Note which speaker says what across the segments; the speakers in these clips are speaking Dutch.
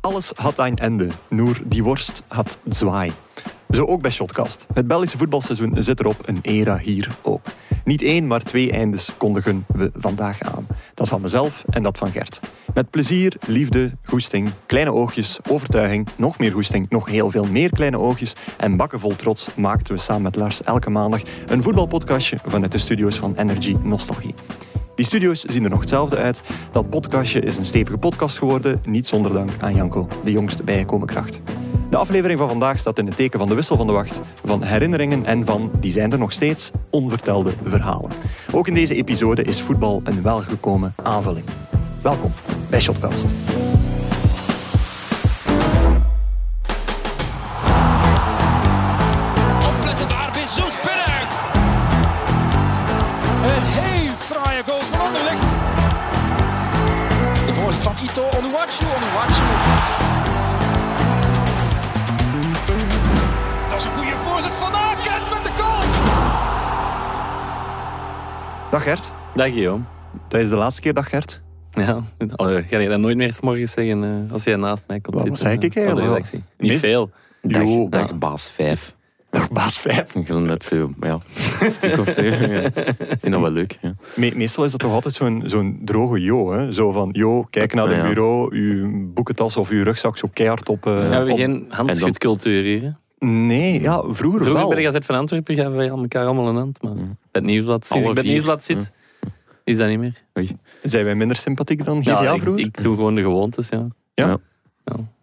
Speaker 1: Alles had een einde, Noer die worst had zwaai. Zo ook bij Shotcast. Het Belgische voetbalseizoen zit erop, een era hier ook. Niet één, maar twee eindes kondigen we vandaag aan. Dat van mezelf en dat van Gert. Met plezier, liefde, goesting, kleine oogjes, overtuiging, nog meer goesting, nog heel veel meer kleine oogjes en bakken vol trots maakten we samen met Lars elke maandag een voetbalpodcastje vanuit de studio's van Energy Nostalgie. Die studio's zien er nog hetzelfde uit. Dat podcastje is een stevige podcast geworden, niet zonder dank aan Janko, de jongste bijgekomen kracht. De aflevering van vandaag staat in het teken van de wissel van de wacht, van herinneringen en van, die zijn er nog steeds, onvertelde verhalen. Ook in deze episode is voetbal een welgekomen aanvulling. Welkom bij Shotcast.
Speaker 2: Opletten daar, Bezoes binnen. Een heel fraaie goal van Anderlecht. De voorzet van Ito Onuwachu, Onuwachu. Dat is een goede voorzet van Aken met de goal.
Speaker 1: Dag Gert.
Speaker 3: Dag Guillaume.
Speaker 1: Dat is de laatste keer, dag Gert.
Speaker 3: Ja, oh, ga je dat nooit meer 's morgens zeggen eh, als jij naast mij komt
Speaker 1: Wat
Speaker 3: zitten?
Speaker 1: zei ik
Speaker 3: eh, op de
Speaker 1: eigenlijk?
Speaker 3: redactie? Niet
Speaker 1: Meest-
Speaker 3: veel.
Speaker 1: Jo,
Speaker 4: Dag,
Speaker 1: dag.
Speaker 4: dag baas 5.
Speaker 1: Dag baas 5.
Speaker 4: Ik wil net zo, maar ja, een stuk of zeven. Ja. Ik vind dat wel leuk. Ja.
Speaker 1: meestal is dat toch altijd zo'n zo'n droge jo, hè? Zo van, jo, kijk naar
Speaker 4: Ja,
Speaker 1: het
Speaker 4: ja.
Speaker 1: bureau, uw boekentas of uw rugzak zo keihard op... eh,
Speaker 3: We hebben
Speaker 1: op-
Speaker 3: geen handschudcultuur hier. hè?
Speaker 1: Nee, ja, vroeger,
Speaker 3: Vroeger
Speaker 1: wel.
Speaker 3: bij de Gazet van Antwerpen gaven wij elkaar allemaal een hand. Maar bij het nieuwsblad, sinds
Speaker 4: Mm. Alle
Speaker 3: ik bij het
Speaker 4: vier. Mm.
Speaker 3: nieuwsblad zit, is dat niet meer.
Speaker 4: Oei.
Speaker 1: Zijn wij minder sympathiek dan GTA
Speaker 3: Ja, ik,
Speaker 1: vroeger?
Speaker 3: ik doe gewoon de gewoontes, ja.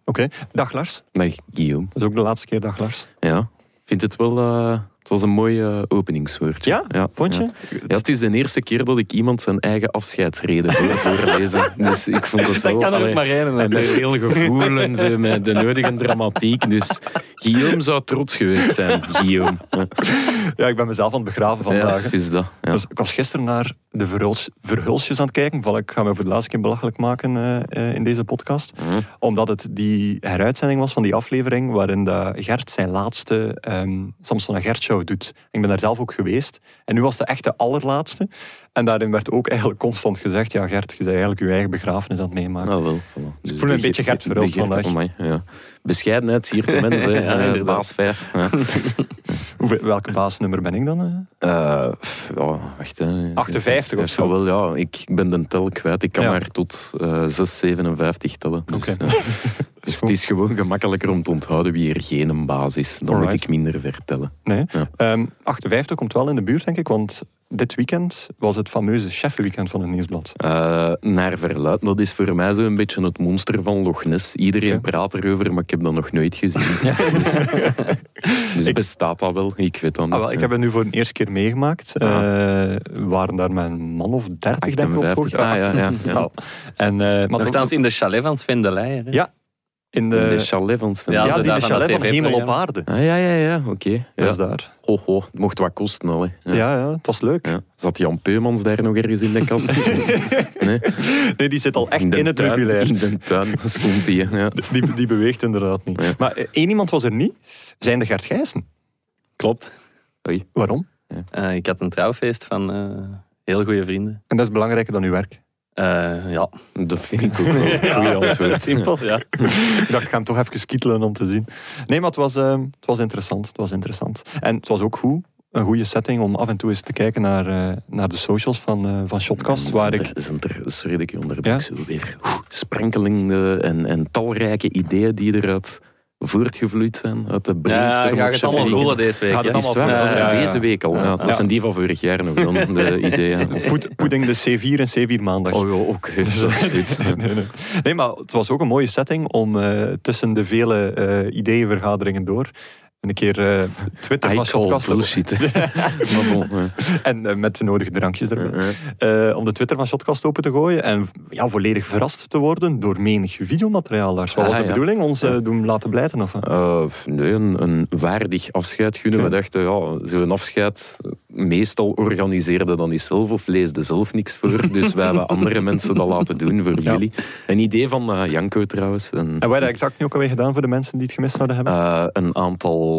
Speaker 1: Oké, dag Lars.
Speaker 4: Dag Guillaume.
Speaker 1: Dat is ook de laatste keer, dag Lars.
Speaker 4: Ja, ik vind het wel... eh, het was een mooi eh, openingswoordje.
Speaker 1: Ja? Vond je?
Speaker 4: Ja. Ja, het is de eerste keer dat ik iemand zijn eigen afscheidsreden wil voorlezen. Dus ik vond het wel...
Speaker 3: Dat kan er ook
Speaker 4: allee,
Speaker 3: maar één.
Speaker 4: en
Speaker 3: hè.
Speaker 4: met veel gevoel en zo, met de nodige dramatiek. Dus Guillaume zou trots geweest zijn, Guillaume. Ja,
Speaker 1: Ja, ik ben mezelf aan het begraven vandaag.
Speaker 4: het is dat. Ja.
Speaker 1: Dus ik was gisteren naar de verhuls- verhulsjes aan het kijken. Van, ik ga me voor de laatste keer belachelijk maken eh, eh, in deze podcast. Omdat het die heruitzending was van die aflevering waarin de Gert zijn laatste ehm Samson en Gert show doet. Ik ben daar zelf ook geweest. En nu was de echte allerlaatste. En daarin werd ook eigenlijk constant gezegd, ja Gert, je bent eigenlijk je eigen begrafenis aan het meemaken.
Speaker 4: Nou wel, voilà. Dus
Speaker 1: ik voel me een
Speaker 4: de-
Speaker 1: beetje Gert
Speaker 4: de-
Speaker 1: Verhulst
Speaker 4: de Gert-
Speaker 1: vandaag.
Speaker 4: amai, Oh ja. Bescheidenheid hier te mensen,
Speaker 3: Ja,
Speaker 4: eh,
Speaker 3: inderdaad.
Speaker 4: baas 5. Ja.
Speaker 1: Hoeveel, welke baasnummer ben ik dan? eh?
Speaker 4: Eh, pff, ja, wacht, hè.
Speaker 1: 58 of zo.
Speaker 4: Ja, wel, ja, ik ben de tel kwijt. Ik kan
Speaker 1: Ja.
Speaker 4: maar tot eh 6,57 tellen. Dus,
Speaker 1: Oké.
Speaker 4: ja. Dus het is gewoon gemakkelijker om te onthouden wie er geen een baas is. Dan moet
Speaker 1: Alright.
Speaker 4: ik minder vertellen.
Speaker 1: Nee.
Speaker 4: Ja.
Speaker 1: Ehm, 58 komt wel in de buurt, denk ik, want dit weekend was het fameuze chefweekend van het Nieuwsblad.
Speaker 4: Eh, naar verluid, dat is voor mij zo'n beetje het monster van Loch Ness. Iedereen
Speaker 1: Ja.
Speaker 4: praat erover, maar ik heb dat nog nooit gezien. dus bestaat dat wel? Ik weet dat niet.
Speaker 1: Ah, wel, ik heb het nu voor de eerste keer meegemaakt. Eh
Speaker 4: Ah.
Speaker 1: waren daar mijn man of 30, denk ik, op
Speaker 4: 58.
Speaker 1: voor.
Speaker 4: Ah, ja, ja, ja.
Speaker 1: Nou, en, eh, maar
Speaker 3: Nochtans in de chalet van Sven de Leijer. hè.
Speaker 1: Ja, in de,
Speaker 4: Eh, de chalet van Sven.
Speaker 3: Ja,
Speaker 1: ja,
Speaker 3: ze
Speaker 1: die
Speaker 3: daar
Speaker 1: de
Speaker 3: van
Speaker 1: chalet
Speaker 3: dat
Speaker 1: van Hemel op
Speaker 3: TV-programma.
Speaker 1: Aarde.
Speaker 4: Ah, ja, ja, ja, oké.
Speaker 1: Dat
Speaker 4: Ja.
Speaker 1: is daar.
Speaker 4: Ho, ho, het mocht wat kosten al. Hè.
Speaker 1: Ja. Ja, het was leuk.
Speaker 4: Ja. Zat Jan Peumans daar nog ergens in de kast? nee.
Speaker 1: Nee, die zit al echt in,
Speaker 4: de
Speaker 1: het
Speaker 4: tuin-
Speaker 1: meubilair.
Speaker 4: In de tuin stond hij. hè. Ja.
Speaker 1: Die, die beweegt inderdaad niet.
Speaker 4: Ja.
Speaker 1: Maar eh, één iemand was er niet. Zijn de Gert Gijssen.
Speaker 3: Klopt.
Speaker 1: Waarom?
Speaker 3: Eh, ik had een trouwfeest van eh, heel goede vrienden.
Speaker 1: En dat is belangrijker dan uw werk.
Speaker 3: Eh, ja,
Speaker 4: Dat vind ik ook wel een goede antwoord.
Speaker 3: simpel. Ja.
Speaker 1: Ik dacht, ik ga hem toch even kietelen om te zien. Nee, maar het was, eh, het was interessant. Het was interessant. En het was ook goed. Een goede setting om af en toe eens te kijken naar, eh, naar de socials van, eh, van Shotcast. Waar ik...
Speaker 4: Zijn er- zijn er- sorry dat ik je onderbreek.
Speaker 1: Ja?
Speaker 4: Zo weer oeh, sprenkelende en, en talrijke ideeën die eruit voortgevloeid zijn. Uit de
Speaker 3: Ja,
Speaker 4: brainstorm
Speaker 3: je gaat
Speaker 4: op
Speaker 3: het allemaal
Speaker 4: Sheffield.
Speaker 3: voelen deze week.
Speaker 1: Ja,
Speaker 3: hè.
Speaker 1: dat
Speaker 4: Is het waar?
Speaker 1: allemaal voelen, ja, ja.
Speaker 4: Deze week al. Ja,
Speaker 3: Ja.
Speaker 4: Dat
Speaker 1: Ja.
Speaker 4: zijn die van vorig jaar nog dan, de ideeën.
Speaker 1: Poed- Pudding de C4 en C4 maandag.
Speaker 4: Oh ja, oké.
Speaker 1: Dus, eh,
Speaker 4: dat is goed.
Speaker 1: nee, nee, nee. Nee, maar het was ook een mooie setting om eh, tussen de vele eh, ideeënvergaderingen door een keer eh, Twitter van
Speaker 4: I call
Speaker 1: Shotcast te-
Speaker 4: bullshit. maar bon, ja.
Speaker 1: en eh, met de nodige drankjes erbij.
Speaker 4: Ja,
Speaker 1: Eh, om de Twitter van Shotcast open te gooien en ja, volledig verrast te worden door menig videomateriaal. Lars. Wat was
Speaker 4: Ah,
Speaker 1: de
Speaker 4: ja.
Speaker 1: bedoeling? Ons eh, doen laten blijten? Of, wat?
Speaker 4: Eh, nee, een, een waardig afscheid gunnen.
Speaker 1: Oké.
Speaker 4: We dachten, ja, zo'n afscheid meestal organiseerde dan eens zelf of leesde zelf niks voor. Dus wij hebben andere mensen dat laten doen voor
Speaker 1: Ja.
Speaker 4: jullie. Een idee van eh, Janko trouwens. En,
Speaker 1: En wat heb je exact nu ook alweer gedaan voor de mensen die het gemist zouden hebben?
Speaker 4: eh, een aantal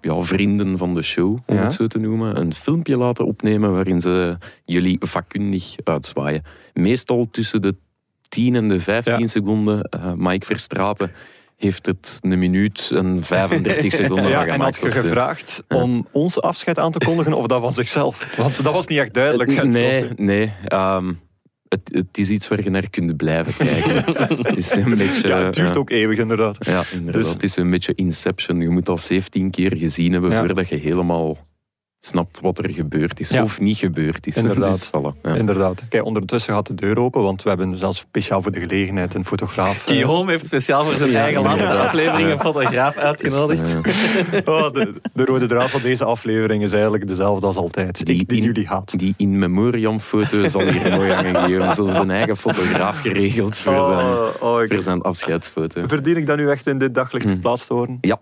Speaker 4: ja, vrienden van de show, om
Speaker 1: Ja.
Speaker 4: het zo te noemen, een filmpje laten opnemen waarin ze jullie vakkundig uitzwaaien. Meestal tussen de 10 en de 15
Speaker 1: Ja.
Speaker 4: seconden. Eh, Mike Verstraten heeft het een minuut en 35 Ah, seconden
Speaker 1: Ja,
Speaker 4: van
Speaker 1: en had
Speaker 4: gemaakt.
Speaker 1: je
Speaker 4: of zo.
Speaker 1: gevraagd om ons afscheid aan te kondigen of dat van zichzelf? Want dat was niet echt duidelijk.
Speaker 4: Eh, Nee, nee. ehm, het, het is iets waar je naar kunt blijven kijken. het is een beetje...
Speaker 1: Ja, het duurt
Speaker 4: eh,
Speaker 1: ook eeuwig inderdaad.
Speaker 4: Ja, inderdaad.
Speaker 1: Dus-
Speaker 4: het is een beetje Inception. Je moet al 17 keer gezien hebben
Speaker 1: Ja.
Speaker 4: voordat je helemaal snapt wat er gebeurd is.
Speaker 1: Ja.
Speaker 4: Of niet gebeurd is.
Speaker 1: Inderdaad.
Speaker 4: Dus, voilà, ja.
Speaker 1: Inderdaad. Kijk, ondertussen gaat de deur open, want we hebben zelfs speciaal voor de gelegenheid een fotograaf. eh,
Speaker 3: Guillaume heeft speciaal voor zijn eigen laatste
Speaker 4: inderdaad.
Speaker 3: aflevering een
Speaker 4: Ja.
Speaker 3: fotograaf
Speaker 4: Dus,
Speaker 3: uitgenodigd.
Speaker 4: eh,
Speaker 1: oh, de, de rode draad van deze aflevering is eigenlijk dezelfde als altijd. Die,
Speaker 4: Die-
Speaker 1: ik, die
Speaker 4: die-
Speaker 1: jullie haat.
Speaker 4: die in memoriam foto zal hier mooi hangen gegeven. Zoals de eigen fotograaf geregeld voor zijn,
Speaker 1: Oh, oh, ik-
Speaker 4: voor zijn afscheidsfoto.
Speaker 1: Verdien ik dat nu echt in dit daglicht geplaatst te worden?
Speaker 4: Hmm. Ja,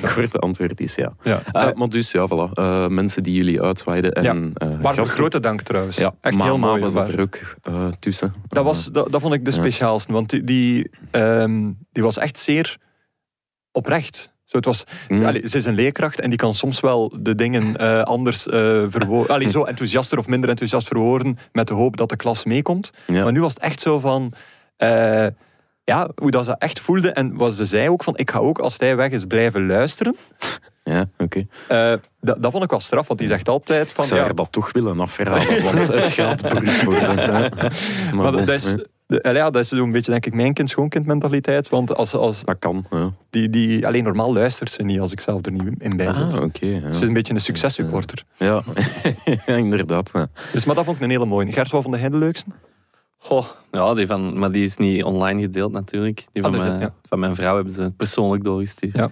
Speaker 4: het korte antwoord is ja.
Speaker 1: Ja.
Speaker 4: Eh, maar dus ja, voilà. Eh, mensen die jullie uitwaaiden. En,
Speaker 1: Ja.
Speaker 4: eh,
Speaker 1: Waarvoor
Speaker 4: gasten.
Speaker 1: grote dank trouwens.
Speaker 4: Ja,
Speaker 1: echt
Speaker 4: Mama
Speaker 1: heel mooi.
Speaker 4: was
Speaker 1: waar.
Speaker 4: er ook eh, tussen.
Speaker 1: Dat, was, dat, dat vond ik de
Speaker 4: Ja.
Speaker 1: speciaalste, want die, die, ehm, die was echt zeer oprecht. Zo, het was,
Speaker 4: Mm.
Speaker 1: allee, ze is een leerkracht en die kan soms wel de dingen eh, anders verwoorden. Allee, zo enthousiaster of minder enthousiast verwoorden met de hoop dat de klas meekomt.
Speaker 4: Ja.
Speaker 1: Maar nu was het echt zo van... eh, ja, hoe dat ze echt voelde en wat ze zei ook van ik ga ook als hij weg is blijven luisteren.
Speaker 4: Ja, oké.
Speaker 1: Eh, dat, dat vond ik wel straf, want die zegt altijd van...
Speaker 4: Ik zou
Speaker 1: ja,
Speaker 4: haar dat toch willen afraden, want het gaat beroerd worden. hè.
Speaker 1: Maar
Speaker 4: bon,
Speaker 1: dat is,
Speaker 4: hè,
Speaker 1: de- allee, ja, dat is zo'n beetje, denk ik, mijn kind-schoonkind mentaliteit. Want als, als
Speaker 4: dat kan. Ja.
Speaker 1: die, die, alleen normaal luistert ze niet als ik zelf er niet in bij zit.
Speaker 4: Ah, oké. ja.
Speaker 1: Ze is een beetje een successupporter.
Speaker 4: ja. inderdaad. ja.
Speaker 1: Dus, maar dat vond ik een hele mooie. Gert, wat vond jij de leukste?
Speaker 3: Goh, ja, die van, maar die is niet online gedeeld natuurlijk. Die van,
Speaker 1: Ah, dat is-
Speaker 3: mijn,
Speaker 1: ja.
Speaker 3: van mijn vrouw hebben ze persoonlijk doorgestuurd.
Speaker 1: Ja.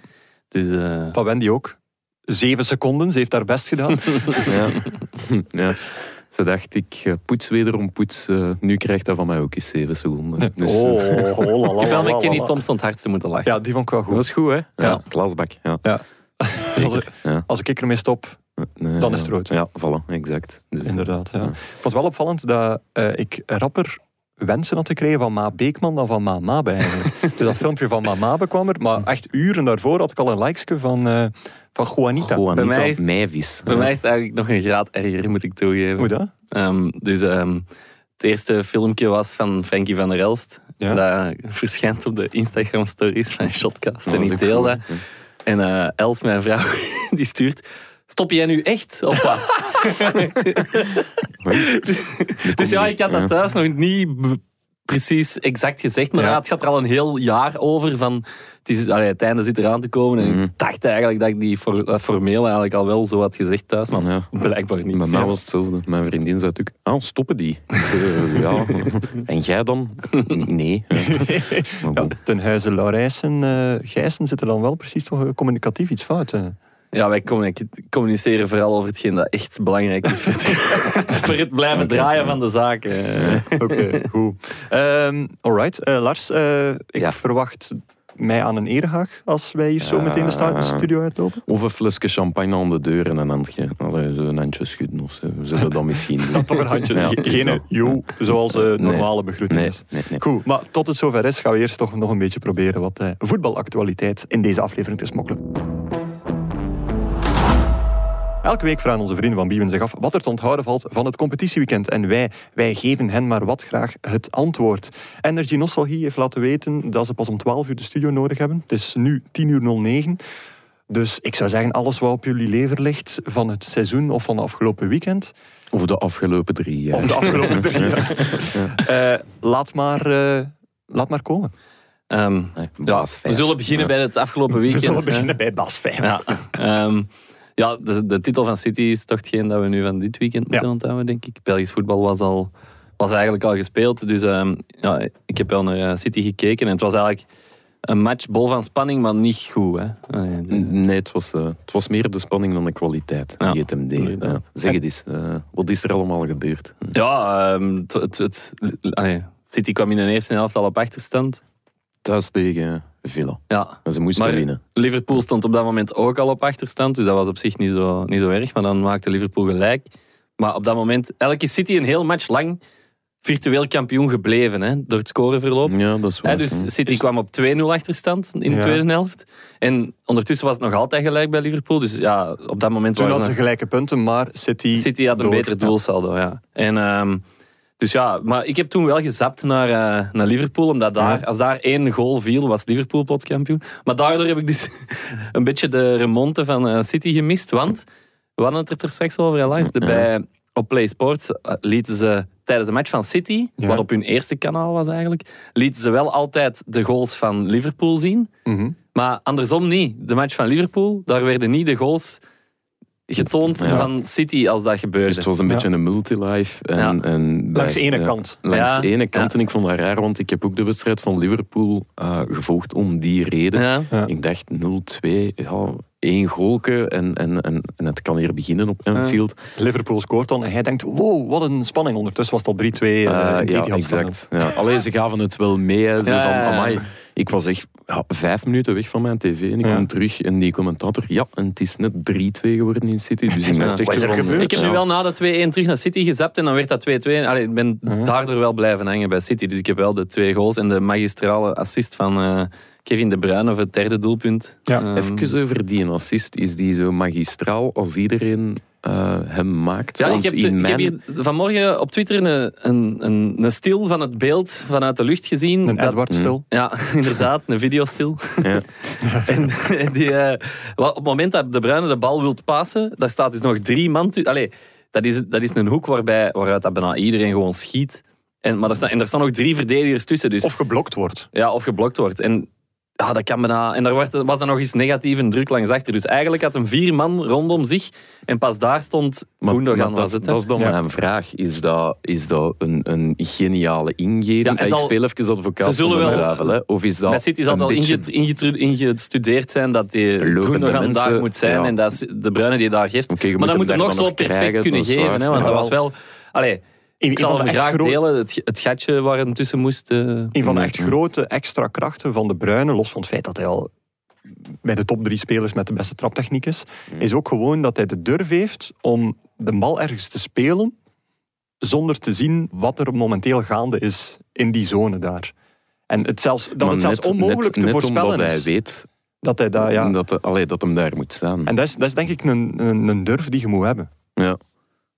Speaker 3: Dus eh,
Speaker 1: Van Wendy ook. Zeven seconden, ze heeft haar best gedaan. Oh,
Speaker 4: Ja. ja. Ze dacht, ik eh, poets wederom poets. eh, nu krijgt dat van mij ook eens 7 seconden. Dus, eh,
Speaker 1: oh, oh, la, la,
Speaker 3: ik heb wel
Speaker 1: la, la,
Speaker 3: met Kenny
Speaker 1: la.
Speaker 3: Thompson het hardste moeten lachen.
Speaker 1: Ja, die vond ik wel
Speaker 4: dat
Speaker 1: goed.
Speaker 4: was goed, hè? Ja,
Speaker 1: Ja.
Speaker 4: klasbak. Ja.
Speaker 1: Ja.
Speaker 4: Zeker,
Speaker 1: Als,
Speaker 4: ja.
Speaker 1: als ik ermee stop,
Speaker 4: Nee,
Speaker 1: Dan
Speaker 4: ja.
Speaker 1: is het rood.
Speaker 4: Ja, voilà, exact. Dus,
Speaker 1: inderdaad. Ja. Ik vond het wel opvallend dat eh, ik rapper wensen had gekregen van Ma Beekman dan van Ma Mabe eigenlijk. dus dat filmpje van Ma Mabe kwam er, maar echt uren daarvoor had ik al een likesje van, eh, van Juanita.
Speaker 4: Gewoon
Speaker 3: Bij
Speaker 4: niet
Speaker 3: mij
Speaker 4: dat
Speaker 3: is het-
Speaker 4: Meivis.
Speaker 3: Bij mij is het eigenlijk nog een graad erger, moet ik toegeven.
Speaker 1: Hoe dat?
Speaker 3: Ehm, dus ehm, het eerste filmpje was van Frankie van der Elst.
Speaker 1: Ja.
Speaker 3: Dat verschijnt op de Instagram-stories van Shotcast.
Speaker 4: Dat
Speaker 3: en
Speaker 4: was
Speaker 3: ik
Speaker 4: ook
Speaker 3: deel
Speaker 4: goed,
Speaker 3: dat. En eh, Els, mijn vrouw, die stuurt... Stop jij nu echt? Of wat? dus ja, ik had dat thuis nog niet b- precies exact gezegd. Maar
Speaker 1: Ja.
Speaker 3: ja, het gaat er al een heel jaar over. Van, het, is, allee, het einde zit eraan te komen. En ik dacht eigenlijk dat ik die for- eh, formeel eigenlijk al wel zo had gezegd thuis. Maar
Speaker 4: Ja.
Speaker 3: blijkbaar niet.
Speaker 4: Bij mij was hetzelfde. Mijn vriendin zei ook, ah, stoppen die. Ik zei, eh, ja. En jij dan? Nee. Maar
Speaker 1: Ja,
Speaker 4: bon.
Speaker 1: ten huize Laurijsen, eh Gijssen zit er dan wel precies toch eh, communicatief iets fout. eh.
Speaker 3: Ja, wij communic- communiceren vooral over hetgeen dat echt belangrijk is voor het, voor het blijven draaien van de zaken.
Speaker 1: Oké, goed. Ehm alright, Eh, Lars, eh, ik
Speaker 4: Ja.
Speaker 1: verwacht mij aan een erehaag als wij hier zo meteen de sta- de studio uitlopen.
Speaker 4: Of een flesje champagne aan de deur en een handje. Allee, zo een handje schudden of zo. We zullen dat misschien doen.
Speaker 1: Toch een handje,
Speaker 4: Ja,
Speaker 1: ge-
Speaker 4: is
Speaker 1: geen
Speaker 4: dat.
Speaker 1: joe, zoals eh normale begroeting
Speaker 4: Nee,
Speaker 1: is.
Speaker 4: nee, nee.
Speaker 1: Goed, maar tot het zover is, gaan we eerst toch nog een beetje proberen wat eh, voetbalactualiteit in deze aflevering te smokkelen. Elke week vragen onze vrienden van Biewen zich af wat er te onthouden valt van het competitieweekend. En wij, wij geven hen maar wat graag het antwoord. Energy Nostalgie heeft laten weten dat ze pas om 12 uur de studio nodig hebben. Het is nu 10 uur 09. Dus ik zou zeggen, alles wat op jullie lever ligt van het seizoen of van het afgelopen weekend,
Speaker 4: Of de afgelopen drie jaar.
Speaker 1: of de afgelopen drie jaar. Eh, laat, maar, eh, laat maar komen.
Speaker 3: Ehm,
Speaker 4: Nee,
Speaker 3: ja,
Speaker 4: baas
Speaker 3: we
Speaker 4: vijf.
Speaker 3: zullen beginnen bij het afgelopen weekend. hè.
Speaker 1: bij Bas 5.
Speaker 3: Ja, ehm, ja de, de titel van City is toch hetgeen dat we nu van dit weekend moeten
Speaker 1: Ja.
Speaker 3: onthouden, denk ik. Belgisch voetbal was, al, was eigenlijk al gespeeld. Dus ehm, ja, ik heb wel naar eh, City gekeken. En het was eigenlijk een match bol van spanning, maar niet goed. Hè. Allee, de-
Speaker 4: Nee, het was, eh, het was meer de spanning dan de kwaliteit
Speaker 3: Ja,
Speaker 4: die het hem deed.
Speaker 3: inderdaad.
Speaker 4: Ja. Zeg het eens, eh, wat is er allemaal gebeurd?
Speaker 3: Ja, ehm, het, het, het- allee, City kwam in de eerste helft al op achterstand.
Speaker 4: Thuis tegen Villa.
Speaker 3: Ja.
Speaker 4: En Ze moesten
Speaker 3: Maar
Speaker 4: winnen.
Speaker 3: Liverpool stond op dat moment ook al op achterstand, dus dat was op zich niet zo, niet zo erg. Maar dan maakte Liverpool gelijk. Maar op dat moment, elke City een heel match lang virtueel kampioen gebleven hè, door het scoreverloop.
Speaker 4: Ja, dat is waar.
Speaker 3: Hè, dus City kwam op 2-0 achterstand in de
Speaker 1: Ja.
Speaker 3: tweede helft. En ondertussen was het nog altijd gelijk bij Liverpool. Dus ja, op dat moment
Speaker 1: Toen
Speaker 3: waren
Speaker 1: hadden ze gelijke punten, maar City...
Speaker 3: City had een
Speaker 1: door.
Speaker 3: beter doelsaldo, ja. En ehm, Dus ja, maar ik heb toen wel gezapt naar, eh, naar Liverpool, omdat daar,
Speaker 1: Ja.
Speaker 3: als daar één goal viel, was Liverpool plots kampioen. Maar daardoor heb ik dus een beetje de remonte van eh, City gemist, want we hadden het er straks over, helaas. De- Bij, op Play Sports eh, lieten ze tijdens de match van City,
Speaker 1: Ja.
Speaker 3: wat op hun eerste kanaal was eigenlijk, lieten ze wel altijd de goals van Liverpool zien.
Speaker 1: Mhm.
Speaker 3: Maar andersom niet. De match van Liverpool, daar werden niet de goals getoond
Speaker 4: Ja.
Speaker 3: van City als dat
Speaker 4: Dus
Speaker 3: gebeurde.
Speaker 4: het was een
Speaker 1: Ja.
Speaker 4: beetje een multilife. En,
Speaker 3: Ja.
Speaker 4: en
Speaker 1: Langs de
Speaker 4: daar-
Speaker 1: ene
Speaker 4: ja.
Speaker 1: kant.
Speaker 4: Langs
Speaker 3: Ja.
Speaker 4: de ene kant.
Speaker 3: Ja.
Speaker 4: En ik vond dat raar, want ik heb ook de wedstrijd van Liverpool eh, gevolgd om die reden.
Speaker 3: Ja.
Speaker 1: Ja.
Speaker 4: Ik dacht 0-2, ja, één goalke en, en, en, en het kan hier beginnen op Anfield.
Speaker 1: Liverpool scoort dan en hij denkt, wow, wat een spanning. Ondertussen was het al 3-2 eh,
Speaker 3: Ah,
Speaker 1: in
Speaker 4: Eh,
Speaker 1: het
Speaker 4: ja,
Speaker 1: Etihad Stadion.
Speaker 4: exact. Ja. Alleen ze gaven het wel mee. hè. Zo
Speaker 3: Ja,
Speaker 4: van,
Speaker 3: ja, ja.
Speaker 4: amai, ik was echt ja, vijf minuten weg van mijn tv en ik
Speaker 1: Ja.
Speaker 4: kwam terug en die commentator, ja, en het is net 3-2 geworden in City. Dus ik
Speaker 3: Ja.
Speaker 4: dacht echt
Speaker 1: Wat is er
Speaker 4: zo van,
Speaker 1: gebeurd?
Speaker 3: Ik heb nu
Speaker 4: ja.
Speaker 3: wel na dat 2-1 terug naar City gezapt en dan werd dat 2-2. Allee, ik ben
Speaker 4: Mhm.
Speaker 3: daardoor wel blijven hangen bij City. Dus ik heb wel de twee goals en de magistrale assist van eh, Kevin De Bruyne of het derde doelpunt.
Speaker 1: Ja.
Speaker 3: Ehm,
Speaker 4: Even over die assist, is die zo magistraal als iedereen eh, hem maakt?
Speaker 3: ja, ik
Speaker 4: Want
Speaker 3: heb, de-
Speaker 4: in
Speaker 3: ik heb
Speaker 4: mijn...
Speaker 3: hier vanmorgen op Twitter een, een, een, een stil van het beeld vanuit de lucht gezien.
Speaker 1: Een
Speaker 3: Dat- Mm.
Speaker 1: Edward stil.
Speaker 3: Ja, inderdaad, een videostil.
Speaker 4: Ja.
Speaker 3: En, en die, eh, wel, op het moment dat De Bruyne de bal wilt passen, daar staat dus nog drie man tu- Allee, dat is, dat is een hoek waarbij, waaruit dat bijna iedereen gewoon schiet. En, maar er staan, en er staan nog drie verdedigers tussen. Dus,
Speaker 1: Of geblokt wordt.
Speaker 3: ja, of geblokt wordt. En, ja, dat kan bijna, en daar werd, was dan nog eens negatief een druk langs achter. Dus eigenlijk had een vier man rondom zich. En pas daar stond
Speaker 4: Maar, maar
Speaker 3: Gundogan.
Speaker 4: dat,
Speaker 3: was het, hè?
Speaker 4: dat is dan
Speaker 1: Ja.
Speaker 4: mijn vraag. Is dat, is dat een, een geniale ingeving?
Speaker 3: Ja, het
Speaker 4: ik
Speaker 3: zal-
Speaker 4: speel even advocaat
Speaker 3: ze zullen
Speaker 4: van de
Speaker 3: wel-
Speaker 4: duivel, hè. Of is dat
Speaker 3: Bij City zal
Speaker 4: een
Speaker 3: het al
Speaker 4: beetje-
Speaker 3: inget- ingetru- ingestudeerd zijn dat die
Speaker 4: Lopen de
Speaker 3: Gundogan
Speaker 4: mensen,
Speaker 3: daar moet zijn
Speaker 4: ja.
Speaker 3: en dat is de Bruine die daar geeft.
Speaker 4: Oké, je
Speaker 3: maar
Speaker 4: moet
Speaker 3: dan
Speaker 4: hem
Speaker 3: moet er nog
Speaker 4: daar dan
Speaker 3: zo
Speaker 4: nog
Speaker 3: perfect
Speaker 4: krijgen,
Speaker 3: kunnen
Speaker 4: dat is
Speaker 3: geven.
Speaker 4: waar.
Speaker 3: Hè, want dat was wel... Allee,
Speaker 1: Een-
Speaker 3: ik
Speaker 1: een
Speaker 3: zal
Speaker 1: van
Speaker 3: hem
Speaker 1: de echt
Speaker 3: graag
Speaker 1: gro-
Speaker 3: delen, het, het gatje waar hem tussen moest... eh,
Speaker 1: Een van de
Speaker 4: Nee,
Speaker 1: echt
Speaker 4: nee.
Speaker 1: grote extra krachten van de Bruyne, los van het feit dat hij al bij de top drie spelers met de beste traptechniek is,
Speaker 4: Mm.
Speaker 1: is ook gewoon dat hij de durf heeft om de bal ergens te spelen zonder te zien wat er momenteel gaande is in die zone daar. En het zelfs, dat
Speaker 4: Maar
Speaker 1: het zelfs
Speaker 4: net-
Speaker 1: onmogelijk
Speaker 4: net-
Speaker 1: te
Speaker 4: net
Speaker 1: voorspellen
Speaker 4: omdat
Speaker 1: is.
Speaker 4: hij weet
Speaker 1: Dat hij daar, ja.
Speaker 4: dat, de- allee, dat hem daar moet staan.
Speaker 1: En dat is, dat is denk ik een, een, een durf die je moet hebben.
Speaker 4: Ja.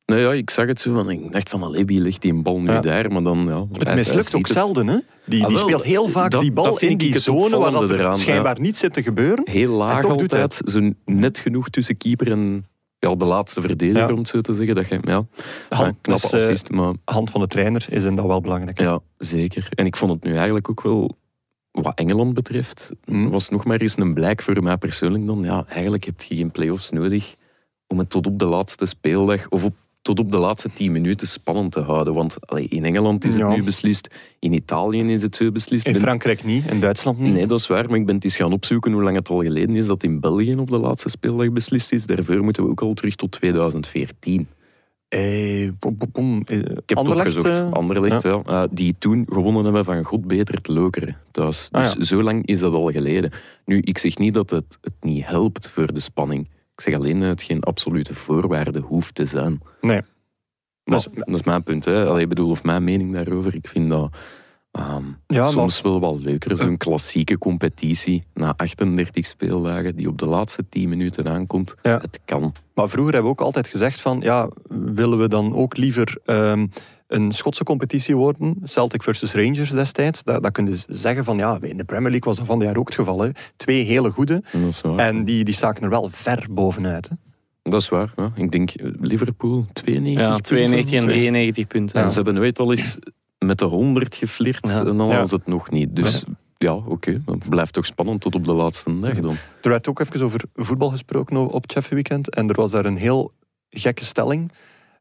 Speaker 4: Nou ja, ik zag het zo van, ik dacht van, allee, wie ligt die bal nu
Speaker 1: Ja.
Speaker 4: daar? Maar dan, ja,
Speaker 1: Het mislukt ook
Speaker 4: zelf.
Speaker 1: zelden. Hè? Die,
Speaker 4: Ah,
Speaker 1: die
Speaker 4: wel,
Speaker 1: speelt heel vaak
Speaker 4: dat-
Speaker 1: die bal
Speaker 4: dat vind
Speaker 1: in
Speaker 4: ik
Speaker 1: die
Speaker 4: het
Speaker 1: zone waar dat
Speaker 4: opvallende
Speaker 1: er
Speaker 4: eraan, ja.
Speaker 1: schijnbaar niet zit te gebeuren.
Speaker 4: Heel laag
Speaker 1: toch doet hij
Speaker 4: altijd, zo net genoeg tussen keeper en ja, de laatste verdediger,
Speaker 1: Ja.
Speaker 4: om het zo te zeggen. Dat je, ja,
Speaker 1: Han-
Speaker 4: een knappe
Speaker 1: dus, eh,
Speaker 4: assist, maar
Speaker 1: Hand van de trainer is in dat wel belangrijk.
Speaker 4: Ja, zeker. En ik vond het nu eigenlijk ook wel, wat Engeland betreft,
Speaker 1: Mm.
Speaker 4: was nog maar eens een blijk voor mij persoonlijk dan. Ja, eigenlijk heb je geen play-offs nodig om het tot op de laatste speeldag of op, tot op de laatste tien minuten spannend te houden. Want allee, in Engeland is het
Speaker 1: Ja.
Speaker 4: nu beslist, in Italië is het zo beslist.
Speaker 1: In
Speaker 4: Ik ben-
Speaker 1: Frankrijk niet, in Duitsland niet.
Speaker 4: Nee, dat is waar, maar ik ben het eens gaan opzoeken hoe lang het al geleden is dat in België op de laatste speeldag beslist is. Daarvoor moeten we ook al terug tot 2014.
Speaker 1: Eh, bom, bom, bom, eh,
Speaker 4: Ik heb
Speaker 1: Anderlecht,
Speaker 4: het opgezocht.
Speaker 1: eh,
Speaker 4: Anderlecht, ja. eh, die toen gewonnen hebben van God beter het Lokeren thuis.
Speaker 1: Ah,
Speaker 4: Dus
Speaker 1: ja.
Speaker 4: zo lang is dat al geleden. Nu, ik zeg niet dat het, het niet helpt voor de spanning. Ik zeg alleen dat het geen absolute voorwaarde hoeft te zijn.
Speaker 1: Nee.
Speaker 4: Maar,
Speaker 1: Dat
Speaker 4: dat, is, mijn punt. Hè. Allee, ik bedoel, of mijn mening daarover. Ik vind dat ehm,
Speaker 1: Ja, Eh.
Speaker 4: soms wel wel leuker. Zo'n klassieke competitie na 38 speeldagen die op de laatste 10 minuten aankomt.
Speaker 1: Ja.
Speaker 4: Het kan.
Speaker 1: Maar vroeger hebben we ook altijd gezegd van, ja, willen we dan ook liever ehm, een Schotse competitie worden? Celtic versus Rangers destijds. Daar, daar kun je zeggen van, ja, in de Premier League was dat van de jaar ook het geval. Hè. Twee hele goede.
Speaker 4: Dat is waar.
Speaker 1: En die, die staken er wel ver bovenuit. Hè.
Speaker 4: Dat is waar. Ja. Ik denk eh, Liverpool 92
Speaker 3: ja,
Speaker 4: punten.
Speaker 3: 92 en 93 punten.
Speaker 4: En ze hebben ooit al eens met de 100 geflirt
Speaker 3: Ja.
Speaker 4: en dan
Speaker 1: Ja.
Speaker 4: was het nog niet. Dus ja, oké. Het blijft toch spannend tot op de laatste dag dan.
Speaker 1: Er werd ook even over voetbal gesproken o- op Cheffe Weekend. En er was daar een heel gekke stelling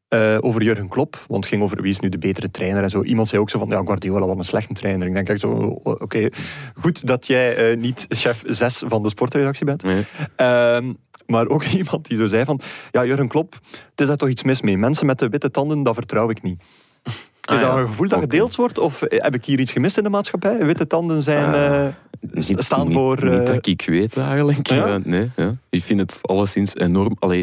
Speaker 1: eh, over Jurgen Klopp. Want het ging over wie is nu de betere trainer en zo. Iemand zei ook zo van, ja, Guardiola was een slechte trainer. Ik denk echt zo, o- o- oké, goed dat jij eh, niet chef 6 van de sportredactie bent.
Speaker 4: Nee.
Speaker 1: Ehm, maar ook iemand die zo zei van, ja, Jurgen Klopp, het is daar toch iets mis mee. Mensen met de witte tanden, dat vertrouw ik niet. Is dat
Speaker 4: Ah, ja.
Speaker 1: een gevoel dat
Speaker 4: Oké.
Speaker 1: gedeeld wordt? Of eh, heb ik hier iets gemist in de maatschappij? Witte tanden zijn...
Speaker 4: Ah.
Speaker 1: eh, St- staan voor,
Speaker 4: Niet,
Speaker 1: eh,
Speaker 4: dat ik weet eigenlijk.
Speaker 1: Ja?
Speaker 4: Eh, nee, ja. Ik vind het alleszins enorm... Allee,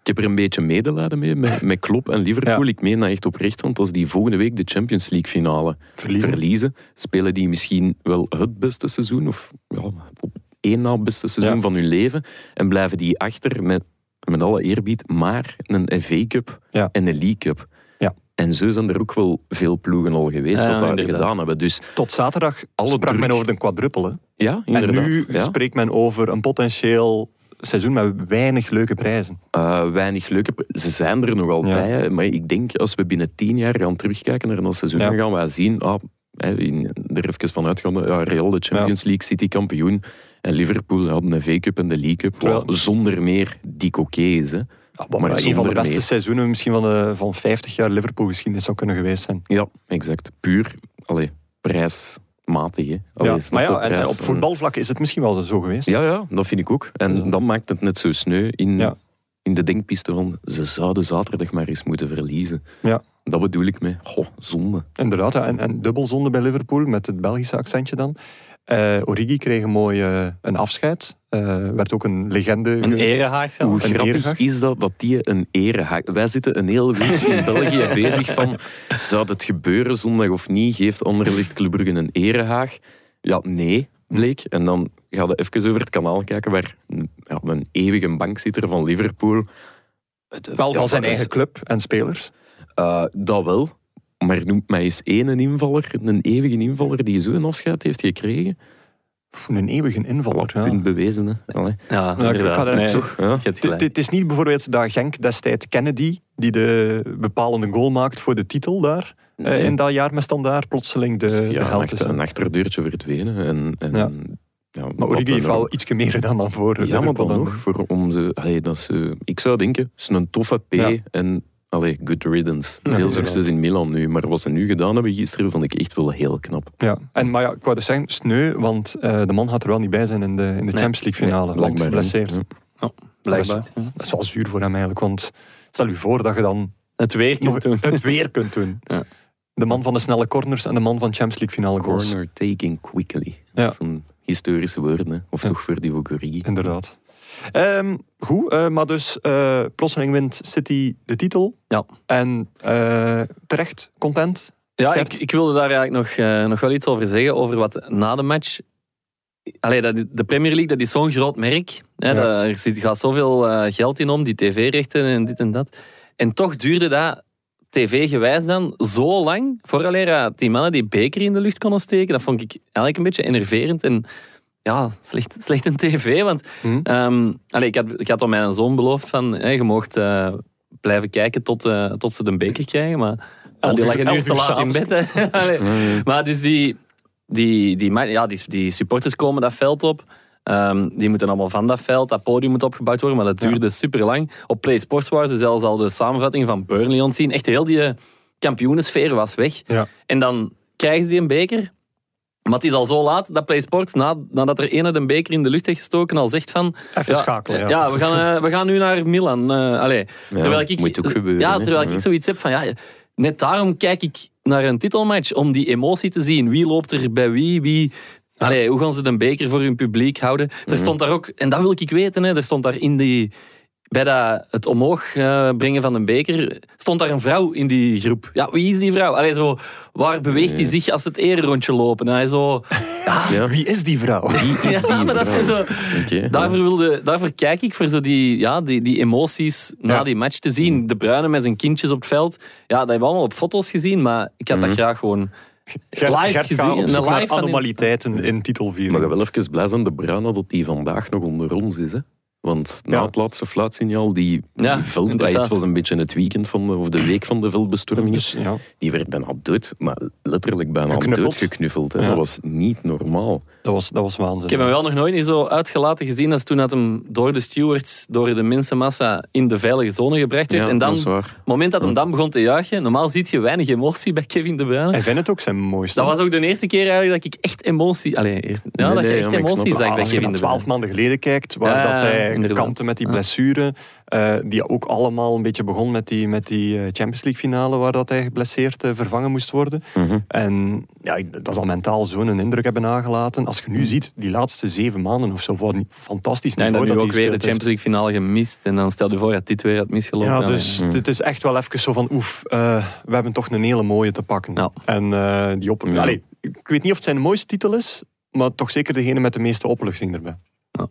Speaker 4: ik heb er een beetje medelijden mee, met, met Klopp en Liverpool.
Speaker 1: Ja.
Speaker 4: Ik meen dat echt oprecht, want als die volgende week de Champions League finale
Speaker 1: Verliezen.
Speaker 4: spelen die misschien wel het beste seizoen, of ja, op één na beste seizoen
Speaker 1: Ja.
Speaker 4: van hun leven, en blijven die achter met, met alle eerbied, maar een FA Cup
Speaker 1: Ja.
Speaker 4: en een League Cup.
Speaker 1: Ja.
Speaker 4: En zo zijn er ook wel veel ploegen al geweest
Speaker 3: Ja,
Speaker 4: dat dat
Speaker 3: inderdaad.
Speaker 4: gedaan hebben. Dus
Speaker 1: Tot zaterdag
Speaker 4: Alle
Speaker 1: sprak
Speaker 4: druk.
Speaker 1: men over een quadruple. hè.
Speaker 4: ja,
Speaker 1: En
Speaker 4: inderdaad.
Speaker 1: nu
Speaker 4: ja.
Speaker 1: spreekt men over een potentieel seizoen met weinig leuke prijzen.
Speaker 4: Eh, weinig leuke... pr- Ze zijn er nogal
Speaker 1: Ja.
Speaker 4: bij, hè. maar ik denk als we binnen tien jaar gaan terugkijken naar dat seizoen,
Speaker 1: Ja.
Speaker 4: dan gaan wij zien, ah, hè, in, er even van uitgaande, ja, Real de Champions League, City kampioen, en Liverpool hadden de V-Cup en de League Cup,
Speaker 1: Terwijl-
Speaker 4: wat zonder meer dik oké is. Hè.
Speaker 1: Ja,
Speaker 4: Ah, Maar
Speaker 1: maar een van de
Speaker 4: zonder
Speaker 1: beste
Speaker 4: meer.
Speaker 1: seizoenen misschien van, de, van 50 jaar Liverpool-geschiedenis zou kunnen geweest zijn.
Speaker 4: Ja, exact. Puur, allee, prijsmatig. Hè. Allee,
Speaker 1: Ja.
Speaker 4: snap
Speaker 1: Maar
Speaker 4: je,
Speaker 1: ja, en, en
Speaker 4: prijs eh,
Speaker 1: op voetbalvlak is het misschien wel zo geweest.
Speaker 4: Ja, ja, dat vind ik ook. En
Speaker 1: Ja.
Speaker 4: dat maakt het net zo sneu in,
Speaker 1: Ja.
Speaker 4: in de denkpiste van ze zouden zaterdag maar eens moeten verliezen.
Speaker 1: Ja.
Speaker 4: Dat bedoel ik met, goh, zonde.
Speaker 1: Inderdaad, ja. en, en dubbelzonde bij Liverpool met het Belgische accentje dan. Eh, Origi kreeg een mooi eh, een afscheid. Eh, werd ook een legende.
Speaker 3: Een
Speaker 1: ge-
Speaker 3: erehaag
Speaker 4: Hoe
Speaker 3: zelfs.
Speaker 1: Een
Speaker 4: grappig
Speaker 1: erehaag?
Speaker 4: is dat, dat die een erehaak... Wij zitten een heel week in België bezig van, zou het gebeuren zondag of niet? Geeft Anderlecht Club Brugge een erehaag? Ja, nee, bleek. En dan ga je even over het kanaal kijken waar ja, een eeuwige bankzitter van Liverpool... Het-
Speaker 1: Wel
Speaker 4: ja,
Speaker 1: van zijn
Speaker 4: dat is-
Speaker 1: eigen club en spelers.
Speaker 4: Eh, dat wel. Maar noemt mij eens één invaller, een eeuwige invaller, die zo'n afscheid heeft gekregen.
Speaker 1: Pff, Een eeuwige invaller.
Speaker 4: Wat
Speaker 1: ja.
Speaker 4: punt bewezen, hè. Allee.
Speaker 3: Ja,
Speaker 1: Ja, ik- ik ga
Speaker 3: inderdaad.
Speaker 1: daar
Speaker 3: Nee,
Speaker 1: zo-
Speaker 3: je
Speaker 4: Ja.
Speaker 3: hebt
Speaker 1: Het-
Speaker 3: gelijk.
Speaker 1: Het is niet bijvoorbeeld dat Genk destijds Kennedy, die de bepalende goal maakt voor de titel daar, eh,
Speaker 4: Nee.
Speaker 1: in dat jaar met standaard plotseling de,
Speaker 4: Dus
Speaker 1: de
Speaker 4: ja, een,
Speaker 1: held is.
Speaker 4: achter,
Speaker 1: hè.
Speaker 4: een achterdeurtje verdwenen. En, en,
Speaker 1: Ja.
Speaker 4: ja,
Speaker 1: Maar
Speaker 4: wat
Speaker 1: Origi
Speaker 4: dan
Speaker 1: heeft wel
Speaker 4: ook.
Speaker 1: iets meer gedaan dan voor
Speaker 4: Ja, maar
Speaker 1: Liverpool
Speaker 4: dan nog. Voor, om ze, allee, dat is, eh, ik zou denken, het is een toffe P
Speaker 1: Ja.
Speaker 4: en allee, good riddance. Veel
Speaker 1: inderdaad.
Speaker 4: succes in Milan nu. Maar wat ze nu gedaan hebben gisteren, vond ik echt wel heel knap.
Speaker 1: Ja. En, maar ja, ik wou dus zeggen, sneu, want eh, de man gaat er wel niet bij zijn in de, in de Champions League finale.
Speaker 4: Nee,
Speaker 1: want
Speaker 4: blijkbaar niet.
Speaker 1: geblesseerd.
Speaker 4: Ja.
Speaker 3: Blijkbaar.
Speaker 1: Dat is, dat is wel zuur voor hem eigenlijk, want stel u voor dat je dan
Speaker 3: Het weer
Speaker 1: nog
Speaker 3: kunt doen.
Speaker 1: het weer kunt doen.
Speaker 3: Ja.
Speaker 1: De man van de snelle corners en de man van Champions League finale goals.
Speaker 4: Corner taking quickly.
Speaker 1: Ja.
Speaker 4: Dat is een historische woord, hè. Of toch voor die Vogorie.
Speaker 1: Inderdaad. Ehm, goed, eh, maar dus eh, plotseling wint City de titel.
Speaker 3: Ja.
Speaker 1: En eh, terecht, content.
Speaker 3: Ja,
Speaker 1: Gert?
Speaker 3: ik, ik wilde daar eigenlijk nog, eh, nog wel iets over zeggen, over wat na de match... Allee, dat, de Premier League, dat is zo'n groot merk. Hè,
Speaker 1: Ja.
Speaker 3: dat- er zit, gaat zoveel eh, geld in om, die tv-rechten en dit en dat. En toch duurde dat, tv-gewijs dan, zo lang, vooraleer dat die mannen die beker in de lucht konden steken. Dat vond ik eigenlijk een beetje enerverend en ja, slecht, slecht een tv. Want
Speaker 1: Hm.
Speaker 3: ehm, allee, ik, had, ik had aan mijn zoon beloofd van, hè, je mocht eh, blijven kijken tot, eh, tot ze de beker krijgen, maar...
Speaker 1: Elf
Speaker 3: Ah, die
Speaker 1: uur-
Speaker 3: lag een uur
Speaker 1: elf
Speaker 3: te
Speaker 1: uur
Speaker 3: laat in
Speaker 1: s'avonds.
Speaker 3: bed. hè. Allee. Maar dus die, die, die, ma- ja, die, die supporters komen dat veld op. Ehm, die moeten allemaal van dat veld. Dat podium moet opgebouwd worden, maar dat duurde super lang. Op Play Sports waren ze zelfs al de samenvatting van Burnley ontzien. Echt heel die eh, kampioenensfeer was weg.
Speaker 1: Ja.
Speaker 3: En dan krijgen ze die een beker. Maar het is al zo laat dat Play Sports, na, nadat er één een beker in de lucht heeft gestoken, al zegt van...
Speaker 1: Even schakelen, ja.
Speaker 3: we, gaan, eh, we gaan nu naar Milan. eh, allee. terwijl ik,
Speaker 4: moet ook gebeuren,
Speaker 3: Ja,
Speaker 4: hè.
Speaker 3: terwijl
Speaker 4: Ja.
Speaker 3: ik zoiets heb van... Ja, net daarom kijk ik naar een titelmatch, om die emotie te zien. Wie loopt er bij wie, wie... Allee, hoe gaan ze de beker voor hun publiek houden?
Speaker 4: Mhm.
Speaker 3: Er stond daar ook, en dat wil ik weten, hè, er stond daar in die... Bij dat, het omhoog eh, brengen van een beker stond daar een vrouw in die groep. Ja, wie is die vrouw? Allee, zo, waar beweegt die zich als ze het ererondje lopen? Hij zo,
Speaker 4: Ja.
Speaker 1: Wie is die vrouw?
Speaker 3: ja, maar dat is zo,
Speaker 4: Oké,
Speaker 3: daarvoor, wilde, daarvoor kijk ik voor zo die, ja, die, die emoties na
Speaker 1: Ja.
Speaker 3: die match te
Speaker 4: Mm.
Speaker 3: zien. De Bruine met zijn kindjes op het veld. Ja, dat hebben we allemaal op foto's gezien, maar ik had
Speaker 4: Mm-hmm.
Speaker 3: dat graag gewoon...
Speaker 1: Gert,
Speaker 3: Live
Speaker 1: Gert
Speaker 3: gezien,
Speaker 1: gaat op
Speaker 3: een
Speaker 1: zoek
Speaker 3: live
Speaker 1: naar
Speaker 3: van in-
Speaker 1: anomaliteiten in
Speaker 4: Maar
Speaker 1: titelviering.
Speaker 4: wel even blij zijn, de Bruine, dat die vandaag nog onder ons is. Hè? Want na
Speaker 1: Ja.
Speaker 4: het laatste fluitsignaal, die,
Speaker 3: Ja,
Speaker 4: die veld,
Speaker 3: inderdaad.
Speaker 4: Ah, het was een beetje het weekend van de, of de week van de veldbestorming,
Speaker 1: Dus, ja.
Speaker 4: die werd bijna dood, maar letterlijk bijna
Speaker 1: Geknuffeld.
Speaker 4: dood geknuffeld. Hè?
Speaker 1: Ja.
Speaker 4: Dat was niet normaal.
Speaker 1: Dat, was, dat was waanzin.
Speaker 3: Ik heb hem wel nog nooit niet zo uitgelaten gezien als toen dat hem door de stewards, door de mensenmassa in de veilige zone gebracht werd.
Speaker 4: Ja,
Speaker 3: en dan,
Speaker 4: dat is
Speaker 3: het
Speaker 4: waar.
Speaker 3: moment dat hem dan begon te juichen, normaal ziet je weinig emotie bij Kevin De Bruyne.
Speaker 1: Hij vindt het ook zijn mooiste.
Speaker 3: Dat was ook de eerste keer eigenlijk dat ik echt emotie... Allee, eerst, ja,
Speaker 4: Nee,
Speaker 3: dat je
Speaker 4: nee,
Speaker 3: echt
Speaker 4: ja, maar ik
Speaker 3: emotie
Speaker 4: snap het.
Speaker 3: zag
Speaker 1: Ah,
Speaker 3: bij
Speaker 1: als je
Speaker 3: Kevin
Speaker 1: naar
Speaker 3: De Bruyne.
Speaker 1: twaalf maanden geleden kijkt, waar
Speaker 3: Ja,
Speaker 1: dat hij
Speaker 3: inderdaad.
Speaker 1: kampte met die blessure, eh, die ook allemaal een beetje begon met die, met die eh, Champions League finale, waar dat hij geblesseerd eh, vervangen moest worden.
Speaker 3: Mhm.
Speaker 1: En ja, ik- dat zal mentaal zo'n indruk hebben nagelaten. Als je nu ziet, die laatste zeven maanden of zo, wat een fantastisch
Speaker 3: Ja, Mhm. en
Speaker 1: niveau
Speaker 3: dan nu
Speaker 1: dat
Speaker 3: ook
Speaker 1: hij
Speaker 3: weer de
Speaker 1: gespeeld heeft.
Speaker 3: Champions League finale gemist. En dan stel je voor, ja, dit weer had misgelopen.
Speaker 1: Ja,
Speaker 3: Allee.
Speaker 1: dus dit is echt wel even zo van, oef, eh, we hebben toch een hele mooie te pakken.
Speaker 3: Ja.
Speaker 1: En eh, die op...
Speaker 4: Ja.
Speaker 1: Allee, ik weet niet of het zijn mooiste titel is, maar toch zeker degene met de meeste opluchting erbij.
Speaker 4: Om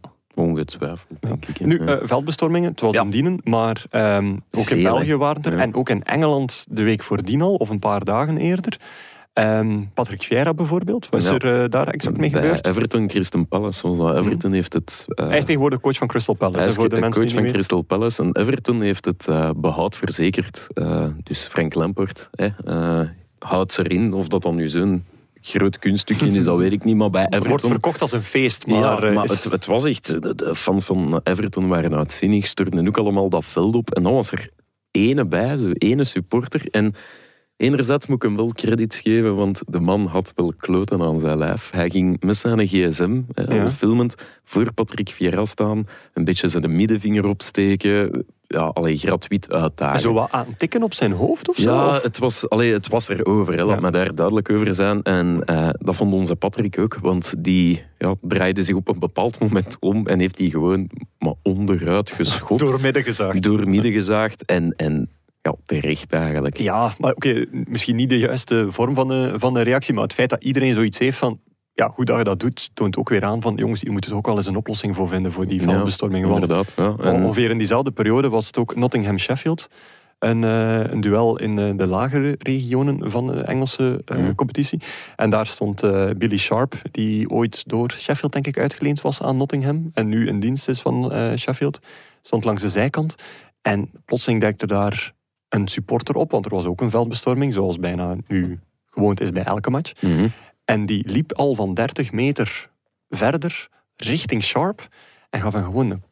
Speaker 4: Ongetwijfeld, denk ik. hè.
Speaker 1: Nu,
Speaker 4: Ja.
Speaker 1: eh, veldbestormingen, het was
Speaker 3: Ja.
Speaker 1: om dienen, maar ehm, ook in
Speaker 4: Veel, hè?
Speaker 1: België waren er.
Speaker 4: Ja.
Speaker 1: En ook in Engeland de week voordien al, of een paar dagen eerder. Ehm, Patrick Vieira bijvoorbeeld, wat is
Speaker 4: Ja.
Speaker 1: er eh, daar exact mee
Speaker 4: Bij
Speaker 1: gebeurd? Mhm.
Speaker 4: Everton, Crystal Palace was dat. Everton heeft het... eh,
Speaker 1: Hij is tegenwoordig coach van Crystal Palace.
Speaker 4: hij
Speaker 1: hè,
Speaker 4: is
Speaker 1: voor de,
Speaker 4: de
Speaker 1: mensen
Speaker 4: coach
Speaker 1: die
Speaker 4: van
Speaker 1: niet meer-
Speaker 4: Crystal Palace en Everton heeft het eh, behoud verzekerd. Eh, dus Frank Lampert hè, eh, houdt ze erin. Of dat dan nu zo'n groot kunststukje is, dat weet ik niet. Maar bij
Speaker 1: Wordt
Speaker 4: Everton
Speaker 1: verkocht als een feest, maar,
Speaker 4: ja,
Speaker 1: eh,
Speaker 4: maar
Speaker 1: is-
Speaker 4: het, het was echt... De, de fans van Everton waren uitzinnig, stormden ook allemaal dat veld op. En dan was er ene bij, zo ene supporter. En enerzijds moet ik hem wel credits geven, want de man had wel kloten aan zijn lijf. Hij ging met zijn gsm, hè, al
Speaker 1: Ja.
Speaker 4: filmend, voor Patrick Vieira staan, een beetje zijn middenvinger opsteken, ja, allee, gratuit uitdagen.
Speaker 1: zo wat aan tikken op zijn hoofd of zo?
Speaker 4: Ja,
Speaker 1: Of-
Speaker 4: het was, allee, het was erover. Hè, laat
Speaker 1: Ja.
Speaker 4: me daar duidelijk over zijn. En eh, dat vond onze Patrick ook. Want die ja, draaide zich op een bepaald moment om en heeft die gewoon maar onderuit geschopt.
Speaker 1: Doormidden gezaagd.
Speaker 4: Doormidden gezaagd. En, en ja, terecht eigenlijk.
Speaker 1: Ja, maar oké, misschien niet de juiste vorm van de, van de reactie, maar het feit dat iedereen zoiets heeft van... Ja, hoe dat je dat doet, toont ook weer aan van... Jongens, hier moet het ook wel eens een oplossing voor vinden voor die
Speaker 4: Ja,
Speaker 1: veldbestormingen. want
Speaker 4: Inderdaad. Ja.
Speaker 1: O-
Speaker 4: En,
Speaker 1: Ongeveer in diezelfde periode was het ook Nottingham-Sheffield. Een, eh, een duel in eh, de lagere regionen van de Engelse eh,
Speaker 4: Mhm.
Speaker 1: competitie. En daar stond eh, Billy Sharp, die ooit door Sheffield, denk ik, uitgeleend was aan Nottingham. En nu in dienst is van eh, Sheffield. Stond langs de zijkant. En plotseling dekte daar een supporter op, want er was ook een veldbestorming, zoals bijna nu gewoond is bij elke match.
Speaker 4: Mhm.
Speaker 1: En die liep al van 30 meter verder richting Sharp en gaf hem gewoon een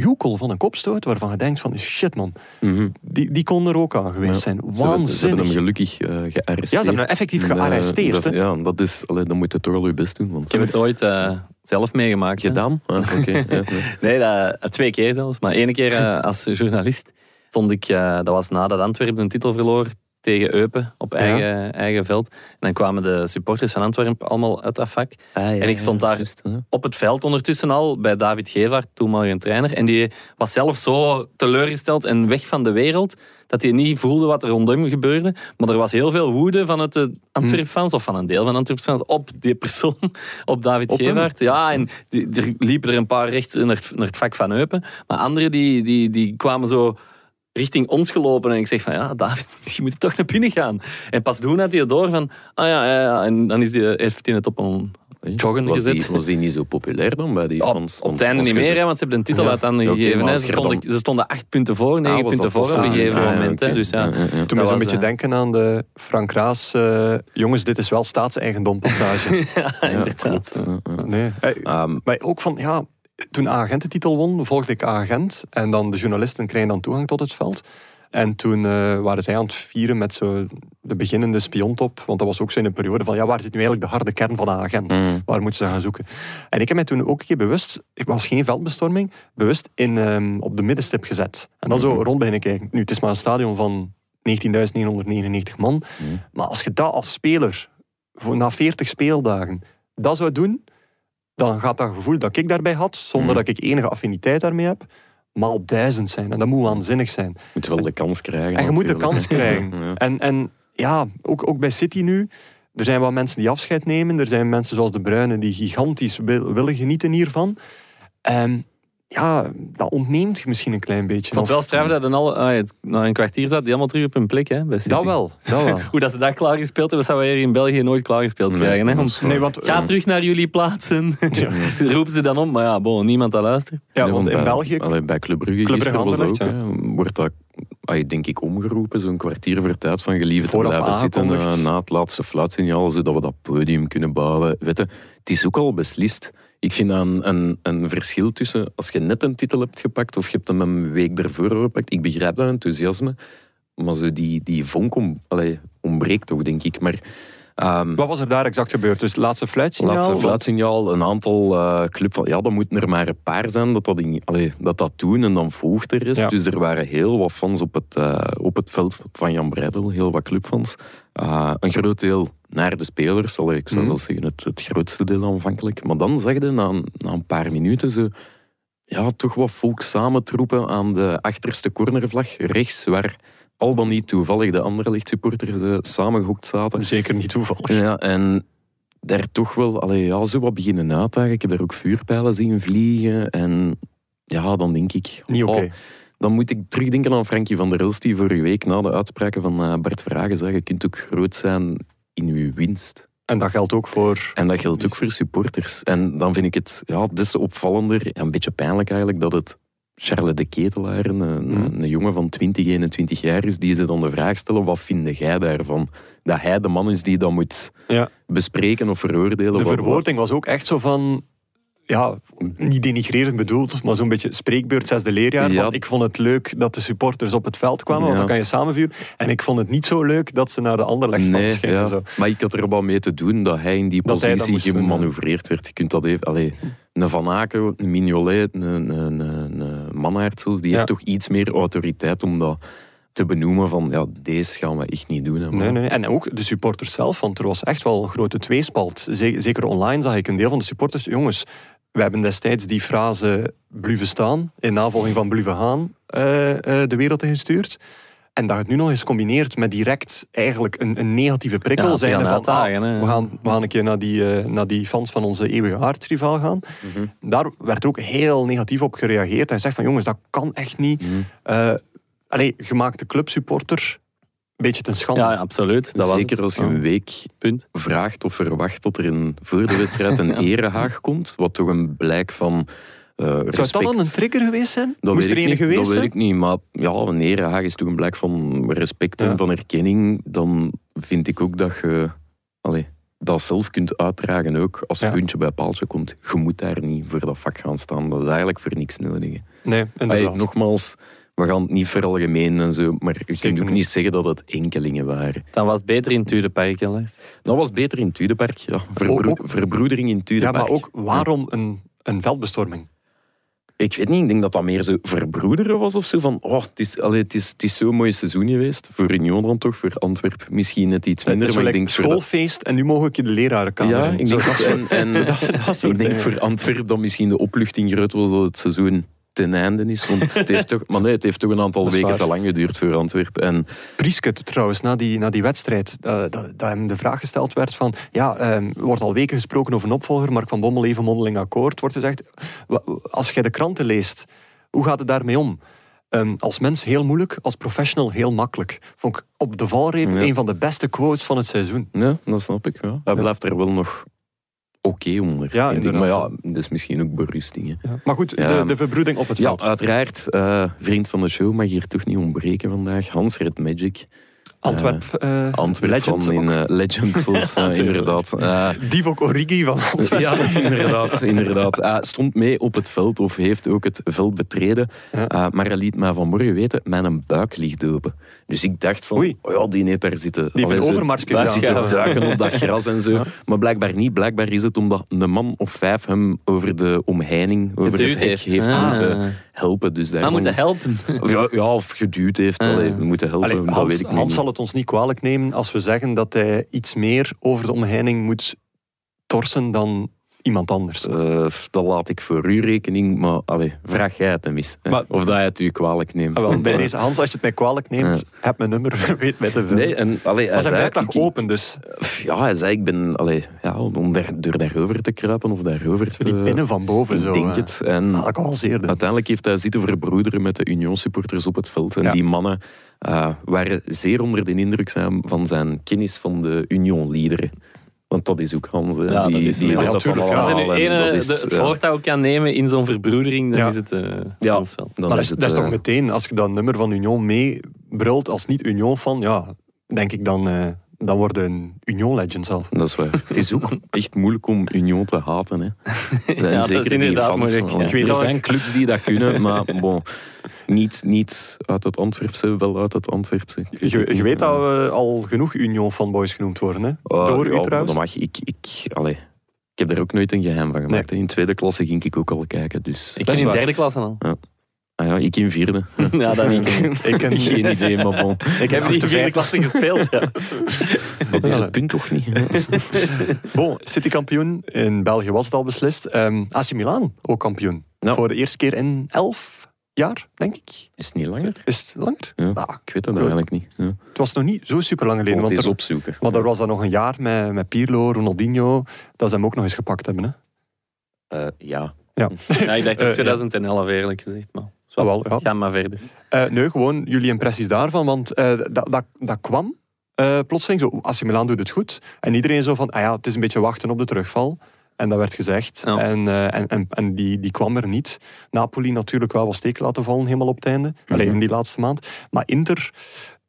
Speaker 1: joekel van een kopstoot waarvan je denkt van shit man,
Speaker 4: Mhm.
Speaker 1: die, die kon er ook aan geweest
Speaker 4: Ja.
Speaker 1: zijn.
Speaker 4: Ze hebben- Ze hebben
Speaker 1: Waanzinnig.
Speaker 4: hem gelukkig eh, gearresteerd.
Speaker 1: Ja, ze hebben hem effectief
Speaker 4: En, eh,
Speaker 1: gearresteerd,
Speaker 4: dat-
Speaker 1: hè.
Speaker 4: ja, dat is, allee, dan moet je toch wel je best doen.
Speaker 3: Ik
Speaker 4: Want,
Speaker 3: heb het ooit eh, zelf meegemaakt. hè.
Speaker 4: gedaan? Ah, oké, ja, ja.
Speaker 3: Nee, dat, eh, twee keer zelfs. Maar één keer eh, als journalist stond ik, eh, dat was nadat Antwerpen een titel verloor tegen Eupen op eigen, eigen veld. En dan kwamen de supporters van Antwerpen allemaal uit dat vak.
Speaker 1: Ah,
Speaker 3: En ik stond daar
Speaker 4: Juist, hè.
Speaker 3: op het veld ondertussen al bij David Gevaert, toenmalige trainer. En die was zelf zo teleurgesteld en weg van de wereld dat hij niet voelde wat er rondom hem gebeurde. Maar er was heel veel woede van het eh, Antwerp-fans, of van een deel van Antwerp-fans, op die persoon, op David
Speaker 1: Op hem?
Speaker 3: Gevaert. Ja, en die, er liepen er een paar recht naar, het- naar het vak van Eupen. Maar anderen die, die, die kwamen zo richting ons gelopen. En ik zeg van, ja, David, misschien moet je toch naar binnen gaan. En pas toen had hij het door van, ah ja, ja, ja. En dan is die, heeft hij het op een joggen
Speaker 4: was
Speaker 3: gezet.
Speaker 4: Die, was die niet zo populair dan bij die
Speaker 3: Ja,
Speaker 4: fans?
Speaker 3: op
Speaker 4: Want
Speaker 3: het einde
Speaker 4: als
Speaker 3: niet
Speaker 4: je
Speaker 3: meer,
Speaker 4: zo-
Speaker 3: hè, want ze hebben een titel
Speaker 4: Ja.
Speaker 3: uit handen
Speaker 4: Ja, oké,
Speaker 3: gegeven.
Speaker 4: maar
Speaker 3: hè.
Speaker 4: als
Speaker 3: Ze,
Speaker 4: je er
Speaker 3: stonden,
Speaker 4: dan-
Speaker 3: ze stonden acht punten voor, negen
Speaker 4: Ah, was
Speaker 3: punten
Speaker 4: dat
Speaker 3: voor op
Speaker 4: tot
Speaker 3: een
Speaker 4: samen?
Speaker 3: gegeven
Speaker 4: Ah, ja,
Speaker 3: moment. hè.
Speaker 4: oké.
Speaker 3: Dus ja,
Speaker 4: Ja, ja, ja.
Speaker 1: Toen moest
Speaker 3: was,
Speaker 1: je een beetje
Speaker 3: eh,
Speaker 1: denken aan de Frank Raas, eh, jongens, dit is wel staatseigendompassage.
Speaker 3: ja, inderdaad.
Speaker 4: Ja, klopt. Ja, ja.
Speaker 1: nee. Eh,
Speaker 4: Ehm,
Speaker 1: Maar ook van, ja, toen agent de titel won, volgde ik agent. En dan de journalisten kregen dan toegang tot het veld. En toen eh, waren zij aan het vieren met zo de beginnende spiontop. Want dat was ook zo in een periode van, ja, waar zit nu eigenlijk de harde kern van een agent? Waar moeten ze gaan zoeken? En ik heb mij toen ook een keer bewust, het was geen veldbestorming, bewust in, ehm, op de middenstip gezet. En dan zo rond beginnen kijken. Nu, het is maar een stadion van 19.999 man. Maar als je dat als speler, voor, na 40 speeldagen, dat zou doen, dan gaat dat gevoel dat ik daarbij had, zonder dat ik enige affiniteit daarmee heb, maal duizend zijn. En dat moet waanzinnig zijn.
Speaker 4: je moet wel de kans krijgen.
Speaker 1: En je moet de
Speaker 4: natuurlijk.
Speaker 1: kans krijgen.
Speaker 4: Ja.
Speaker 1: En, en ja, ook, ook bij City nu. Er zijn wat mensen die afscheid nemen. Er zijn mensen zoals de Bruyne die gigantisch wil- willen genieten hiervan. En ja, dat ontneemt je misschien een klein beetje.
Speaker 3: Ik vond het wel
Speaker 1: Of-
Speaker 3: straf dat een al, ah, het- na een kwartier zat die allemaal terug op hun plek. Hè, bij City.
Speaker 1: Dat wel, dat wel.
Speaker 3: Hoe dat ze dat klaargespeeld hebben, dat zouden we hier in België nooit klaargespeeld
Speaker 4: Nee, eh,
Speaker 3: krijgen. Hè,
Speaker 4: dat
Speaker 3: om-
Speaker 4: is waar.
Speaker 1: Nee, want,
Speaker 3: Ga terug naar jullie plaatsen. Roep ze dan om, maar ja, bon, niemand dat luistert.
Speaker 1: ja,
Speaker 4: Nee,
Speaker 1: want eh, in
Speaker 4: bij,
Speaker 1: België...
Speaker 4: allee, bij Club Brugge
Speaker 1: Club Brugge
Speaker 4: gisteren was dat ook.
Speaker 1: Anderlecht,
Speaker 4: hè. wordt dat, allee, denk ik, omgeroepen. Zo'n kwartier voor tijd van geliefde te
Speaker 1: Vooraf
Speaker 4: blijven zitten
Speaker 1: aangekondigd.
Speaker 4: eh, na het laatste fluitsignaal, zodat we dat podium kunnen bouwen. Weet je, het is ook al beslist. Ik vind dat een, een, een verschil tussen als je net een titel hebt gepakt of je hebt hem een week daarvoor gepakt. Ik begrijp dat enthousiasme, maar zo die, die vonk om, allee, ontbreekt toch, denk ik. Maar... ehm,
Speaker 1: Wat was er daar exact gebeurd? Dus het laatste fluitsignaal?
Speaker 4: Laatste
Speaker 1: want-
Speaker 4: fluitsignaal, een aantal eh club van... Ja, dat moeten er maar een paar zijn dat dat, in, allee, dat, dat doen en dan volgt de rest.
Speaker 1: Ja.
Speaker 4: Dus er waren heel wat fans op het, eh, op het veld van Jan Breidel, heel wat clubfans. Eh, een groot deel naar de spelers, allee, ik zou
Speaker 1: Mhm.
Speaker 4: zelfs zeggen het, het grootste deel aanvankelijk. Maar dan zag je na, een- na een paar minuten zo... Ja, toch wat volk samentroepen aan de achterste cornervlag, rechts, waar al dan niet toevallig de andere lichtsupporters eh, samengehokt zaten.
Speaker 1: Zeker niet toevallig.
Speaker 4: Ja, en daar toch wel allee, ja, zo wat beginnen uitdagen. Ik heb daar ook vuurpijlen zien vliegen. En ja, dan denk ik...
Speaker 1: Niet oké.
Speaker 4: oh, dan moet ik terugdenken aan Frankie van der Elst, die vorige week na de uitspraken van eh, Bart Vragen zei, je kunt ook groot zijn in je winst.
Speaker 1: En dat geldt ook voor...
Speaker 4: En dat geldt ook voor supporters. En dan vind ik het ja, des te opvallender en een beetje pijnlijk eigenlijk dat het Charles de Ketelaar, een,
Speaker 1: Mhm.
Speaker 4: een jongen van 20, 21 jaar is, die ze dan de vraag stellen, wat vind jij daarvan? Dat hij de man is die dat moet
Speaker 1: Ja.
Speaker 4: bespreken of veroordelen.
Speaker 1: De
Speaker 4: wat- wat-
Speaker 1: verwoording was ook echt zo van... Ja, niet denigrerend bedoeld, maar zo'n beetje spreekbeurt zesde leerjaar.
Speaker 4: Ja.
Speaker 1: Van, ik vond het leuk dat de supporters op het veld kwamen, want
Speaker 4: Ja.
Speaker 1: dan kan je samenvuren. En ik vond het niet zo leuk dat ze naar de ander legt
Speaker 4: Nee,
Speaker 1: schenen.
Speaker 4: ja.
Speaker 1: Zo.
Speaker 4: Maar ik had er wel mee te doen dat hij in die
Speaker 1: Dat hij dat
Speaker 4: positie
Speaker 1: moest doen, ja.
Speaker 4: gemanoeuvreerd werd. Je kunt dat even... Allee, een Van Aken, een Mignolet, een, een, een, een Mannaert zelfs, die
Speaker 1: Ja.
Speaker 4: heeft toch iets meer autoriteit om dat te benoemen van ja, deze gaan we echt niet doen. hè, man.
Speaker 1: Nee, nee, nee. En ook de supporters zelf, want er was echt wel een grote tweespalt. Ze- Zeker online zag ik een deel van de supporters. Jongens, we hebben destijds die frase blijven staan, in navolging van blijven gaan, eh, eh, de wereld ingestuurd. En dat je het nu nog eens combineert met direct eigenlijk een, een negatieve prikkel.
Speaker 3: Ja,
Speaker 1: zijnde
Speaker 3: ja,
Speaker 1: van, ah,
Speaker 3: uitdagen, hè.
Speaker 1: we, gaan, we gaan een keer naar die, eh, naar die fans van onze eeuwige aardsrivaal gaan.
Speaker 3: Mhm.
Speaker 1: Daar werd er ook heel negatief op gereageerd. En zegt van jongens, dat kan echt niet.
Speaker 3: Mhm.
Speaker 1: Eh allee, je maakt de clubsupporter een beetje ten schande.
Speaker 3: Ja, ja, absoluut. Dat was
Speaker 4: Zeker
Speaker 3: het.
Speaker 4: als je een
Speaker 3: Ja,
Speaker 4: week
Speaker 3: punt.
Speaker 4: vraagt of verwacht dat er een, voor de wedstrijd een erehaag komt, wat toch een blijk van eh
Speaker 1: Zou
Speaker 4: respect...
Speaker 1: het dan wel een trigger geweest zijn?
Speaker 4: Dat
Speaker 1: Moest
Speaker 4: weet
Speaker 1: er
Speaker 4: ik
Speaker 1: een
Speaker 4: niet,
Speaker 1: geweest
Speaker 4: Dat weet
Speaker 1: zijn?
Speaker 4: ik niet, maar ja, een erehaag is toch een blijk van respect en
Speaker 1: Ja.
Speaker 4: van erkenning. Dan vind ik ook dat je allee, dat zelf kunt uitdragen ook. Als
Speaker 1: Ja.
Speaker 4: puntje bij paaltje komt, je moet daar niet voor dat vak gaan staan. Dat is eigenlijk voor niks nodig. hè.
Speaker 1: Nee,
Speaker 4: Allee,
Speaker 1: inderdaad.
Speaker 4: nogmaals, we gaan het niet veralgemenen en zo, maar je kunt
Speaker 1: Zeker
Speaker 4: ook
Speaker 1: niet.
Speaker 4: niet zeggen dat het enkelingen waren.
Speaker 3: Dan was het beter in Tudepark, helaas.
Speaker 4: Dat was beter in Tudepark, ja. Verbro-
Speaker 1: ook-
Speaker 4: verbroedering in
Speaker 1: Oh, ja,
Speaker 4: Tudepark.
Speaker 1: maar ook waarom een, een veldbestorming?
Speaker 4: Ik weet niet, ik denk dat dat meer zo verbroederen was of zo. Van, oh, het is, allee, het is, het is zo'n mooi seizoen geweest. Voor Union dan toch, voor Antwerpen misschien net iets
Speaker 1: Het
Speaker 4: minder.
Speaker 1: is
Speaker 4: maar ik
Speaker 1: gelijk
Speaker 4: denk voor dat-
Speaker 1: schoolfeest en nu mogen ik je de lerarenkamer
Speaker 4: ja,
Speaker 1: in.
Speaker 4: ik
Speaker 1: Zo,
Speaker 4: denk,
Speaker 1: dat
Speaker 4: dat,
Speaker 1: soort-
Speaker 4: en, en,
Speaker 1: dat soort
Speaker 4: ik denk
Speaker 1: dingen.
Speaker 4: voor Antwerpen dat misschien de opluchting groot was dat het seizoen ten einde is. Want het heeft toch, maar nee, het heeft toch een aantal
Speaker 1: Dat is
Speaker 4: weken
Speaker 1: waar.
Speaker 4: te lang geduurd voor Antwerpen. En
Speaker 1: Prieske trouwens, na die, na die wedstrijd, eh, dat, dat hem de vraag gesteld werd van ja, eh, er wordt al weken gesproken over een opvolger, Mark van Bommel even mondeling akkoord. Wordt gezegd, wa- als jij de kranten leest, hoe gaat het daarmee om? Ehm, als mens heel moeilijk, als professional heel makkelijk. Vond ik op de valreep
Speaker 4: Ja.
Speaker 1: een van de beste quotes van het seizoen.
Speaker 4: ja, dat snap ik. Ja. Hij blijft er wel nog oké onder.
Speaker 1: Ja,
Speaker 4: vind ik. Maar
Speaker 1: inderdaad.
Speaker 4: ja, dat is misschien ook berusting. hè.
Speaker 1: Maar goed,
Speaker 4: Ja.
Speaker 1: de, de verbroeding op het
Speaker 4: Ja,
Speaker 1: veld.
Speaker 4: uiteraard. eh, vriend van de show mag hier toch niet ontbreken vandaag. Hans Red Magic.
Speaker 1: Antwerp, eh
Speaker 4: Antwerp
Speaker 1: Legends
Speaker 4: van in
Speaker 1: ook.
Speaker 4: eh, Legends, zelfs, eh, inderdaad. Eh,
Speaker 1: Divock Origi van Antwerp.
Speaker 4: ja, inderdaad. inderdaad. Eh, stond mee op het veld of heeft ook het veld betreden.
Speaker 1: Ja.
Speaker 4: Eh, maar hij liet mij vanmorgen weten, mijn buik ligt open. Dus ik dacht van,
Speaker 1: Oei.
Speaker 4: oh ja, die heeft daar zitten.
Speaker 1: heeft
Speaker 4: Allee,
Speaker 1: een
Speaker 4: zo-
Speaker 1: overmarsje
Speaker 4: daar
Speaker 1: gedaan.
Speaker 4: zitten
Speaker 1: Ja.
Speaker 4: duiken op dat gras en zo. Maar blijkbaar niet. Blijkbaar is het omdat een man of vijf hem over de omheining, over het,
Speaker 3: Geduwd
Speaker 4: hek
Speaker 3: heeft.
Speaker 4: heeft
Speaker 3: Ah.
Speaker 4: moeten helpen. Dus
Speaker 3: Maar
Speaker 4: daarom-
Speaker 3: moeten helpen. Ah.
Speaker 4: ja, ja, of geduwd heeft. Allee, we moeten helpen,
Speaker 1: Allee,
Speaker 4: dat
Speaker 1: Hans,
Speaker 4: weet ik nu
Speaker 1: Hans
Speaker 4: niet.
Speaker 1: zal het ons niet kwalijk nemen als we zeggen dat hij iets meer over de omheining moet torsen dan iemand anders.
Speaker 4: Eh, dat laat ik voor uw rekening, maar allee, vraag jij het hem eens. hè.
Speaker 1: Maar-
Speaker 4: of dat hij het u kwalijk neemt.
Speaker 1: Ah, wel,
Speaker 4: Want,
Speaker 1: bij
Speaker 4: eh,
Speaker 1: deze, Hans, als je het mij kwalijk neemt, heb mijn nummer, weet mij te veel.
Speaker 4: Nee, en allee, hij
Speaker 1: maar zijn
Speaker 4: zei...
Speaker 1: buik lag
Speaker 4: ik- eh, ik-
Speaker 1: open, dus
Speaker 4: pff, Ja, hij zei, ik ben... Allee, ja, om daar, door daarover te kruipen of daarover te...
Speaker 1: die pinnen van boven
Speaker 4: ik
Speaker 1: zo.
Speaker 4: denk
Speaker 1: eh,
Speaker 4: het. En
Speaker 1: Had ik al zeer.
Speaker 4: uiteindelijk heeft hij zitten verbroederen met de Union-supporters op het veld. En
Speaker 1: Ja.
Speaker 4: die mannen eh, waren zeer onder de indruk zijn van zijn kennis van de Union-liederen. Want dat is ook Hans, hè.
Speaker 3: Ja,
Speaker 4: die,
Speaker 3: dat is-
Speaker 4: die
Speaker 3: ja,
Speaker 4: weet dat van
Speaker 1: tuurlijk, Ah, ja.
Speaker 3: Als
Speaker 4: allemaal.
Speaker 3: er nu
Speaker 4: en
Speaker 3: ene
Speaker 4: dat
Speaker 3: de-
Speaker 4: is, eh,
Speaker 3: het
Speaker 4: ja,
Speaker 3: voortouw kan nemen in zo'n verbroedering, dan
Speaker 1: Ja.
Speaker 3: is het eh
Speaker 4: Ja.
Speaker 3: ons wel.
Speaker 1: Maar
Speaker 4: dan
Speaker 1: dat
Speaker 4: is
Speaker 1: is,
Speaker 4: het,
Speaker 1: dat is
Speaker 4: eh,
Speaker 1: toch meteen, als je dat nummer van Union meebrult als niet-Union-fan, ja, denk ik dan, eh, dan word je een Union-legend zelf.
Speaker 4: Dat is waar. Het is ook echt moeilijk om Union te haten. Hè.
Speaker 3: Ja, dat is inderdaad moeilijk,
Speaker 4: want
Speaker 3: ja.
Speaker 1: Ik weet
Speaker 4: er
Speaker 1: dat
Speaker 4: zijn
Speaker 1: ik-
Speaker 4: clubs die dat kunnen, maar bon, niet, niet uit het Antwerpse, wel uit het Antwerpse. Ik weet
Speaker 1: Je,
Speaker 4: het
Speaker 1: je
Speaker 4: niet,
Speaker 1: weet
Speaker 4: maar-
Speaker 1: dat we al genoeg Union-fanboys genoemd worden, hè?
Speaker 4: Oh,
Speaker 1: Door
Speaker 4: ja,
Speaker 1: u
Speaker 4: maar
Speaker 1: trouwens.
Speaker 4: Dat mag ik. ik allee, ik heb daar ook nooit een geheim van gemaakt. hè. In tweede klasse ging ik ook al kijken. Dus.
Speaker 3: Ik
Speaker 1: Dat
Speaker 3: ben
Speaker 1: is
Speaker 3: in
Speaker 1: waar.
Speaker 3: derde klas al.
Speaker 4: Ah ja, ik in vierde.
Speaker 3: Ja, dat niet.
Speaker 1: Ik ken
Speaker 4: Geen idee, maar bon.
Speaker 3: Ik heb niet in
Speaker 1: Achtervijf.
Speaker 3: vierde klasse gespeeld. Ja.
Speaker 4: Dat is
Speaker 1: Ja.
Speaker 4: het punt toch niet.
Speaker 1: Bon, City-kampioen. In België was het al beslist. Ehm AC Milan ook kampioen.
Speaker 4: Ja.
Speaker 1: Voor de eerste keer in elf jaar, denk ik.
Speaker 4: Is het niet langer?
Speaker 1: Is het langer?
Speaker 4: Ja.
Speaker 1: Ah,
Speaker 4: Ik weet dat nou eigenlijk niet. Ja.
Speaker 1: het was nog niet zo super lang
Speaker 4: Ik
Speaker 1: geleden.
Speaker 4: moet
Speaker 1: Want
Speaker 4: eens
Speaker 1: er,
Speaker 4: opzoeken.
Speaker 1: want er was dan nog een jaar met, met Pirlo, Ronaldinho, dat ze hem ook nog eens gepakt hebben. Hè?
Speaker 4: Eh, ja.
Speaker 3: Ja, ik dacht
Speaker 1: Eh,
Speaker 3: ook
Speaker 1: ja.
Speaker 3: 2011 eerlijk gezegd. Maar,
Speaker 1: Ah, wel, ja.
Speaker 3: Ga maar verder.
Speaker 1: Eh, nee, gewoon jullie impressies daarvan, want eh, dat, dat, dat kwam eh plotseling zo. AC Milan doet het goed. En iedereen zo van, ah ja, het is een beetje wachten op de terugval. En dat werd gezegd.
Speaker 3: Ja.
Speaker 1: En, eh, en, en, en die, die kwam er niet. Napoli natuurlijk wel wat steken laten vallen, helemaal op het einde. Alleen in die laatste maand. Maar Inter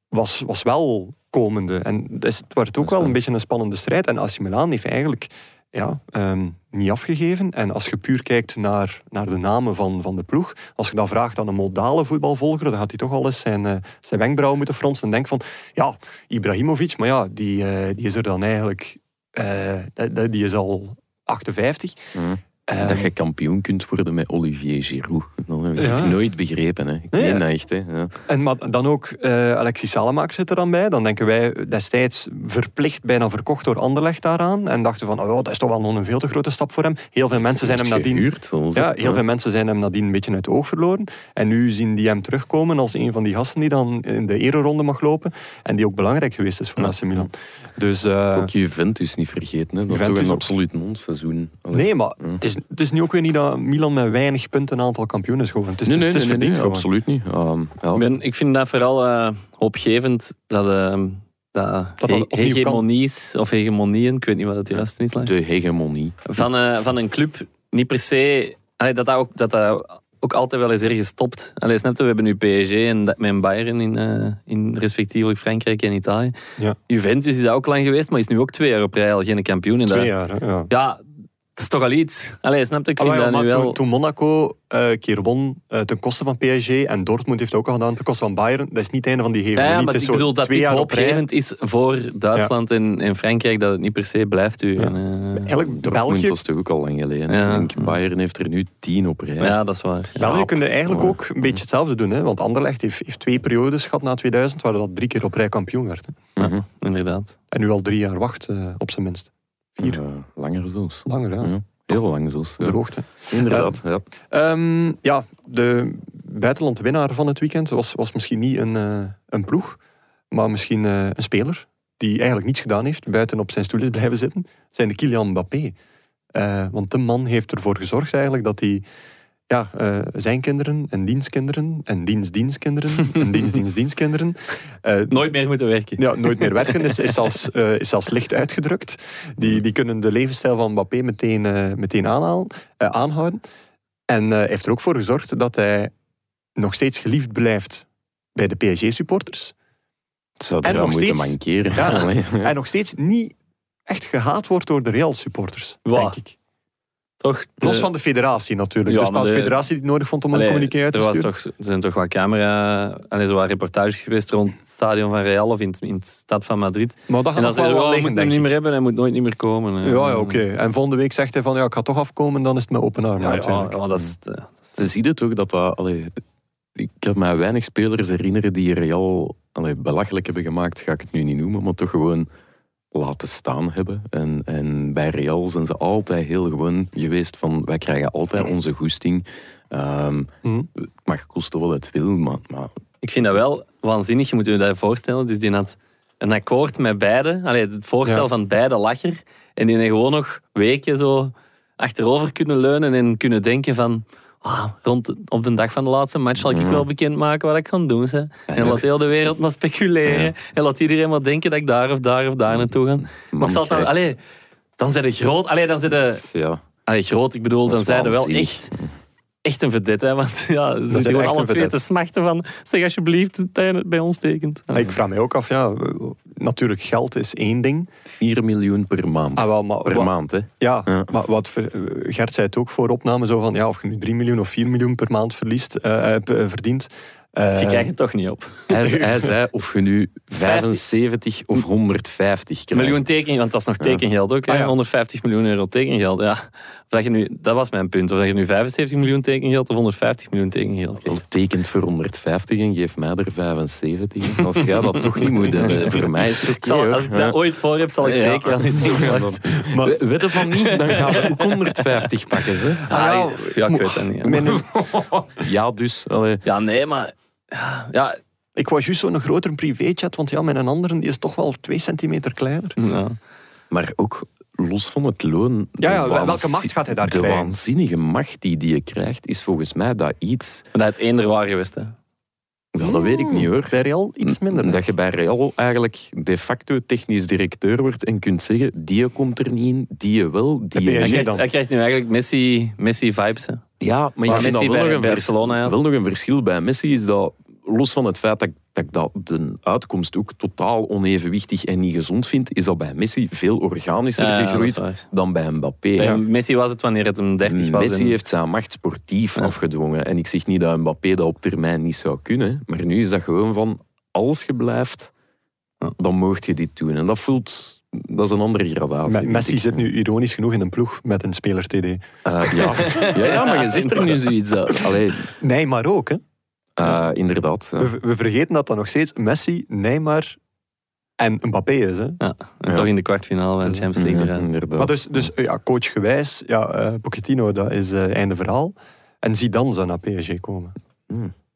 Speaker 1: was, was wel komende. En dus het werd ook wel een beetje een spannende strijd. En AC Milan heeft eigenlijk ja, ehm, niet afgegeven. En als je puur kijkt naar, naar de namen van, van de ploeg, als je dan vraagt aan een modale voetbalvolger, dan gaat hij toch al eens zijn, eh, zijn wenkbrauwen moeten fronsen en denkt van, ja, Ibrahimovic, maar ja, die, eh, die is er dan eigenlijk, eh, dat- dat- die is al 58.
Speaker 4: Hm.
Speaker 1: Ehm,
Speaker 4: dat je kampioen kunt worden met Olivier Giroud. Dat heb ik
Speaker 1: Ja.
Speaker 4: nooit begrepen. Hè. Ik
Speaker 1: Nee,
Speaker 4: meen
Speaker 1: ja.
Speaker 4: dat echt. Hè. Ja.
Speaker 1: En maar dan ook eh Alexis Salemaak zit er dan bij. Dan denken wij destijds verplicht bijna verkocht door Anderlecht daaraan. En dachten van, oh, ja, dat is toch wel nog een veel te grote stap voor hem. Heel veel mensen zijn hem
Speaker 4: Is het
Speaker 1: nadien...
Speaker 4: gehuurd, zoals
Speaker 1: Ja,
Speaker 4: dat- eh,
Speaker 1: heel veel mensen zijn hem nadien een beetje uit het oog verloren. En nu zien die hem terugkomen als een van die gasten die dan in de ereronde mag lopen. En die ook belangrijk geweest is voor AC Milan. Dus... eh,
Speaker 4: Ook Juventus niet vergeten. Hè. Dat is toch
Speaker 1: Juventus
Speaker 4: een
Speaker 1: ook.
Speaker 4: absoluut non-seizoen. Allee.
Speaker 1: Nee, maar het is, het is nu ook weer niet dat Milan met weinig punten een aantal kampioenen is geworden. Het is,
Speaker 4: nee, nee,
Speaker 1: het is
Speaker 4: nee, nee,
Speaker 1: verdiend gewoon.
Speaker 4: nee, absoluut niet. Ehm, ja.
Speaker 3: Ik, ben, ik vind dat vooral eh, hoopgevend dat, eh, dat,
Speaker 1: dat
Speaker 3: he-
Speaker 1: opnieuw kan.
Speaker 3: hegemonies of hegemonieën, ik weet niet wat het juiste is, langs,
Speaker 4: De hegemonie.
Speaker 3: van, eh, van een club niet per se... allee, dat, dat, ook, dat dat ook altijd wel eens ergens stopt. Allee, snap je, we hebben nu PSG en dat- met Bayern in, eh, in respectievelijk Frankrijk en Italië.
Speaker 1: Ja.
Speaker 3: Juventus is dat ook lang geweest, maar is nu ook twee jaar op rij al geen kampioen. En dat-
Speaker 1: Twee jaar, hè, ja.
Speaker 3: Ja, dat is toch al iets. Allee, snap je, ik vind
Speaker 1: Ah, wel,
Speaker 3: dat
Speaker 1: maar
Speaker 3: nu wel...
Speaker 1: toen, toen Monaco eh een keer won eh, ten koste van PSG en Dortmund heeft ook al gedaan ten koste van Bayern, dat is niet het einde van die
Speaker 3: Ja,
Speaker 1: hegemonie.
Speaker 3: ja,
Speaker 1: Het
Speaker 3: maar
Speaker 1: is
Speaker 3: ik
Speaker 1: zo
Speaker 3: bedoel dat
Speaker 1: twee
Speaker 3: dit
Speaker 1: jaar op rij.
Speaker 3: hoopgevend is voor Duitsland en, en Frankrijk, dat het niet per se blijft duren. eh. Ja,
Speaker 1: Eigenlijk,
Speaker 4: Dortmund
Speaker 1: België,
Speaker 4: was toch ook al lang geleden. hè.
Speaker 3: Ja.
Speaker 4: Ik denk, Bayern heeft er nu tien op rij.
Speaker 3: dat is waar. Ja.
Speaker 1: België kunnen eigenlijk
Speaker 4: Ja.
Speaker 1: ook een beetje hetzelfde doen. Hè? Want Anderlecht heeft, heeft twee periodes gehad na 2000 waar dat drie keer op rij kampioen werd. Hè?
Speaker 3: Ja, inderdaad.
Speaker 1: En nu al drie jaar wacht, eh, op zijn minst. Vier.
Speaker 4: Eh, langer zelfs.
Speaker 1: Langer, ja.
Speaker 4: Ja, Heel lang zelfs. ja.
Speaker 1: Droogte.
Speaker 4: Inderdaad. Ja.
Speaker 1: Ehm, ja, de buitenlandwinnaar van het weekend was, was misschien niet een, eh, een ploeg, maar misschien eh, een speler die eigenlijk niets gedaan heeft, buiten op zijn stoel is blijven zitten, zijn de Kylian Mbappé. Eh, want de man heeft ervoor gezorgd eigenlijk dat hij ja, eh, zijn kinderen en dienstkinderen en dienstdienstkinderen en dienstdienstdienstkinderen eh,
Speaker 3: Nooit meer moeten werken.
Speaker 1: ja, nooit meer werken is, is, zelfs, eh, is zelfs licht uitgedrukt. Die, die kunnen de levensstijl van Mbappé meteen, eh, meteen aanhalen, eh, aanhouden. En eh, heeft er ook voor gezorgd dat hij nog steeds geliefd blijft bij de PSG-supporters.
Speaker 4: Het zou
Speaker 1: En
Speaker 4: eraan
Speaker 1: nog
Speaker 4: moeten
Speaker 1: steeds-
Speaker 4: mankeren.
Speaker 1: Ja.
Speaker 4: Allee,
Speaker 1: En nog steeds niet echt gehaat wordt door de Real-supporters,
Speaker 3: Wa.
Speaker 1: denk ik.
Speaker 3: Toch? de-
Speaker 1: Los van de federatie natuurlijk.
Speaker 3: Ja,
Speaker 1: dus maar
Speaker 3: maar
Speaker 1: de
Speaker 3: de-
Speaker 1: federatie die het nodig vond om een
Speaker 3: Allee,
Speaker 1: communiqué uit te
Speaker 3: er was
Speaker 1: sturen.
Speaker 3: toch, er zijn toch wat camera... Allee, er waren reportages geweest rond het stadion van Real of in, het- in het stad van Madrid.
Speaker 1: Maar Ah, dat
Speaker 3: en
Speaker 1: gaat
Speaker 3: dan
Speaker 1: nog
Speaker 3: zeiden
Speaker 1: wel wel
Speaker 3: ze, oh, we
Speaker 1: liggen,
Speaker 3: moeten hem
Speaker 1: denk
Speaker 3: niet
Speaker 1: ik.
Speaker 3: meer hebben, hij moet nooit niet meer komen.
Speaker 1: Ja,
Speaker 3: eh.
Speaker 1: ja oké. En volgende week zegt hij van, ja, ik ga toch afkomen, dan is het met open armen.
Speaker 3: Ja, ja,
Speaker 1: natuurlijk.
Speaker 3: ja, dat is... eh,
Speaker 4: Ze zien het ook dat dat... allee, ik kan mij weinig spelers herinneren die Real allee, belachelijk hebben gemaakt. Ga ik het nu niet noemen, maar toch gewoon laten staan hebben. En, en bij Real zijn ze altijd heel gewoon geweest van... Wij krijgen altijd onze goesting. Ehm,
Speaker 1: Mhm.
Speaker 4: het mag kosten wat het wil, maar... maar
Speaker 3: Ik vind dat wel waanzinnig, je moet je dat voorstellen. Dus die had een akkoord met beide. Allee, het voorstel
Speaker 1: Ja.
Speaker 3: van beide lag er. En die heeft gewoon nog weken zo achterover kunnen leunen en kunnen denken van... "Ah, rond de- op de dag van de laatste match zal ik wel bekendmaken wat ik ga doen. Hè. En laat heel de wereld maar speculeren. En laat iedereen maar denken dat ik daar of daar of daar naartoe ga. Maar
Speaker 4: Man
Speaker 3: ik zal dan...
Speaker 4: krijgt-
Speaker 3: Allee, dan zijn de groot... Allee, dan zijn de...
Speaker 4: ja,
Speaker 3: Allee, groot, ik bedoel,
Speaker 4: Dat
Speaker 3: dan
Speaker 4: is
Speaker 3: zijn er wel
Speaker 4: waanzinnig.
Speaker 3: echt, echt een vedette. Hè? Want ja, ze zitten gewoon
Speaker 1: echt
Speaker 3: alle
Speaker 1: een
Speaker 3: twee
Speaker 1: vedette.
Speaker 3: te smachten van... Zeg alsjeblieft, Tijn, bij ons tekent.
Speaker 1: Maar Ik vraag mij ook af, ja, natuurlijk geld is één ding.
Speaker 4: 4 miljoen per maand.
Speaker 1: Ah, wel, maar,
Speaker 4: per
Speaker 1: wa-
Speaker 4: maand, hè.
Speaker 1: Ja,
Speaker 4: Ja.
Speaker 1: maar wat ver- eh, Gert zei het ook voor opname, zo van, ja, of je nu 3 miljoen of 4 miljoen per maand verliest, eh, eh, p- eh, verdient,
Speaker 3: Je
Speaker 1: Eh,
Speaker 3: krijgt het toch niet op.
Speaker 4: Hij, ze- hij zei of je nu 75 of 150 krijgt.
Speaker 3: Miljoen teken, want dat is nog tekengeld ook. hè.
Speaker 1: Ah, ja.
Speaker 3: 150 miljoen euro tekengeld. Ja. Of dat, je nu, dat was mijn punt. Of dat je nu 75 miljoen tekengeld of 150 miljoen tekengeld
Speaker 4: Wel,
Speaker 3: krijgt.
Speaker 4: tekent voor 150 en geef mij er 75. Als jij dat toch niet moet hebben, voor mij is het
Speaker 3: Ik
Speaker 4: oké.
Speaker 3: zal,
Speaker 4: hoor.
Speaker 3: als ik dat ooit voor heb, zal ik
Speaker 4: Ja.
Speaker 3: zeker aan u
Speaker 4: Ja,
Speaker 3: doen.
Speaker 4: dan- We- Wedden van niet, dan gaan we ook 150 pakken. Ze.
Speaker 3: Ah, ja, ik weet dat niet. hè.
Speaker 1: Mijn-
Speaker 4: Ja, dus. Allee.
Speaker 3: Ja, nee, maar... ja, Ja,
Speaker 1: ik was juist zo'n grotere privéchat, want ja, mijn andere die is toch wel twee centimeter kleiner.
Speaker 3: ja.
Speaker 4: Maar ook los van het loon. de
Speaker 1: Ja, ja, welke
Speaker 4: waanzi-
Speaker 1: macht gaat hij daar
Speaker 4: De
Speaker 1: krijgen?
Speaker 4: waanzinnige macht die die je krijgt, is volgens mij dat iets...
Speaker 3: Maar dat het eender waar geweest, hè.
Speaker 4: Ja, dat weet ik niet hoor. Mm,
Speaker 1: Bij Real Mm, iets minder. hè.
Speaker 4: Dat je bij Real eigenlijk de facto technisch directeur wordt en kunt zeggen, die komt er niet in, die wel, die
Speaker 1: Bij PSG
Speaker 3: Hij
Speaker 4: niet.
Speaker 3: krijgt,
Speaker 1: dan?
Speaker 3: hij krijgt nu eigenlijk Messi- Messi-vibes, hè.
Speaker 4: Ja, maar,
Speaker 3: Maar
Speaker 4: ik vind
Speaker 3: Messi
Speaker 4: dat
Speaker 3: bij
Speaker 4: wel nog, een vers-
Speaker 3: Barcelona, ja.
Speaker 4: wel nog een verschil bij Messi is dat, los van het feit dat, ik- dat ik dat de uitkomst ook totaal onevenwichtig en niet gezond vind, is dat bij Messi veel organischer
Speaker 3: Ja, ja, dat is
Speaker 4: gegroeid
Speaker 3: waar.
Speaker 4: dan bij Mbappé.
Speaker 3: Bij
Speaker 4: Ja.
Speaker 3: Messi was het wanneer het hem 30 was.
Speaker 4: Messi
Speaker 3: en-
Speaker 4: heeft zijn macht sportief afgedwongen. En ik zeg niet dat Mbappé dat op termijn niet zou kunnen. Maar nu is dat gewoon van, als je blijft,
Speaker 3: Ja.
Speaker 4: dan mocht je dit doen. En dat voelt... Dat is een andere gradatie.
Speaker 1: Me-
Speaker 4: vind
Speaker 1: Messi
Speaker 4: ik.
Speaker 1: zit nu ironisch genoeg in een ploeg met een speler TD.
Speaker 4: Eh, ja. ja, ja, maar je zegt er nu zoiets. dat- Allee,
Speaker 1: Nee, maar ook. Hè.
Speaker 4: eh, inderdaad. ja.
Speaker 1: We, we vergeten dat dat nog steeds Messi, Neymar en Mbappé is. Hè.
Speaker 3: Ja, en
Speaker 4: Ja.
Speaker 3: toch in de kwartfinale van de Champions League
Speaker 4: Ja,
Speaker 3: eruit.
Speaker 4: inderdaad.
Speaker 1: Maar dus, dus eh, ja, coachgewijs, ja, eh Pochettino, dat is eh einde verhaal. En Zidane zou naar PSG komen.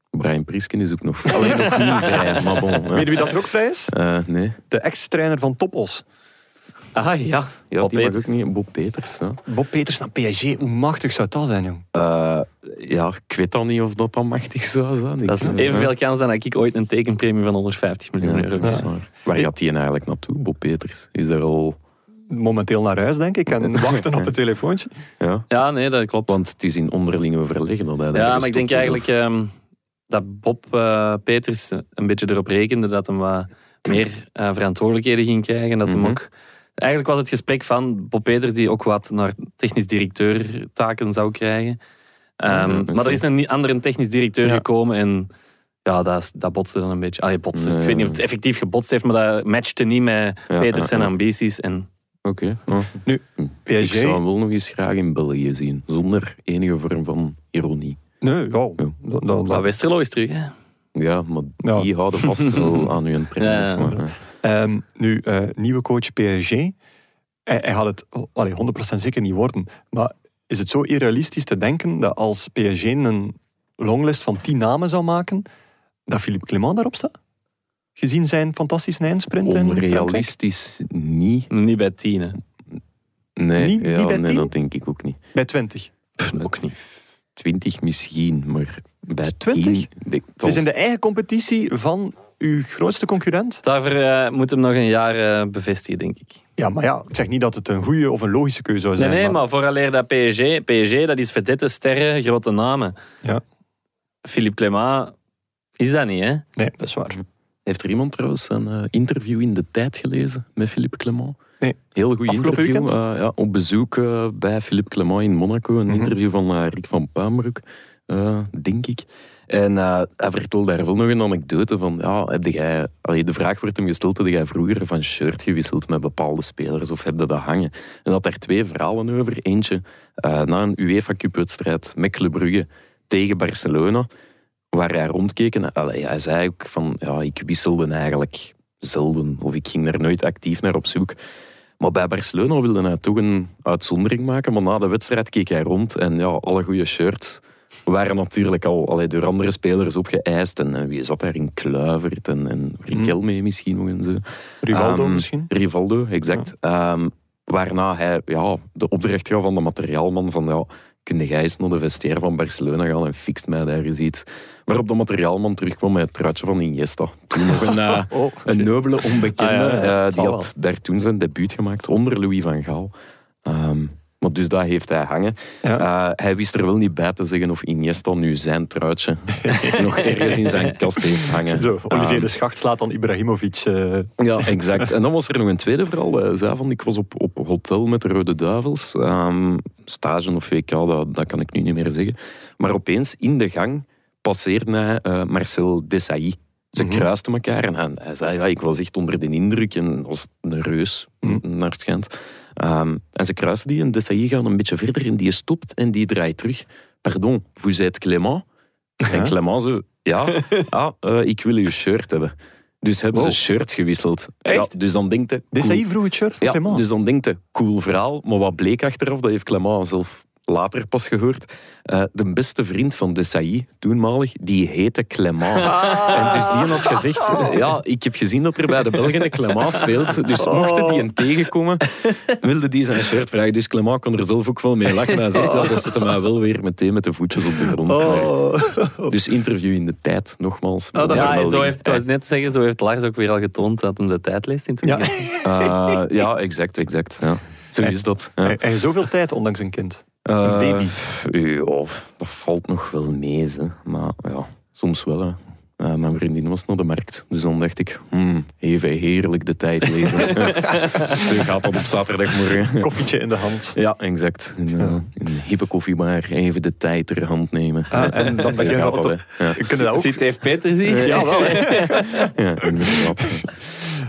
Speaker 4: Brian Priesken is ook nog, alleen nog niet vrij, maar bon. ja.
Speaker 1: Weet je wie dat er ook vrij is?
Speaker 4: Eh, nee,
Speaker 1: De ex-trainer van Topos.
Speaker 3: Ah ja,
Speaker 4: ja,
Speaker 3: Bob
Speaker 4: die mag
Speaker 3: Peters.
Speaker 4: ook niet. Bob Peters. Ja.
Speaker 1: Bob Peters naar PSG, hoe machtig zou dat zijn, jong?
Speaker 4: Eh, ja, ik weet dan niet of dat dan machtig zou zijn. Ik-
Speaker 3: Dat is
Speaker 4: ja,
Speaker 3: evenveel kans dan dat ik ooit een tekenpremie van 150 miljoen
Speaker 4: Ja,
Speaker 3: euro
Speaker 4: dat is
Speaker 3: krijg.
Speaker 4: waar. Waar gaat hij eigenlijk naartoe, Bob Peters? Is daar al...
Speaker 1: Momenteel naar huis, denk ik, en wachten op het telefoontje.
Speaker 4: Ja?
Speaker 3: Ja, nee, dat klopt.
Speaker 4: Want het is in onderling overleg dat hij daar
Speaker 3: ja, maar ik
Speaker 4: gestopt
Speaker 3: denk
Speaker 4: is,
Speaker 3: eigenlijk ehm, dat Bob eh, Peters een beetje erop rekende dat hem wat meer eh, verantwoordelijkheden ging krijgen. en Dat
Speaker 4: Mhm.
Speaker 3: hem ook... Eigenlijk was het gesprek van Bob Peters die ook wat naar technisch directeur taken zou krijgen. Ehm,
Speaker 4: Mhm, oké.
Speaker 3: Maar er is een nie- andere technisch directeur
Speaker 1: Ja.
Speaker 3: gekomen en ja, dat, is- dat botste dan een beetje. Allee, botste.
Speaker 4: Nee,
Speaker 3: ik weet niet
Speaker 4: ja.
Speaker 3: of het effectief gebotst heeft, maar dat matchte niet met
Speaker 4: Ja,
Speaker 3: Peters
Speaker 4: ja,
Speaker 3: zijn
Speaker 4: ja.
Speaker 3: ambities. En
Speaker 4: of- Oké. ja. Ik
Speaker 1: PSG?
Speaker 4: zou hem wel nog eens graag in België zien, zonder enige vorm van ironie.
Speaker 1: Nee, ja.
Speaker 4: Ja.
Speaker 1: Dat, dat-
Speaker 3: maar Westerlo is terug, hè.
Speaker 4: Ja, maar
Speaker 1: Ja.
Speaker 4: die houden vast wel aan hun trainer.
Speaker 3: Ja, ja.
Speaker 4: maar, ja.
Speaker 1: Ehm, nu, eh, nieuwe coach PSG. Hij, hij gaat het oh, allee, 100% zeker niet worden. Maar is het zo irrealistisch te denken dat als PSG een longlist van 10 namen zou maken, dat Philippe Clement daarop staat? Gezien zijn fantastische eindsprint in Frankrijk?
Speaker 4: Onrealistisch niet.
Speaker 3: Niet bij tien, hè.
Speaker 4: Nee,
Speaker 1: Niet-
Speaker 4: ja,
Speaker 1: niet bij
Speaker 4: nee
Speaker 1: tien?
Speaker 4: dat denk ik ook niet.
Speaker 1: Bij 20.
Speaker 3: Ook niet.
Speaker 4: 20 misschien, maar bij
Speaker 1: 20?
Speaker 4: 10 denk ik
Speaker 1: Het is in
Speaker 4: dat-
Speaker 1: de eigen competitie van uw grootste concurrent.
Speaker 3: Daarvoor eh, moet hem nog een jaar eh, bevestigen, denk ik.
Speaker 1: Ja, maar ja, ik zeg niet dat het een goede of een logische keuze zou
Speaker 3: Nee,
Speaker 1: zijn.
Speaker 3: nee, maar vooraleer dat PSG... PSG, dat is vedette, sterren, grote namen.
Speaker 1: Ja.
Speaker 3: Philippe Clément is dat niet, hè?
Speaker 1: Nee, dat is waar.
Speaker 4: Heeft er iemand trouwens een eh, interview in de tijd gelezen met Philippe Clement?
Speaker 1: Nee.
Speaker 4: Heel goed
Speaker 1: Afgelopen
Speaker 4: interview.
Speaker 1: weekend?
Speaker 4: eh, ja, op bezoek eh, bij Philippe Clement in Monaco. Een
Speaker 1: Mhm.
Speaker 4: interview van eh, Rick van Paambroek, eh, denk ik. En eh, hij vertelde daar wel nog een anekdote van. Ja, heb jij, allee, de vraag werd hem gesteld: heb jij vroeger van shirt gewisseld met bepaalde spelers of heb je dat hangen? En had daar twee verhalen over. Eentje eh, na een UEFA Cup-wedstrijd met Club Brugge tegen Barcelona, waar hij rondkeek. En, allee, hij zei ook van, ja, ik wisselde eigenlijk zelden of ik ging er nooit actief naar op zoek. Maar bij Barcelona wilde hij toch een uitzondering maken. Maar na de wedstrijd keek hij rond en ja, alle goede shirts waren natuurlijk al allee, door andere spelers opgeëist. En eh, wie zat daar in Kluivert en, en Riquelme misschien nog en zo.
Speaker 1: Rivaldo
Speaker 4: Ehm,
Speaker 1: misschien?
Speaker 4: Rivaldo, exact. Ehm, waarna hij ja, de opdracht gaf aan de materiaalman van ja, kun jij eens naar de vestiaire van Barcelona gaan en fixt mij daar eens iets. Waarop de materiaalman terugkwam met het truitje van Iniesta. Toen nog een, eh,
Speaker 1: Oh,
Speaker 4: een nobele onbekende.
Speaker 1: Ah, ja, ja,
Speaker 4: eh,
Speaker 1: het
Speaker 4: die
Speaker 1: zal
Speaker 4: had daar toen zijn debuut gemaakt onder Louis van Gaal. Ehm, maar dus dat heeft hij hangen.
Speaker 1: Ja.
Speaker 4: Eh, hij wist er wel niet bij te zeggen of Iniesta nu zijn truitje nog ergens in zijn kast heeft hangen.
Speaker 1: Zo, Olivier
Speaker 4: Ehm,
Speaker 1: de Schacht slaat dan Ibrahimovic. eh,
Speaker 4: ja, exact. En dan was er nog een tweede verhaal. eh, Zij van, ik was op, op hotel met de Rode Duivels. Ehm, stage of VK, dat, dat kan ik nu niet meer zeggen. Maar opeens in de gang passeerde hij eh, Marcel Desailly. Ze
Speaker 1: Mhm.
Speaker 4: kruisten elkaar en hij, hij zei, ja, ik was echt onder de indruk en was een reus,
Speaker 1: Mhm.
Speaker 4: naar het schijnt. Ehm, en ze kruisten die en Desailly gaat een beetje verder en die stopt en die draait terug. Pardon, vous êtes Clément? En Clément zo, ja, ah, eh, ik wil uw shirt hebben. Dus hebben
Speaker 1: Wow.
Speaker 4: ze shirt gewisseld.
Speaker 3: Echt?
Speaker 4: Ja, dus dan denkt hij... cool.
Speaker 1: Desailly vroeg het shirt van
Speaker 4: Ja,
Speaker 1: Clément.
Speaker 4: dus dan denkt hij, cool verhaal. Maar wat bleek achteraf, dat heeft Clément zelf later pas gehoord. Eh, de beste vriend van Desailly, toenmalig, die heette Clément.
Speaker 1: Ah.
Speaker 4: En dus die had gezegd, ja, ik heb gezien dat er bij de Belgen een Clément speelt.
Speaker 1: Oh.
Speaker 4: Dus mochten die hem tegenkomen, wilde die zijn shirt vragen. Dus Clément kon er zelf ook wel mee lachen. Hij zegt, ja, dat zette mij wel weer meteen met de voetjes op de grond.
Speaker 1: Oh.
Speaker 4: Dus interview in de tijd, nogmaals.
Speaker 1: Ah, dat-
Speaker 4: Normaal
Speaker 3: Ja, en zo
Speaker 4: ding.
Speaker 3: heeft, ik wou net zeggen, zo heeft Lars ook weer al getoond dat hem de tijd leest in het
Speaker 1: Ja.
Speaker 3: weekend.
Speaker 4: Eh, ja, exact, exact. Ja. Zo
Speaker 1: Eh,
Speaker 4: is dat. Ja.
Speaker 1: En, en zoveel tijd, ondanks een kind.
Speaker 4: Eh,
Speaker 1: baby.
Speaker 4: pff, ja, dat valt nog wel mee, hè. maar ja, soms wel. Hè. Eh, mijn vriendin was naar de markt, dus dan dacht ik, hmm, even heerlijk de tijd lezen. Zo gaat dat op zaterdagmorgen.
Speaker 1: Koffietje in de hand.
Speaker 4: Ja, exact. In, eh, in een hippe koffiebar, even de tijd ter hand nemen.
Speaker 1: Ah, en dan
Speaker 4: Zo
Speaker 1: begin je
Speaker 4: gaat
Speaker 1: wat
Speaker 4: dat,
Speaker 1: te-
Speaker 4: hè. Ja,
Speaker 1: Kunnen dat ook?
Speaker 3: Zit heeft Peter zich?
Speaker 1: Ja, wel. hè.
Speaker 4: ja, inderdaad.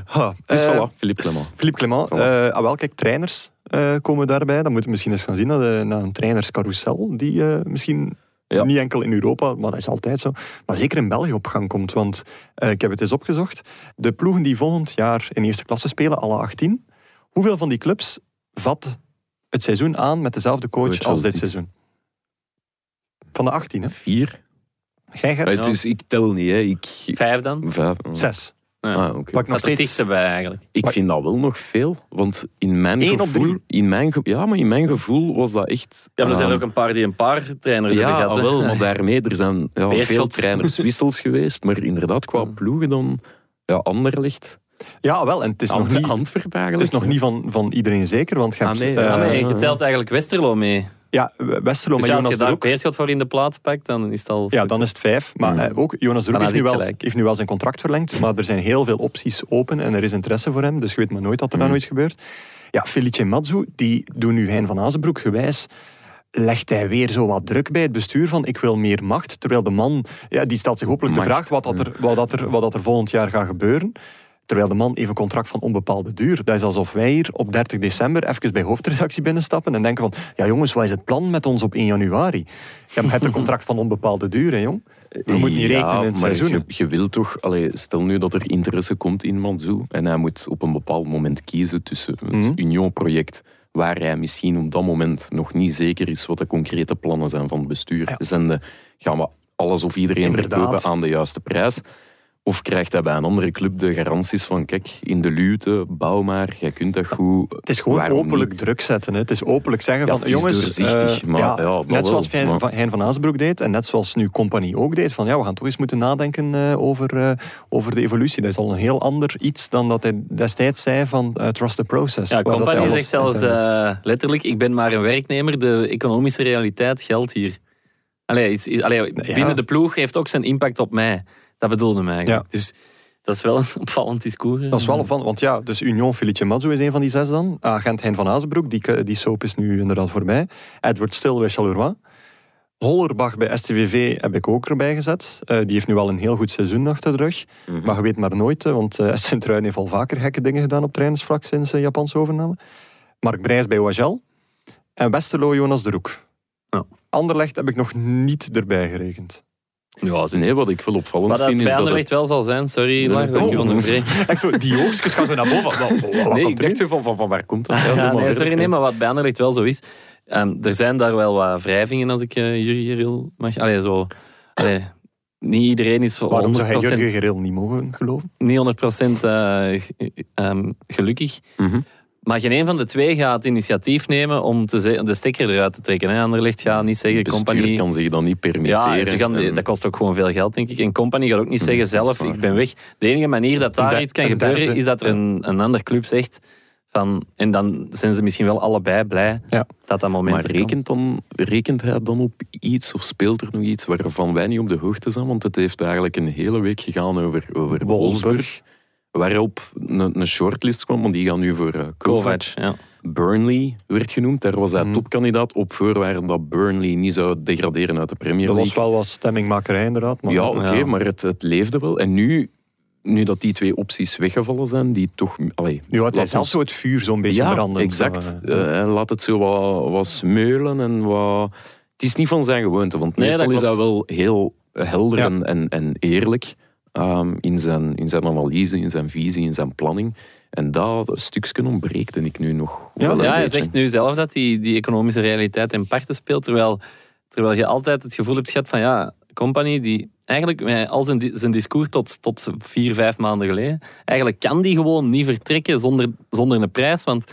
Speaker 1: Ha,
Speaker 4: Dus
Speaker 1: eh,
Speaker 4: voilà, Philippe Clement.
Speaker 1: Philippe Clement,
Speaker 4: Voilà.
Speaker 1: eh, ah, wel, kijk, trainers eh, komen daarbij. Dan moeten we misschien eens gaan zien naar, de- naar een trainerscarousel, die eh, misschien
Speaker 4: Ja.
Speaker 1: niet enkel in Europa, maar dat is altijd zo, maar zeker in België op gang komt. Want eh, ik heb het eens opgezocht, de ploegen die volgend jaar in eerste klasse spelen, alle 18, hoeveel van die clubs vat het seizoen aan met dezelfde coach
Speaker 4: Coach
Speaker 1: als,
Speaker 4: als
Speaker 1: dit
Speaker 4: dit.
Speaker 1: seizoen? Van de 18, hè?
Speaker 4: Vier?
Speaker 1: Jij gaat
Speaker 4: Eh, Dus ik tel niet, hè. Ik...
Speaker 3: Vijf dan?
Speaker 4: Vijf.
Speaker 1: zes.
Speaker 3: Ja.
Speaker 4: Ah, oké.
Speaker 1: Pak nog
Speaker 3: Staat er
Speaker 1: steeds...
Speaker 3: dichtst bij eigenlijk.
Speaker 4: Ik
Speaker 1: Maar-
Speaker 4: vind dat wel nog veel, want in mijn
Speaker 1: Eén op
Speaker 4: gevoel...
Speaker 1: drie.
Speaker 4: in mijn ge- ja, maar in mijn gevoel was dat echt...
Speaker 3: Ja, maar er zijn
Speaker 4: ehm,
Speaker 3: ook een paar die een paar trainers
Speaker 4: Ja,
Speaker 3: hebben gehad.
Speaker 4: ah,
Speaker 3: hè.
Speaker 4: wel, maar daarmee, er zijn ja,
Speaker 3: Beerschot.
Speaker 4: veel trainerswissels geweest, maar inderdaad, qua ploegen dan... Ja, Anderlicht.
Speaker 1: Ja, wel, en het is nog
Speaker 4: Ant-
Speaker 1: niet...
Speaker 4: Antwerpen
Speaker 1: Het
Speaker 4: eigenlijk.
Speaker 1: is nog niet van, van iedereen zeker, want je
Speaker 4: Ah,
Speaker 1: hebt,
Speaker 4: nee,
Speaker 1: eh,
Speaker 3: Ja,
Speaker 4: nee.
Speaker 3: maar je telt eigenlijk Westerlo mee.
Speaker 1: Ja, Westerlo, maar
Speaker 3: Dus ja, als je
Speaker 1: Jonas er
Speaker 3: daar
Speaker 1: ook.
Speaker 3: Beerschot voor in de plaats pakt, dan is het al...
Speaker 1: Ja, dan is het vijf. Maar eh, ook Jonas de Roek
Speaker 3: Dan
Speaker 1: heeft
Speaker 3: had
Speaker 1: nu,
Speaker 3: ik
Speaker 1: wel,
Speaker 3: gelijk.
Speaker 1: heeft nu wel zijn contract verlengd. Maar er zijn heel veel opties open en er is interesse voor hem. Dus je weet maar nooit dat er dan
Speaker 3: Hmm.
Speaker 1: ooit gebeurt. Ja, Felice Mazzu, die doet nu Hein van Azenbroek gewijs. Legt hij weer zo wat druk bij het bestuur van ik wil meer macht? Terwijl de man, ja, die stelt zich hopelijk
Speaker 4: Macht,
Speaker 1: de vraag wat, dat er, wat, dat er, wat dat er volgend jaar gaat gebeuren. Terwijl de man heeft een contract van onbepaalde duur. Dat is alsof wij hier op 30 december even bij hoofdredactie binnenstappen en denken van, ja jongens, wat is het plan met ons op 1 januari? Je hebt een contract van onbepaalde duur, hè jong? Je moet niet
Speaker 4: Ja,
Speaker 1: rekenen in het
Speaker 4: maar
Speaker 1: seizoen.
Speaker 4: Je, je wilt toch... Allee, stel nu dat er interesse komt in Manzou en hij moet op een bepaald moment kiezen tussen het
Speaker 1: Mhm.
Speaker 4: Union-project, waar hij misschien op dat moment nog niet zeker is wat de concrete plannen zijn van het bestuur. Zenden, gaan we alles of iedereen
Speaker 1: Inderdaad.
Speaker 4: verkopen aan de juiste prijs? Of krijgt hij bij een andere club de garanties van, kijk, in de luwte, bouw maar, jij kunt dat goed.
Speaker 1: Het is gewoon
Speaker 4: waarom
Speaker 1: openlijk
Speaker 4: niet?
Speaker 1: druk zetten. Hè. Het is openlijk zeggen
Speaker 4: Ja,
Speaker 1: van,
Speaker 4: het is
Speaker 1: jongens...
Speaker 4: doorzichtig,
Speaker 1: eh,
Speaker 4: maar ja, dat
Speaker 1: net zoals
Speaker 4: wel,
Speaker 1: Hein
Speaker 4: maar-
Speaker 1: van, Hein van Azenbroek deed en net zoals nu Compagnie ook deed, van ja, we gaan toch eens moeten nadenken eh, over, eh, over de evolutie. Dat is al een heel ander iets dan dat hij destijds zei van eh, trust the process.
Speaker 3: Ja,
Speaker 1: Waar dat hij
Speaker 3: Compagnie
Speaker 1: alles-
Speaker 3: zegt zelfs eh, letterlijk, ik ben maar een werknemer, de economische realiteit geldt hier. Allee, is, is- allee, binnen de ploeg heeft ook zijn impact op mij. Dat bedoelde mij eigenlijk. Dus dat is wel een opvallend discours. eh. hè.
Speaker 1: Dat is wel opvallend, want ja, dus Union Felice Mazzu is een van die zes dan. Agent Hein van Azenbroek, die, ke- die soap is nu eh, inderdaad voorbij. Edward Stil bij Charleroi. Hollerbach bij STVV heb ik ook erbij gezet. Eh, die heeft nu al een heel goed seizoen achter de rug. Maar je weet maar nooit, hè, want eh Sint-Truiden heeft al vaker gekke dingen gedaan op trainersvlak sinds de Japanse overname. Mark Brijs bij OHL. En Westerlo Jonas de Roek.
Speaker 3: Ja.
Speaker 1: Anderlecht heb ik nog niet erbij gerekend.
Speaker 4: Ja, nee, wat ik wel opvallend
Speaker 3: Wat dat
Speaker 4: vind is
Speaker 3: bij
Speaker 4: dat
Speaker 3: Anderlecht
Speaker 4: het...
Speaker 3: wel zal zijn. Sorry, Lars, dat ik je
Speaker 1: Oh.
Speaker 3: onderbreek.
Speaker 1: Echt zo, die oogstjes gaan zo naar boven. Wat- wat- wat
Speaker 4: Nee,
Speaker 1: komt
Speaker 4: ik
Speaker 1: er
Speaker 4: dacht
Speaker 1: nu?
Speaker 4: zo van, van, van waar komt dat? Ja, doe
Speaker 3: Ja,
Speaker 4: maar
Speaker 3: nee,
Speaker 4: verder.
Speaker 3: sorry, nee, maar wat bij Anderlecht wel zo is. ehm, er zijn daar wel wat wrijvingen, als ik eh Jurgen Geril mag. Allee, zo. Allee, niet iedereen is voor
Speaker 1: Waarom zou hij
Speaker 3: 100%,
Speaker 1: Jurgen Geril niet mogen geloven?
Speaker 3: niet 100% eh, g- ehm, gelukkig.
Speaker 4: Mhm.
Speaker 3: Maar geen een van de twee gaat initiatief nemen om te ze- de stekker eruit te trekken. Hè. Anderlecht gaat niet zeggen,
Speaker 4: bestuur
Speaker 3: compagnie...
Speaker 4: kan zich dat niet permitteren.
Speaker 3: Ja, ze gaan,
Speaker 4: En- Mm,
Speaker 3: dat kost ook gewoon veel geld, denk ik. En compagnie gaat ook niet zeggen
Speaker 4: dat is
Speaker 3: zelf,
Speaker 4: waar.
Speaker 3: ik ben weg. De enige manier dat
Speaker 1: Een
Speaker 3: daar
Speaker 1: de-
Speaker 3: iets kan
Speaker 1: een
Speaker 3: gebeuren,
Speaker 1: derde.
Speaker 3: is dat er een, een ander club zegt van... En dan zijn ze misschien wel allebei blij
Speaker 1: Ja.
Speaker 3: dat dat moment
Speaker 4: maar
Speaker 3: er komt.
Speaker 4: rekent, dan, rekent hij dan op iets of speelt er nog iets waarvan wij niet op de hoogte zijn? Want het heeft eigenlijk een hele week gegaan over,
Speaker 1: Wolfsburg.
Speaker 4: over Wolfsburg. Waarop een, een shortlist kwam, want die gaan nu voor eh, Kovac.
Speaker 3: Kovac, ja.
Speaker 4: Burnley werd genoemd. Daar was hij
Speaker 1: Mhm.
Speaker 4: topkandidaat op voorwaarde dat Burnley niet zou degraderen uit de Premier
Speaker 1: Er
Speaker 4: League.
Speaker 1: was wel wat stemmingmakerij inderdaad. Maar
Speaker 4: Ja, oké,
Speaker 3: ja.
Speaker 4: maar het, het leefde wel. En nu, nu dat die twee opties weggevallen zijn, die toch... Allee,
Speaker 1: nu had hij
Speaker 4: laat
Speaker 1: zelf
Speaker 4: ons-
Speaker 1: zo het vuur zo'n beetje
Speaker 4: ja,
Speaker 1: branden.
Speaker 4: exact.
Speaker 1: Zo, eh,
Speaker 4: Eh, laat het zo wat, wat smeulen en wat... Het is niet van zijn gewoonte, want
Speaker 3: Nee, dat
Speaker 4: meestal is hij
Speaker 3: klopt.
Speaker 4: wel heel helder
Speaker 1: Ja.
Speaker 4: en, en, en eerlijk ehm, in, zijn, in zijn analyse, in zijn visie, in zijn planning. En dat stukje ontbreekt en ik nu nog
Speaker 1: Ja,
Speaker 4: wel een
Speaker 3: Ja, hij
Speaker 4: beetje.
Speaker 3: zegt nu zelf dat die, die economische realiteit in parten speelt, terwijl, terwijl je altijd het gevoel hebt gehad van ja, Company die eigenlijk met al zijn, di- zijn discours tot, tot vier, vijf maanden geleden, eigenlijk kan die gewoon niet vertrekken zonder, zonder een prijs, want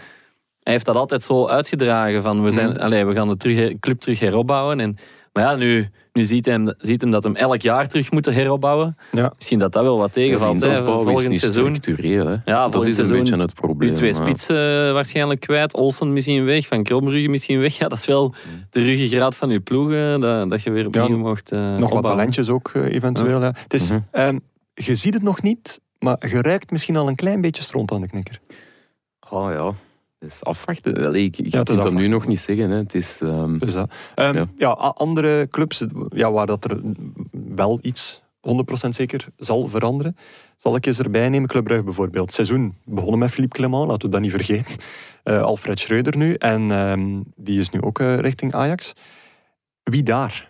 Speaker 3: hij heeft dat altijd zo uitgedragen van we, zijn,
Speaker 4: Mm.
Speaker 3: allee, we gaan de terug, club terug heropbouwen. En, maar ja, nu, nu ziet, hem, ziet hem dat hem elk jaar terug moet heropbouwen.
Speaker 1: ja.
Speaker 3: Misschien dat dat wel wat tegenvalt.
Speaker 4: Die
Speaker 3: hè,
Speaker 4: opbouw is
Speaker 3: volgend
Speaker 4: niet
Speaker 3: seizoen.
Speaker 4: structureel, hè.
Speaker 3: Ja,
Speaker 4: dat
Speaker 3: volgend
Speaker 4: is een
Speaker 3: seizoen
Speaker 4: beetje het
Speaker 3: Nu
Speaker 4: probleem.
Speaker 3: twee
Speaker 4: ja.
Speaker 3: spitsen eh, waarschijnlijk kwijt. Olsen misschien weg. Van Krombrugge misschien weg. Ja, dat is wel de ruggengraat van uw ploegen. Dat, dat je weer opnieuw
Speaker 1: Ja,
Speaker 3: mocht eh,
Speaker 1: Nog wat
Speaker 3: opbouwen.
Speaker 1: talentjes ook eh, eventueel. ja. Het is,
Speaker 4: Mhm.
Speaker 1: ehm, je ziet het nog niet, maar je ruikt misschien al een klein beetje stront aan de knikker.
Speaker 4: Oh ja, het is afwachten. Allee, ik ik
Speaker 1: het is
Speaker 4: kan dat nu
Speaker 1: afwachten.
Speaker 4: nog niet zeggen. Hè. Het is, ehm,
Speaker 1: Dus, dat. Ehm, ja.
Speaker 4: Ja.
Speaker 1: a- andere clubs ja, waar dat er wel iets 100% zeker zal veranderen, zal ik eens erbij nemen. Club Brugge bijvoorbeeld. Het seizoen begonnen met Philippe Clement, laten we dat niet vergeten. Eh, Alfred Schreuder nu. En ehm, die is nu ook eh, richting Ajax. Wie daar?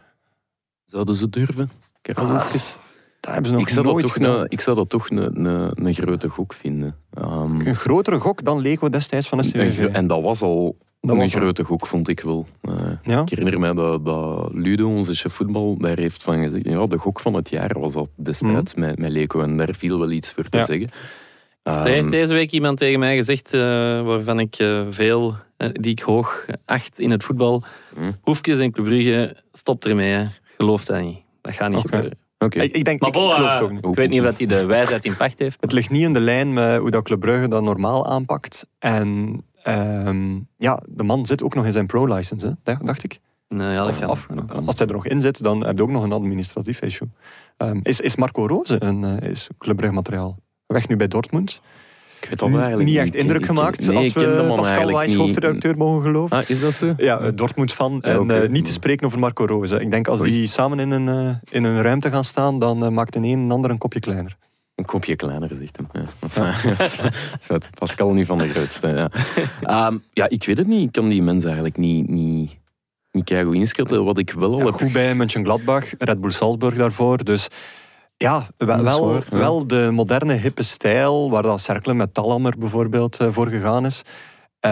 Speaker 4: Zouden ze durven? Karelhoefjes?
Speaker 1: Daar hebben ze nog
Speaker 4: ik, zou dat
Speaker 1: nooit
Speaker 4: toch nou-
Speaker 1: gedaan.
Speaker 4: een, ik zou dat toch een, een, een grote gok vinden. Ehm,
Speaker 1: Een grotere gok dan Lego destijds van
Speaker 4: een
Speaker 1: SCV.
Speaker 4: gro- en dat was al
Speaker 1: Dat
Speaker 4: een
Speaker 1: was al.
Speaker 4: grote gok, vond ik wel. Eh,
Speaker 1: Ja?
Speaker 4: ik herinner mij dat, dat Ludo, onze chef voetbal, daar heeft van gezegd... Ja, de gok van het jaar was dat destijds met, met Leko. En daar viel wel iets voor
Speaker 1: Mhm.
Speaker 4: te
Speaker 1: Ja.
Speaker 4: zeggen.
Speaker 3: Er heeft
Speaker 4: Ehm,
Speaker 3: deze week iemand tegen mij gezegd, eh, waarvan ik eh, veel, eh, die ik hoog acht in het voetbal.
Speaker 1: Mm.
Speaker 4: Hmm.
Speaker 3: Hoefkes en Club Brugge, stop ermee. Hè. Geloof dat niet. Dat gaat niet
Speaker 1: Oké.
Speaker 3: gebeuren.
Speaker 4: oké.
Speaker 1: Ik, ik denk,
Speaker 3: Maar
Speaker 1: ik
Speaker 3: bon,
Speaker 1: geloof
Speaker 3: eh,
Speaker 1: het ook niet.
Speaker 3: ik weet niet of dat hij de wijsheid in pacht heeft.
Speaker 1: Het ligt niet in de lijn met hoe dat Club Brugge dat normaal aanpakt. En ehm, ja, de man zit ook nog in zijn pro-license, hè, dacht- dacht ik.
Speaker 3: Nee, ja, dat
Speaker 1: Af,
Speaker 3: gaat
Speaker 1: af-
Speaker 3: niet.
Speaker 1: als hij er nog in zit, dan heb je ook nog een administratief issue. Ehm, is, is Marco Rose een eh, is Club Brugge materiaal? Weg nu bij Dortmund. Hm?
Speaker 4: Ik weet dat eigenlijk
Speaker 1: niet echt
Speaker 4: Ik-
Speaker 1: indruk
Speaker 4: ik-
Speaker 1: gemaakt,
Speaker 4: nee,
Speaker 1: als
Speaker 4: ik ken de
Speaker 1: we
Speaker 4: man
Speaker 1: Pascal
Speaker 4: eigenlijk
Speaker 1: Wijs
Speaker 4: niet.
Speaker 1: hoofdredacteur mogen geloven.
Speaker 4: Ah, is dat zo?
Speaker 1: Ja, eh, Dortmund-fan. en
Speaker 4: oké.
Speaker 1: eh, niet te spreken over Marco Rose. Ik denk als
Speaker 4: Oei.
Speaker 1: die samen in een, eh, in een ruimte gaan staan, dan eh, maakt de een en ander een kopje kleiner.
Speaker 4: Een kopje kleiner, zegt hem. Ja. Enfin, zwart. Pascal niet van de grootste. Ja. Ehm, ja, ik weet het niet. Ik kan die mensen eigenlijk niet, niet, niet keigoed inschatten. Wat ik wel al
Speaker 1: Ja,
Speaker 4: heb...
Speaker 1: goed bij Mönchengladbach, Red Bull Salzburg daarvoor. Dus ja, we-
Speaker 4: Dat
Speaker 1: wel,
Speaker 4: is
Speaker 1: wel,
Speaker 4: waar, ja.
Speaker 1: de moderne hippe stijl, waar dat Cerkelen met Talammer bijvoorbeeld eh, voor gegaan is. eh,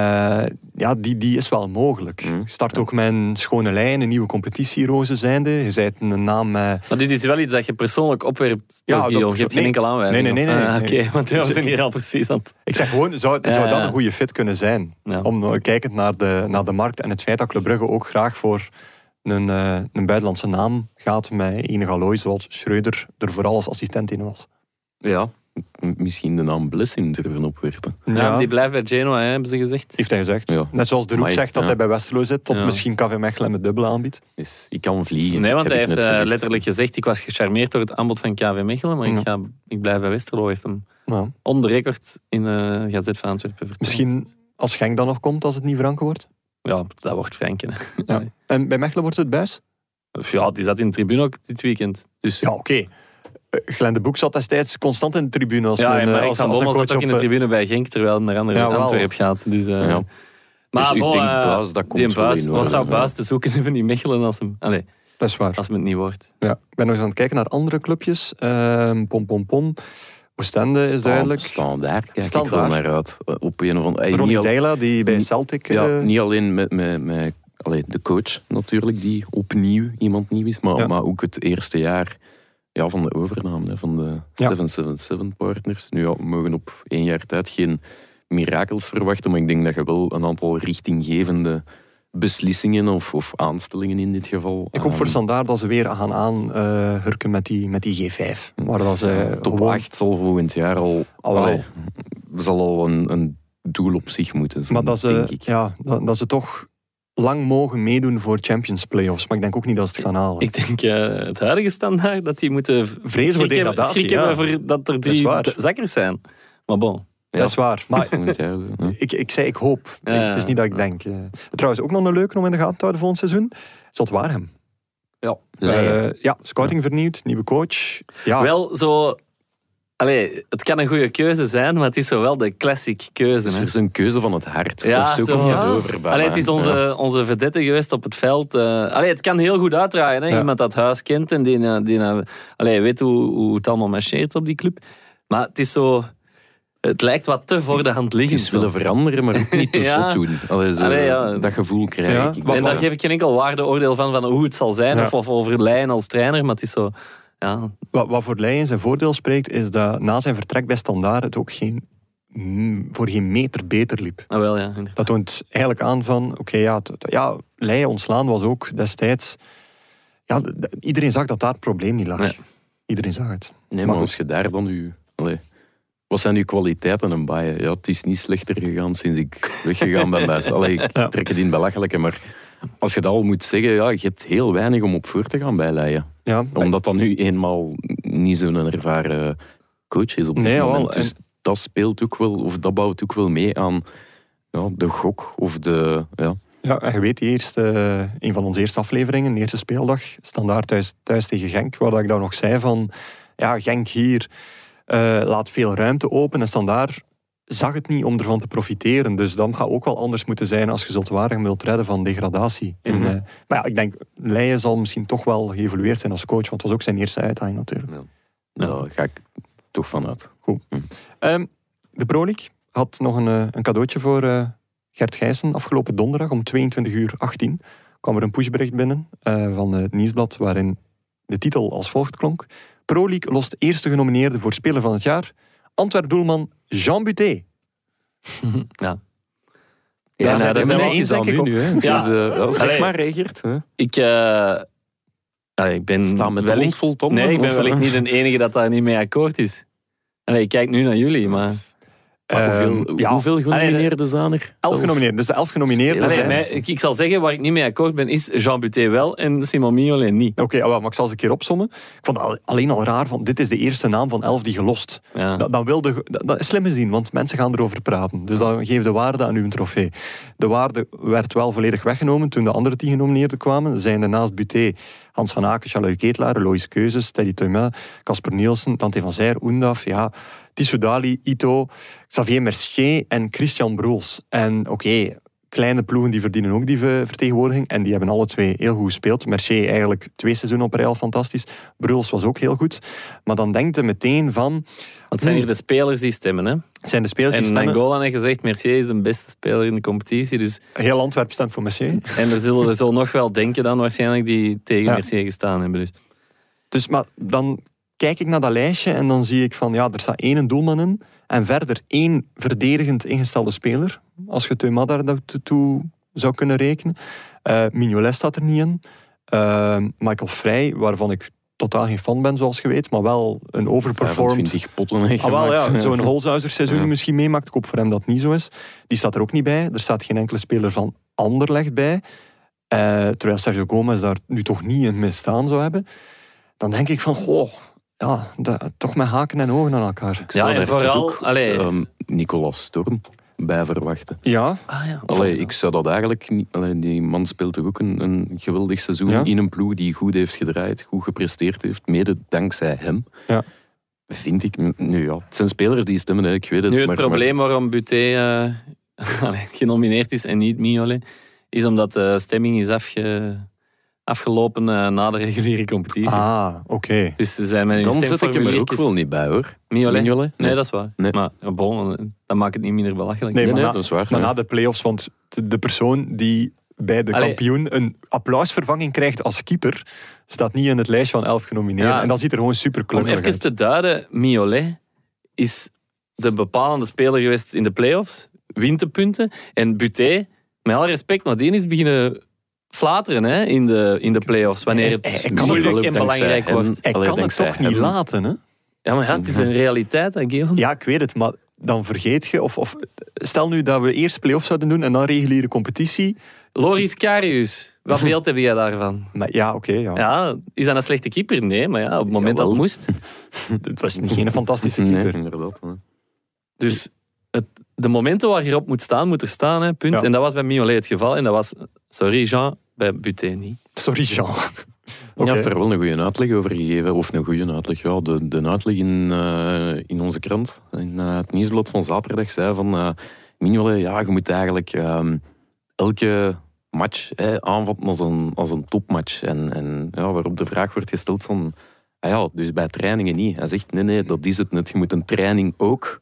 Speaker 1: ja, die, die is wel mogelijk.
Speaker 4: Mm,
Speaker 1: Je Start ook met een schone lijn, een nieuwe competitieroze zijnde. Je zijt een naam... eh,
Speaker 3: Maar dit is wel iets dat je persoonlijk opwerpt,
Speaker 1: Ja,
Speaker 3: ja,
Speaker 1: dat-
Speaker 3: Je hebt geen
Speaker 1: nee.
Speaker 3: enkele aanwijzing.
Speaker 1: Nee, nee, nee,
Speaker 3: of-
Speaker 1: nee,
Speaker 3: Ah,
Speaker 1: nee.
Speaker 3: Oké, want we zijn hier al precies aan het...
Speaker 1: ik zeg gewoon, zou,
Speaker 3: Ja,
Speaker 1: zou dat
Speaker 3: ja.
Speaker 1: een goede fit kunnen zijn?
Speaker 3: Ja.
Speaker 1: Om eh, kijkend naar de, naar de markt en het feit dat Club Brugge ook graag voor een, eh, een buitenlandse naam gaat met enig allooi, zoals Schreuder er vooral als assistent in was.
Speaker 4: Ja. M- Misschien de naam Blessing durven opwerpen.
Speaker 3: Ja, maar Die blijft bij Genoa, hè, hebben ze gezegd.
Speaker 1: Heeft hij gezegd.
Speaker 4: Ja.
Speaker 1: Net zoals De Roek
Speaker 4: Maar ik-
Speaker 1: zegt dat
Speaker 4: ja.
Speaker 1: hij bij Westerlo zit, tot
Speaker 3: Ja.
Speaker 1: misschien KV Mechelen met dubbele aanbiedt.
Speaker 4: Dus ik kan vliegen.
Speaker 3: Nee, want
Speaker 4: heb
Speaker 3: hij
Speaker 4: ik
Speaker 3: heeft
Speaker 4: net
Speaker 3: eh,
Speaker 4: gezegd.
Speaker 3: letterlijk gezegd, ik was gecharmeerd door het aanbod van KV Mechelen, maar ik, ga, ik blijf bij Westerlo, heeft hem
Speaker 1: Ja.
Speaker 3: on the record in de Gazet van Antwerpen verteld.
Speaker 1: Misschien als Genk dan nog komt, als het niet Franke wordt.
Speaker 3: Ja, dat wordt Franken. hè.
Speaker 1: Ja.
Speaker 3: Nee.
Speaker 1: En bij Mechelen wordt het buis?
Speaker 3: Ja, die zat in de tribune ook dit weekend. Dus
Speaker 1: Ja, oké. Eh, Glenn de Boek zat destijds constant in de tribune als
Speaker 3: Ja,
Speaker 1: een, eh,
Speaker 3: maar ik
Speaker 1: als, als een
Speaker 3: Bommel
Speaker 1: coach
Speaker 3: zat ook
Speaker 1: op,
Speaker 3: in de
Speaker 1: eh,
Speaker 3: tribune bij Genk, terwijl hij naar andere
Speaker 1: Ja, wel.
Speaker 3: Antwerpen gaat. Dus, eh,
Speaker 4: Ja.
Speaker 3: Maar
Speaker 4: Dus ik
Speaker 3: bon,
Speaker 4: denk,
Speaker 3: eh,
Speaker 4: Buis, dat komt
Speaker 3: die
Speaker 4: wel
Speaker 3: Buis,
Speaker 4: in
Speaker 3: wat
Speaker 4: orde,
Speaker 3: zou
Speaker 4: ja.
Speaker 3: Buis te zoeken hebben in Mechelen als hem, allez,
Speaker 1: Dat is waar.
Speaker 3: als hem het niet wordt?
Speaker 1: Ja. Ik ben nog eens aan het kijken naar andere clubjes. Ehm, pom, pom, pom. Oostende is duidelijk.
Speaker 4: Oh, Standaard kijk ik
Speaker 1: Standaard.
Speaker 4: wel naar uit. Eh, Op een of andere... eh,
Speaker 1: Ronnie
Speaker 4: niet al-
Speaker 1: Deila, die bij
Speaker 4: Ni-
Speaker 1: Celtic...
Speaker 4: Ja,
Speaker 1: eh,
Speaker 4: niet alleen met, met, met allee, de coach natuurlijk, die opnieuw iemand nieuw is, maar,
Speaker 1: Ja.
Speaker 4: maar ook het eerste jaar ja, van de overname hè, van de 777-partners. Nu ja, we mogen op één jaar tijd geen mirakels verwachten, maar ik denk dat je wel een aantal richtinggevende beslissingen of, of aanstellingen in dit geval.
Speaker 1: Ik hoop voor
Speaker 4: ehm,
Speaker 1: Standaard dat ze weer gaan aanhurken met, die, met die G5. Waar dat ze
Speaker 4: ja, top
Speaker 1: gewoon
Speaker 4: 8 zal volgend jaar al,
Speaker 1: Al wel.
Speaker 4: allee, zal al een, een doel op zich moeten zijn,
Speaker 1: Maar dat eh, ze,
Speaker 4: denk ik.
Speaker 1: ja, dat, dat ze toch lang mogen meedoen voor Champions Playoffs. Maar ik denk ook niet dat ze het gaan halen.
Speaker 3: Ik denk eh, het huidige standaard dat die moeten
Speaker 1: Vrezen voor
Speaker 3: schrik hebben-
Speaker 1: degradatie,
Speaker 3: schrik hebben
Speaker 1: ja.
Speaker 3: voor dat er
Speaker 1: is
Speaker 3: drie
Speaker 1: waar.
Speaker 3: d- zakkers zijn. Maar bon,
Speaker 1: Dat is waar. Maar
Speaker 4: Volgend jaar. ja.
Speaker 1: ik, ik zei ik hoop.
Speaker 3: Ja, ja,
Speaker 1: het is niet dat ik
Speaker 3: ja.
Speaker 1: denk. eh. Trouwens, ook nog een leuke om in de gaten te houden volgend seizoen. Zot Warhem.
Speaker 3: Ja.
Speaker 4: Leijen.
Speaker 1: Eh, ja, scouting vernieuwd, nieuwe coach. Ja,
Speaker 3: Wel zo... Allee, het kan een goede keuze zijn, maar het is zo wel de classic keuze.
Speaker 4: Het is
Speaker 3: hè.
Speaker 4: weer zo'n keuze van het hart.
Speaker 3: Ja,
Speaker 4: of zo,
Speaker 3: zo.
Speaker 4: komt het
Speaker 3: Ja.
Speaker 4: over. bijna.
Speaker 3: Allee, het is onze, onze vedette geweest op het veld. eh. allee, het kan heel goed uitdraaien. Hè?
Speaker 1: Ja.
Speaker 3: Iemand dat huis kent en die, eh, die eh, allee, weet hoe, hoe het allemaal marcheert op die club. Maar het is zo... Het lijkt wat te voor de hand
Speaker 4: Ja.
Speaker 3: liggend.
Speaker 4: Iets
Speaker 3: zo.
Speaker 4: willen veranderen, maar ook niet te
Speaker 3: Ja.
Speaker 4: zot doen. Allee, zo,
Speaker 3: Allee, ja.
Speaker 4: Dat gevoel krijg
Speaker 1: Ja.
Speaker 4: ik.
Speaker 1: Wat-
Speaker 3: En daar geef ik geen enkel waardeoordeel van, van hoe het zal zijn
Speaker 1: Ja.
Speaker 3: of, of over Leyen als trainer. Maar het is zo... Ja,
Speaker 1: Wat, wat voor Leijen zijn voordeel spreekt, is dat na zijn vertrek bij Standaard het ook geen, mm, voor geen meter beter liep.
Speaker 3: ah, wel, ja.
Speaker 1: Dat toont eigenlijk aan van, oké, ja, het- het- ja, Leijen ontslaan was ook destijds... Ja, d- d- iedereen zag dat daar het probleem niet lag.
Speaker 4: Nee.
Speaker 1: Iedereen zag het.
Speaker 4: Nee, maar als je daar dan uw... Allee, wat zijn uw kwaliteiten en baaien? Ja, het is niet slechter gegaan sinds ik weggegaan ben bij Stel. Allee, ik
Speaker 1: Ja.
Speaker 4: trek het in belachelijke, maar als je dat al moet zeggen, ja, je hebt heel weinig om op voor te gaan bij Leiden.
Speaker 1: Ja,
Speaker 4: Omdat dat nu eenmaal niet zo'n ervaren coach is op dit
Speaker 1: Nee, jawel,
Speaker 4: moment. Dus dat speelt ook wel, of dat bouwt ook wel mee aan ja, de gok of de... Ja,
Speaker 1: Ja, en je weet, die eerste, eh, een van onze eerste afleveringen, de eerste speeldag, standaard thuis, thuis tegen Genk, waar dat ik daar nog zei van, ja, Genk hier eh, laat veel ruimte open en standaard zag het niet om ervan te profiteren. Dus dan gaat ook wel anders moeten zijn als je Zotwaardigem wilt redden van degradatie. En,
Speaker 4: Mhm.
Speaker 1: eh, maar ja, ik denk, Leijen zal misschien toch wel geëvolueerd zijn als coach, want het was ook zijn eerste uitdaging natuurlijk. Ja.
Speaker 4: daar ga ik toch vanuit.
Speaker 1: Ehm, de Pro League had nog een, eh, een cadeautje voor eh, Gert Gijssen. Afgelopen donderdag om 22 uur 18 kwam er een pushbericht binnen eh, van het Nieuwsblad waarin de titel als volgt klonk. Pro League lost eerste genomineerde voor Speler van het Jaar, Antwerp-doelman Jean Buté.
Speaker 3: ja.
Speaker 4: Ja,
Speaker 1: Daar zijn
Speaker 3: dat
Speaker 1: we
Speaker 3: zijn
Speaker 1: mee
Speaker 3: we
Speaker 1: eens,
Speaker 4: al
Speaker 1: denk ik.
Speaker 4: nu,
Speaker 1: op.
Speaker 4: nu, hè.
Speaker 3: Ja.
Speaker 4: Dus, eh, ja, zeg
Speaker 3: Allee.
Speaker 4: maar, Regert. Hè?
Speaker 3: Ik, eh, allee, ik ben
Speaker 4: Staan met de
Speaker 3: wellicht,
Speaker 4: mond vol tanden,
Speaker 3: Nee, ik ben
Speaker 4: of-
Speaker 3: wellicht niet de enige dat daar niet mee akkoord is. Allee, ik kijk nu naar jullie, maar...
Speaker 4: Maar hoeveel,
Speaker 1: Ehm, ja,
Speaker 4: hoeveel genomineerden zijn er?
Speaker 1: elf genomineerden. Dus de elf genomineerden
Speaker 4: Spelers,
Speaker 3: Allee,
Speaker 1: zijn...
Speaker 3: mij- ik, ik zal zeggen, waar ik niet mee akkoord ben, is Jean Buté wel en Simon Mignolet niet.
Speaker 1: Oké, ah, wel, maar ik zal ze een keer opsommen. Ik vond het al- alleen al raar, van dit is de eerste naam van elf die gelost.
Speaker 3: Ja.
Speaker 1: Dat, dan wilde, ge- dat, dat is slim gezien, want mensen gaan erover praten. Dus dan geef de waarde aan uw trofee. De waarde werd wel volledig weggenomen toen de andere tien genomineerden kwamen. Zijn er naast Buté, Hans van Aken, Charlotte Ketelaar, Loïs Keuzes, Teddy Thoma, Casper Nielsen, Tante van Zijr, Oendaf, ja, Tissou Dali, Ito, Xavier Mercier en Christian Broels. En oké, kleine ploegen die verdienen ook die ver- vertegenwoordiging. En die hebben alle twee heel goed gespeeld. Mercier eigenlijk twee seizoenen op rij al fantastisch. Bruls was ook heel goed. Maar dan denkt je meteen van...
Speaker 3: Want het zijn hier de spelers die stemmen, hè.
Speaker 1: Hmm. Het zijn de spelers Hm. die
Speaker 3: En
Speaker 1: stemmen.
Speaker 3: Angola heeft gezegd, Mercier is de beste speler in de competitie. Dus,
Speaker 1: Heel Antwerp stemt voor Messier.
Speaker 3: en er zullen er zo nog wel denken dan waarschijnlijk die tegen
Speaker 1: Ja.
Speaker 3: Mercier gestaan hebben. Dus.
Speaker 1: Dus maar dan kijk ik naar dat lijstje en dan zie ik van ja, er staat één doelman in en verder één verdedigend ingestelde speler. Als je Teuma daar toe- toe zou kunnen rekenen. Eh Mignolet staat er niet in. Eh, Michael Vrij, waarvan ik totaal geen fan ben, zoals je weet, maar wel een overperformed
Speaker 4: 25 potten heeft
Speaker 1: Ah, wel, ja.
Speaker 4: gemaakt.
Speaker 1: Zo'n Holzhauser seizoen
Speaker 4: Ja.
Speaker 1: misschien meemaakt. Ik hoop voor hem dat het niet zo is. Die staat er ook niet bij. Er staat geen enkele speler van Anderlecht bij. Eh, terwijl Sergio Gomez daar nu toch niet in mee staan zou hebben. Dan denk ik van, goh, ja, dat- toch met haken en ogen aan elkaar.
Speaker 4: zou
Speaker 3: Ja, en
Speaker 4: daar toch
Speaker 3: vooral...
Speaker 4: ook,
Speaker 3: allee,
Speaker 4: Ehm, Nicolas Storm bij verwachten.
Speaker 1: Ja,
Speaker 3: ah, ja.
Speaker 4: Allee, ik zou dat eigenlijk niet... Allee, die man speelt toch ook een, een geweldig seizoen
Speaker 1: Ja.
Speaker 4: in een ploeg die goed heeft gedraaid, goed gepresteerd heeft, mede dankzij hem.
Speaker 1: Ja.
Speaker 4: Vind ik... Nu ja, het zijn spelers die stemmen, hè, ik weet het.
Speaker 3: Nu, het
Speaker 4: maar,
Speaker 3: probleem waarom Buté eh, allee, genomineerd is en niet Mignolet, is omdat de stemming is afge- afgelopen eh, na de reguliere competitie.
Speaker 1: ah, oké.
Speaker 3: Dus ze zijn met
Speaker 4: maar
Speaker 3: hun
Speaker 4: Dan zet ik hem er ook
Speaker 3: stemformuliertjes-
Speaker 4: wel niet bij, hoor.
Speaker 3: Mignolet?
Speaker 4: Mignolet?
Speaker 3: Nee,
Speaker 4: Nee.
Speaker 3: dat is waar.
Speaker 4: Nee.
Speaker 3: Maar eh, bon, eh, dat maakt het niet minder belachelijk.
Speaker 1: Nee,
Speaker 4: Nee,
Speaker 1: maar na-
Speaker 4: nee, dat is waar.
Speaker 1: Maar
Speaker 4: ja.
Speaker 1: na de play-offs, want de- de persoon die bij de
Speaker 3: Allee.
Speaker 1: kampioen een applausvervanging krijgt als keeper, staat niet in het lijstje van elf genomineerden.
Speaker 3: Ja.
Speaker 1: En dat ziet er gewoon super
Speaker 3: Om
Speaker 1: klunkerig
Speaker 3: even
Speaker 1: uit.
Speaker 3: te duiden, Mignolet is de bepalende speler geweest in de play-offs, wint de punten. En Buté, met alle respect, maar die is beginnen flateren hè, in, de, in de play-offs, wanneer het
Speaker 1: Hij- hij Eh, kan
Speaker 4: Misschien
Speaker 1: het
Speaker 3: moeilijk
Speaker 4: wel
Speaker 3: en
Speaker 4: ook dankzij
Speaker 3: belangrijk
Speaker 4: hem.
Speaker 3: wordt.
Speaker 1: Hij
Speaker 4: Allee,
Speaker 1: kan het
Speaker 4: dankzij
Speaker 1: toch niet
Speaker 4: hem.
Speaker 1: laten, hè?
Speaker 3: Ja, maar ja, het is een realiteit, hè, Guillaume?
Speaker 1: Ja, ik weet het, maar dan vergeet je. Of, of stel nu dat we eerst play-offs zouden doen en dan reguliere competitie.
Speaker 3: Loris Karius, wat beeld heb jij daarvan?
Speaker 1: Maar ja, oké. ja.
Speaker 3: Ja, is dat een slechte keeper? Nee, maar ja, op het moment dat het moest.
Speaker 1: Het was niet- geen fantastische
Speaker 4: Nee,
Speaker 1: keeper.
Speaker 4: inderdaad. hè.
Speaker 3: Dus het, de momenten waar je op moet staan, moet er staan. Hè, punt.
Speaker 1: Ja.
Speaker 3: En dat was bij Mignolet het geval. En dat was, sorry Jean, bij Buté niet.
Speaker 1: Sorry, Jean. Oké.
Speaker 4: Je hebt er wel een goede uitleg over gegeven. Of een goede uitleg. Ja, de, de uitleg in, eh, in onze krant, in eh, het nieuwsblad van zaterdag, zei van... eh Mignolet, ja, je moet eigenlijk ehm, elke match eh, aanvatten als een, als een topmatch. En, en ja, waarop de vraag wordt gesteld van... Ah ja, dus bij trainingen niet. Hij zegt, nee, nee, dat is het net. Je moet een training ook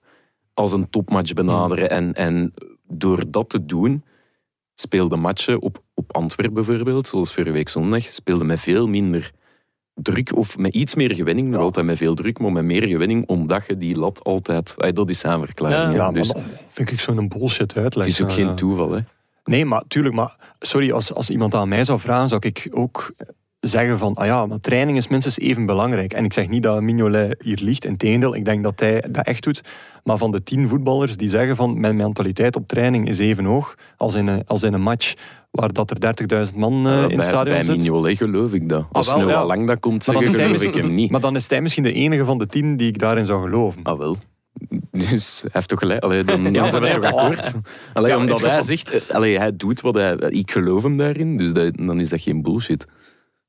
Speaker 4: als een topmatch benaderen. En, en door dat te doen speelde matchen op, op Antwerpen bijvoorbeeld, zoals vorige week zondag, speelde met veel minder druk of met iets meer gewinning, nog altijd met veel druk, maar met meer gewinning, omdat je die lat altijd... Ah, dat is zijn verklaring.
Speaker 3: Ja.
Speaker 4: hè.
Speaker 1: Ja, maar
Speaker 4: dus
Speaker 1: dat vind ik zo'n bullshit
Speaker 4: het
Speaker 1: uitleg. eh,
Speaker 4: is ook
Speaker 1: Ja, ja.
Speaker 4: geen toeval. Hè.
Speaker 1: Nee, maar tuurlijk. Maar sorry, als, als iemand aan mij zou vragen, zou ik ook zeggen van, ah ja, maar training is minstens even belangrijk. En ik zeg niet dat Mignolet hier ligt, integendeel, ik denk dat hij dat echt doet. Maar van de tien voetballers die zeggen van, mijn mentaliteit op training is even hoog als in een, als in een match waar dat er 30.000 man eh,
Speaker 4: Ja,
Speaker 1: in het
Speaker 4: bij
Speaker 1: stadion
Speaker 4: bij
Speaker 1: zit.
Speaker 4: Mignolet geloof ik dat. Als
Speaker 1: wel,
Speaker 4: Noah
Speaker 1: ja.
Speaker 4: Lang dat komt
Speaker 1: Maar dan
Speaker 4: zeggen,
Speaker 1: is hij
Speaker 4: geloof ik
Speaker 1: misschien-
Speaker 4: hem niet.
Speaker 1: Maar dan is hij misschien de enige van de tien die ik daarin zou geloven.
Speaker 4: Ah wel. Dus hij heeft toch gelijk. Allee, dan, dan
Speaker 1: maar
Speaker 4: zijn we
Speaker 1: nee,
Speaker 4: toch
Speaker 1: maar-
Speaker 4: akkoord. Allee,
Speaker 1: Ja, maar
Speaker 4: omdat
Speaker 1: het gaat
Speaker 4: hij
Speaker 1: om-
Speaker 4: zegt... eh, Allee, hij doet wat hij... Ik geloof hem daarin, dus dat- dan is dat geen bullshit.